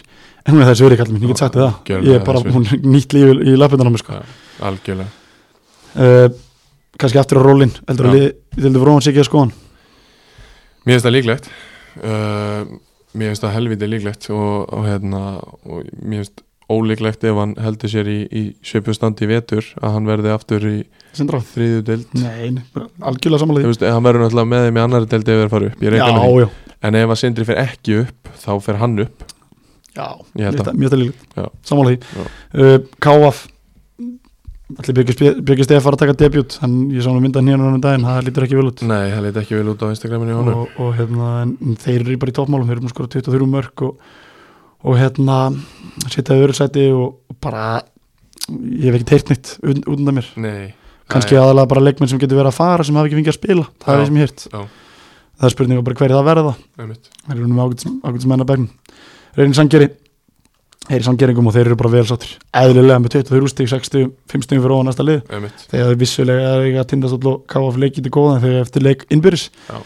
A: en hún er þessi verið kallum, ég get sagt þér það
B: Gjörðu
A: ég er bara,
B: þessi.
A: hún er nýtt lífi í lappindan á mig sko.
B: Já, algjörlega
A: uh, kannski aftur á rólinn heldur
B: Já.
A: að liði, heldur Róman sé ekki að skoðan
B: Mér finnst það líklegt uh, Mér finnst það helviti líklegt og, og, hérna, og mér finnst ólíklegt ef hann heldur sér í, í svipu standi í vetur að hann verði aftur í
A: Sindra á því?
B: þriðju deild
A: Nei, nei, bara algjörlega
B: Þú
A: samanlega
B: veist, hann verður náttúrulega með þeim í annari deild ef þeir fara upp, ég
A: Já,
B: reikna með því
A: já,
B: En ef að Sindri fer ekki upp, þá fer hann upp
A: já,
B: Ég held að-
A: mjög
B: Já.
A: stælilegt samanlega því uh, Káaf Allir Byrgis Stefa fara að taka debut hann, ég sá hann mynda nýjan hann um daginn, það lítur ekki vel út
B: Nei, það leit ekki vel út á Instagraminu í honum
A: og, og hérna, en þeir eru bara í toppmálum þeir eru búin að skora 23 mörg og, og hérna, setja öðru sæti og, og bara ég hef ekki teirt neitt ut- út undan mér
B: Nei
A: kannski
B: Það er-
A: aðalega bara leikmenn sem getur verið að fara sem hafa ekki fengið að spila, það er
B: Já,
A: það sem ég hýrt
B: já.
A: það er spurning bara hverju það verða
B: einmitt.
A: þeir eru með ágætis- ágætis menn að bæknum reynir sangeri þeir eru sangeringum og þeir eru bara vel sáttir eðlilega með 23 stík, 60, 5 stík fyrir ofan næsta lið
B: Einmitt.
A: þegar þau vissulega er ekki að tindastóll og KF leikið til góða en þegar eftir leik innbyrðis
B: Já.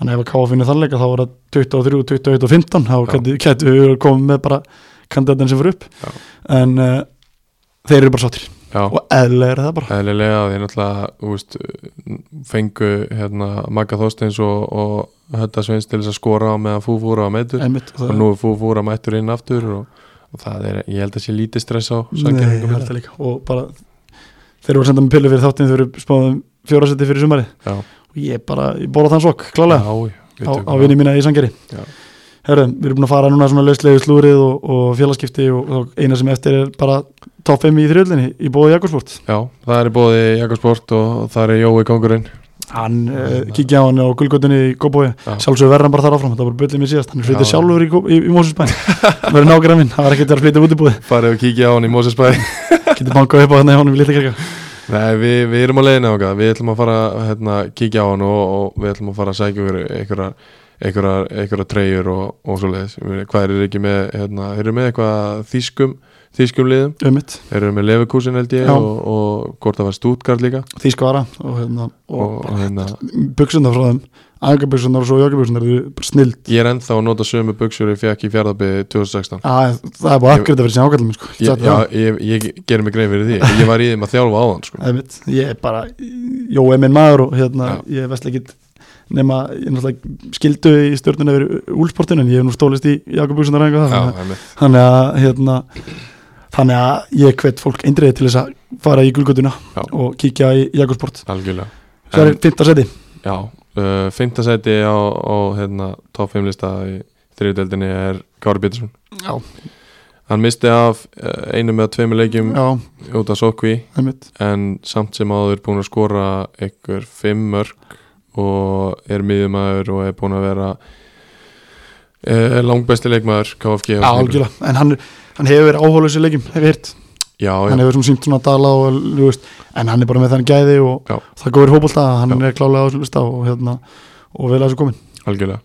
A: þannig ef að KF finnir þann leika þá var það 23, 21 og 15 þá
B: Já.
A: gæti- gætu við komið með bara kandidatin sem fyrir upp
B: Já.
A: en uh, þeir eru bara sáttir
B: Já,
A: og eðlilega er það bara
B: eðlilega þeir náttúrulega þú veist, fengu hérna, Magga Þorsteins og, og Hötta Sveins til þess að skora á meðan Fúfúra var meitur
A: Einmitt, og
B: og
A: það,
B: nú er Fúfúra mættur inn aftur og, og það er, ég held að sé lítið stress á hérna.
A: nei,
B: sangeringum
A: það er það líka og bara þeir eru að senda með pillu fyrir þáttin þeir eru spáðum fjórasetti fyrir sumari
B: Já,
A: og ég bara, ég bóla þann sokk,
B: já,
A: klálega
B: við
A: á,
B: tökum
A: á
B: það.
A: vinni mína í sangeri
B: Já.
A: Herru, við erum búin að fara núna svona lauslegu slúrið og, og félagskipti og, og eina sem eftir er bara top 5 í þrjöldinni í bóði Jakobsport
B: Já, það er í bóði Jakobsport og það er Jói Kongurinn
A: hann uh, kíkja á hann á gulgötunni í Góbói
B: Já.
A: sjálfsögur verðan bara þar áfram, það var bullið mér síðast hann
B: Já.
A: flytti sjálfur í, Gó- í, í Mósusbæn það verður nágrann minn, það var ekkert að flytja út í búði
B: farið og kíkja á hann í Mósesbæði
A: getur bankað upp á hann í honum í litla kirkja
B: Nei, við, við erum á leiðinu okkar, við ætlum að fara hérna, kíkja á hann og, og við ætlum að fara að sækja okkur einhverjar einhverjar, einhverjar treyjur og, og svo leiðis hvað eru þeir ekki með, hérna, þeir eru með eitthvað þýskum, þýskum liðum
A: um mitt,
B: þeir eru með Leverkusen held ég
A: Já.
B: og, og hvort það var Stuttgart líka og,
A: því skvara og, hérna, og, og
B: hérna,
A: buksundar frá þeim angabuksunar og svo jokkabuksunar eru bara snild
B: ég er ennþá að nota sömu buksur ég fekk í fjárðabbi 2016
A: Æ, það er búið afgriða fyrir sem ákallum minn, sko. Ég
B: ég,
A: get sagt
B: já,
A: það.
B: ég, ég gerir mig grein fyrir því ég var í þeim að þjálfa á hann sko.
A: Það er mitt, ég er bara Jó, er minn maður og hérna ég veist ekki nema, ég náttúrulega skildu í stjórnuna yfir úlsportinu en ég hef nú stólist í Jakob Bugsunar eða
B: já,
A: eitthvað
B: einmitt.
A: þannig að- þannig að, hérna þannig að ég hvet fólk eindriði til þess að fara í gulgötuna
B: Já.
A: og kíkja í Jakobsport
B: algjörlega
A: það
B: En-
A: er fymta seti,
B: Já, uh, fintasæti á, á hérna, top 5 lista í þriðdeldinni er Kári Pétursson
A: Já.
B: Hann misti af uh, einum eða tveimur leikjum
A: já,
B: út af sókví
A: það er mitt
B: en samt sem áður búin að skora einhver fimm mörg og er miðjumæður og er búin að vera uh, langbæsti leikmaður
A: Já,
B: KFG á tímabilinu.
A: algjörlega, en hann, hann hefur verið áhólaus í leikjum, hef ég hirt
B: Já, já,
A: hann hefur svona sínt svona dala og, þú veist, en hann er bara með þann gæði og
B: Já.
A: það góður hópulta, hann
B: Já.
A: er klálega áslústa og hérna, og vel að þessu komin
B: algjörlega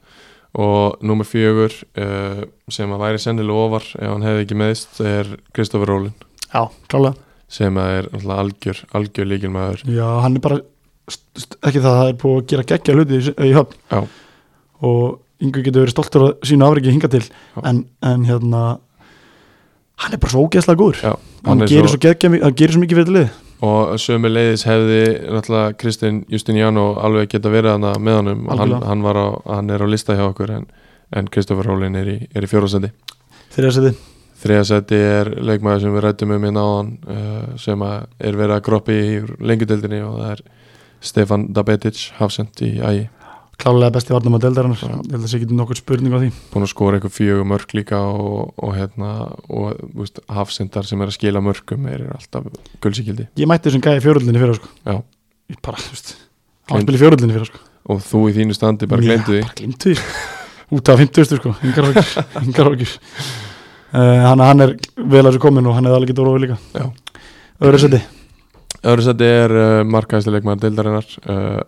B: og nummer fjögur uh, sem að væri sennilega ofar ef hann hefði ekki meðist er Kristoffer Rólin
A: já, klálega
B: sem að er náttúrulega algjör, algjör líkilmaður
A: Já, hann er bara st- st- ekki það að það er búið að gera geggja hluti í, s- í höfn
B: Já.
A: og yngur getur verið stoltur að sína afriki hinga til en, en hérna hann er bara svo ógeðslega góður
B: Já,
A: hann,
B: er
A: gerir svo, geggja, mi- hann gerir svo mikið fyrir lið
B: og sömu leiðis hefði náttúrulega Kristinn Justiniano alveg geta verið hana með honum hann,
A: Algjörlega.
B: hann, var á, hann er á lista hjá okkur en, en Kristoffer Rólin er í, er í fjórasæti
A: þegar þessi þið
B: þriðasæti er leikmaður sem við rættum um hérna áðan uh, sem að er verið að groppi í lengjudeldinni og það er Stefan Dabetic hafsend í ægi
A: klálega besti varnum að deildarinnar
B: Já.
A: ég held að sé ekki nokkur spurning á því
B: búin að skora eitthvað fjögur mörg líka og, og hérna og þú veist, hafsendar sem er að skila mörgum er alltaf gulsikildi
A: ég mætti þessum gæði fjóruldinni fyrir sko.
B: Já.
A: ég bara, þú veist hann
B: Gleymd-
A: spilir fjóruldinni fyrir sko.
B: og þú í þínu standi bara glemdu því
A: Já, bara glemdu því út af 50 sko, yngar okkur yngar okkur uh, hann, hann er vel að þessu komin og hann hefði alveg getur ofið líka
B: Já.
A: öðru seti
B: Öðru sæti er uh, markaðislega leikmaður deildarinnar uh,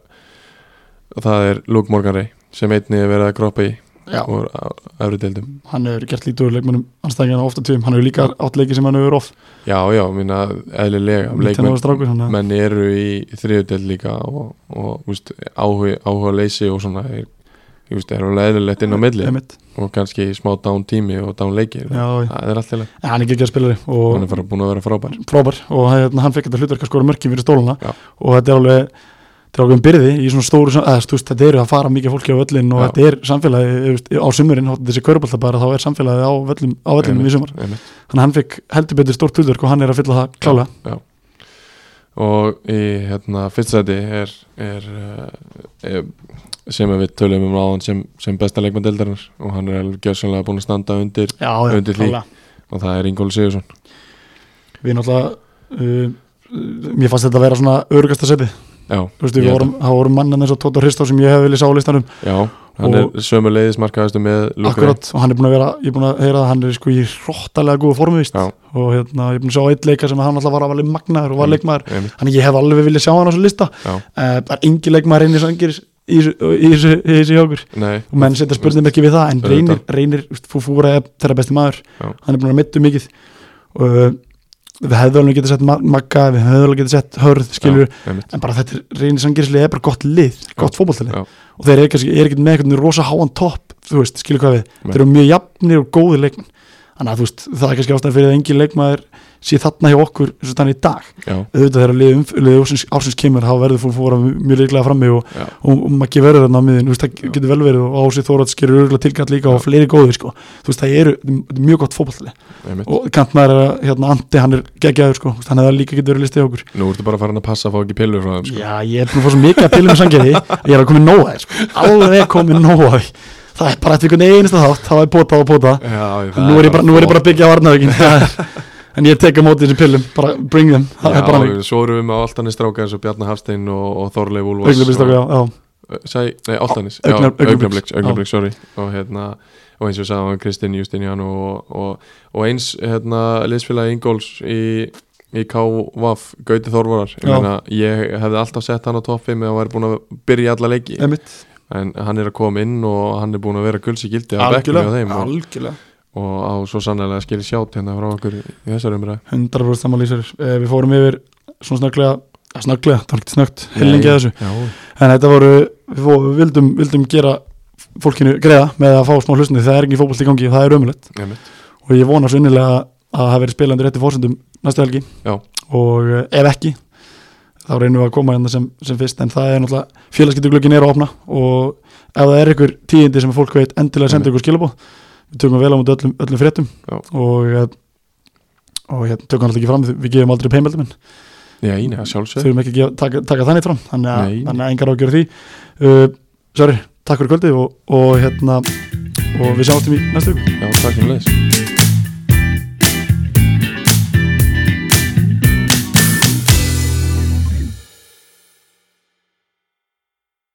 B: og það er Luke Morgan Ray sem einnig er verið að groppa í
A: Já.
B: úr öðru deildum
A: hann hefur gert lítið úr leikmennum anstæðingarna ofta tíum, hann hefur líka átt leiki sem hann hefur off
B: Já, já, minna eðlilega
A: hann var strákur hann
B: menn eru í þriðu deild líka og, og úst, áhuga, áhuga leysi og svona er, úst, er alveg eðlilegt inn á milli
A: einmitt,
B: og kannski smá dán tími og dán leikir
A: já, já.
B: það er allt í lagi.
A: En hann er geggjað spilari og
B: hann er bara búin að vera frábær
A: frábær og hérna, hann fekk þetta hlutverk að skora mörkin fyrir stóluna
B: Já.
A: og þetta er alveg þetta er alveg um byrði í svona stóru sam- eða, þú veist, þetta eru að fara mikið fólki á völlin og
B: Já.
A: þetta er samfélagi þú veist, á sumurinn, hótt þessi körbólta bara þá er samfélagi á völlum, á völlinum í sumar
B: Einmitt.
A: þannig að hann fekk heldur betur stórt hlutverk og hann er að fylla það klálega
B: og í hérna fyrstæti er, er, uh, er sem að við tölum um ráðan sem, sem besta leikmann deildarinnar og hann er alveg gjössanlega búin að standa undir
A: já,
B: Undir því.
A: klálega.
B: og það er Ingóli Sigursson
A: við náttúrulega uh, mér fannst þetta að vera svona örugasta seti
B: já,
A: Þú veist, við
B: Ég held
A: vorum, það vorum mannan eins og Tóta Hristó sem ég hef viljað sá á listanum
B: já hann
A: Og-
B: er sömu leiðis markaðastu með Lukari
A: akkurat og hann er búin að vera, ég er búin að heyra að hann er sko í hróttalega góða formi víst
B: Já.
A: og hérna, ég er búin að sjá eitt leika sem hann alltaf var alveg magnaður og var
B: Mm.
A: leikmaður
B: Einmitt,
A: þannig ég hef alveg viljað sjá hann á þessu lista uh,
B: já,
A: það er engi leikmaður reynir sangir í þessu- í þessu í þessu hjá okkur
B: nei,
A: og menn setja spurning ekki við það en reynir, reynir fúfúra er þeirra besti maður
B: Já.
A: hann er búin að mittu mikið og uh, við hefðu alveg getið sett Ma- Magga við hefðu alveg getið sett Hörð skilur
B: já, einmitt,
A: en bara þetta er- reynir sangirisli er bara gott lið, gott
B: já.
A: fótballtalið og þeir eru kannski, eru ekkert með einhvern rosa háan topp, þú veist, skilur hvað við
B: Nei.
A: þeir eru mjög jafnir og góðir leikmenn þannig að þú veist, það er kannski ástæðan fyrir að engin leikmaður sé þarna hjá okkur, eins og þannig í dag
B: já,
A: auðvitað þegar lið, umf- lið ársins, ársins kemur þá verður fólk fóra mjög leiklega frammi og,
B: Já.
A: og, og maður verður þarna á miðin, þú veist,
B: Já.
A: það getur vel verið og ásið þórat skilur örgulega tilkant líka og fleiri góðir sko, þú veist, það eru þetta er mjög gott fótballtalið
B: einmitt
A: og kantmaður er að, hérna, Andi, hann er geggjaður sko, þú veist, hann hefði líka getur verið listið hjá okkur
B: nú ertu bara farin að passa að fá ekki pillur frá þeim sko.
A: Já, ég er búin að fá svo mikið að pillum í sangeri að ég er að koma í nóa þér, sko. alveg komið nóa því það er bara eftir einhvern einasta þátt þá er potað og potað
B: já, það
A: nú er ég bara, nú er ég bara að byggja varnaðökin en ég tek á móti þessi pillum bara bring them, það
B: já,
A: er bara mig
B: svo erum við með Altanis stráka eins og Bjarni Hafstein og, og Þorleif Úlfars
A: augnablikst okkur, já, já,
B: Sæ, Eh, nei, Altanis
A: Augna-
B: Augnabliks,
A: Augnabliks,
B: Augnabliks, sorry og, hérna, og eins og við sagðum Kristinn Justinjan og, og, og eins hérna, liðsfélagi Ingóls í, í KVAF Gauti Þorvarar ég,
A: Já.
B: meina, ég hefði alltaf sett hann á topp 5 ef hann væri búin að byrja í alla leiki
A: emitt
B: en hann er að koma inn og hann er búin að vera gulsi gildi að bekkum hjá þeim og,
A: algjörlega
B: og á svo sannlega skilja sjátt hérna frá okkur í í þessari umræð
A: 100% saman lýsir, Eh, við fórum yfir svona snögglega, ja, snögglega, það var ekki snöggt hellingi að þessu,
B: já,
A: en þetta voru við, fó, við vildum, vildum gera fólkinu greiða með að fá smá hlustinu það er ekki fótbolt í gangi og það er ömulegt
B: einmitt.
A: og ég vona svo innilega að það verið spilandi rétti fórsendum næstu helgi
B: Já.
A: og eh, ef ekki þá reynum við að koma hérna sem, sem fyrst en það er náttúrulega félagskiptuglugginn er að opna og ef það er ykkur tíðindi sem fólk veit endilega senda ykkur skilabóð við tökum vel á múti öllum, öllum fréttum
B: Já.
A: og, eh, og hérna, tökum alltaf ekki fram við- við gefum aldrei peimeldum en
B: já, í neða sjálfsög
A: þurfum ekki að gefa, taka, taka þannig fram þannig að,
B: Nei.
A: þannig að engar ágjör því uh, Sörri, takk fyrir kvöldið og, og hérna og við sjáumstum í næstu viku
B: já, takk fyrir leis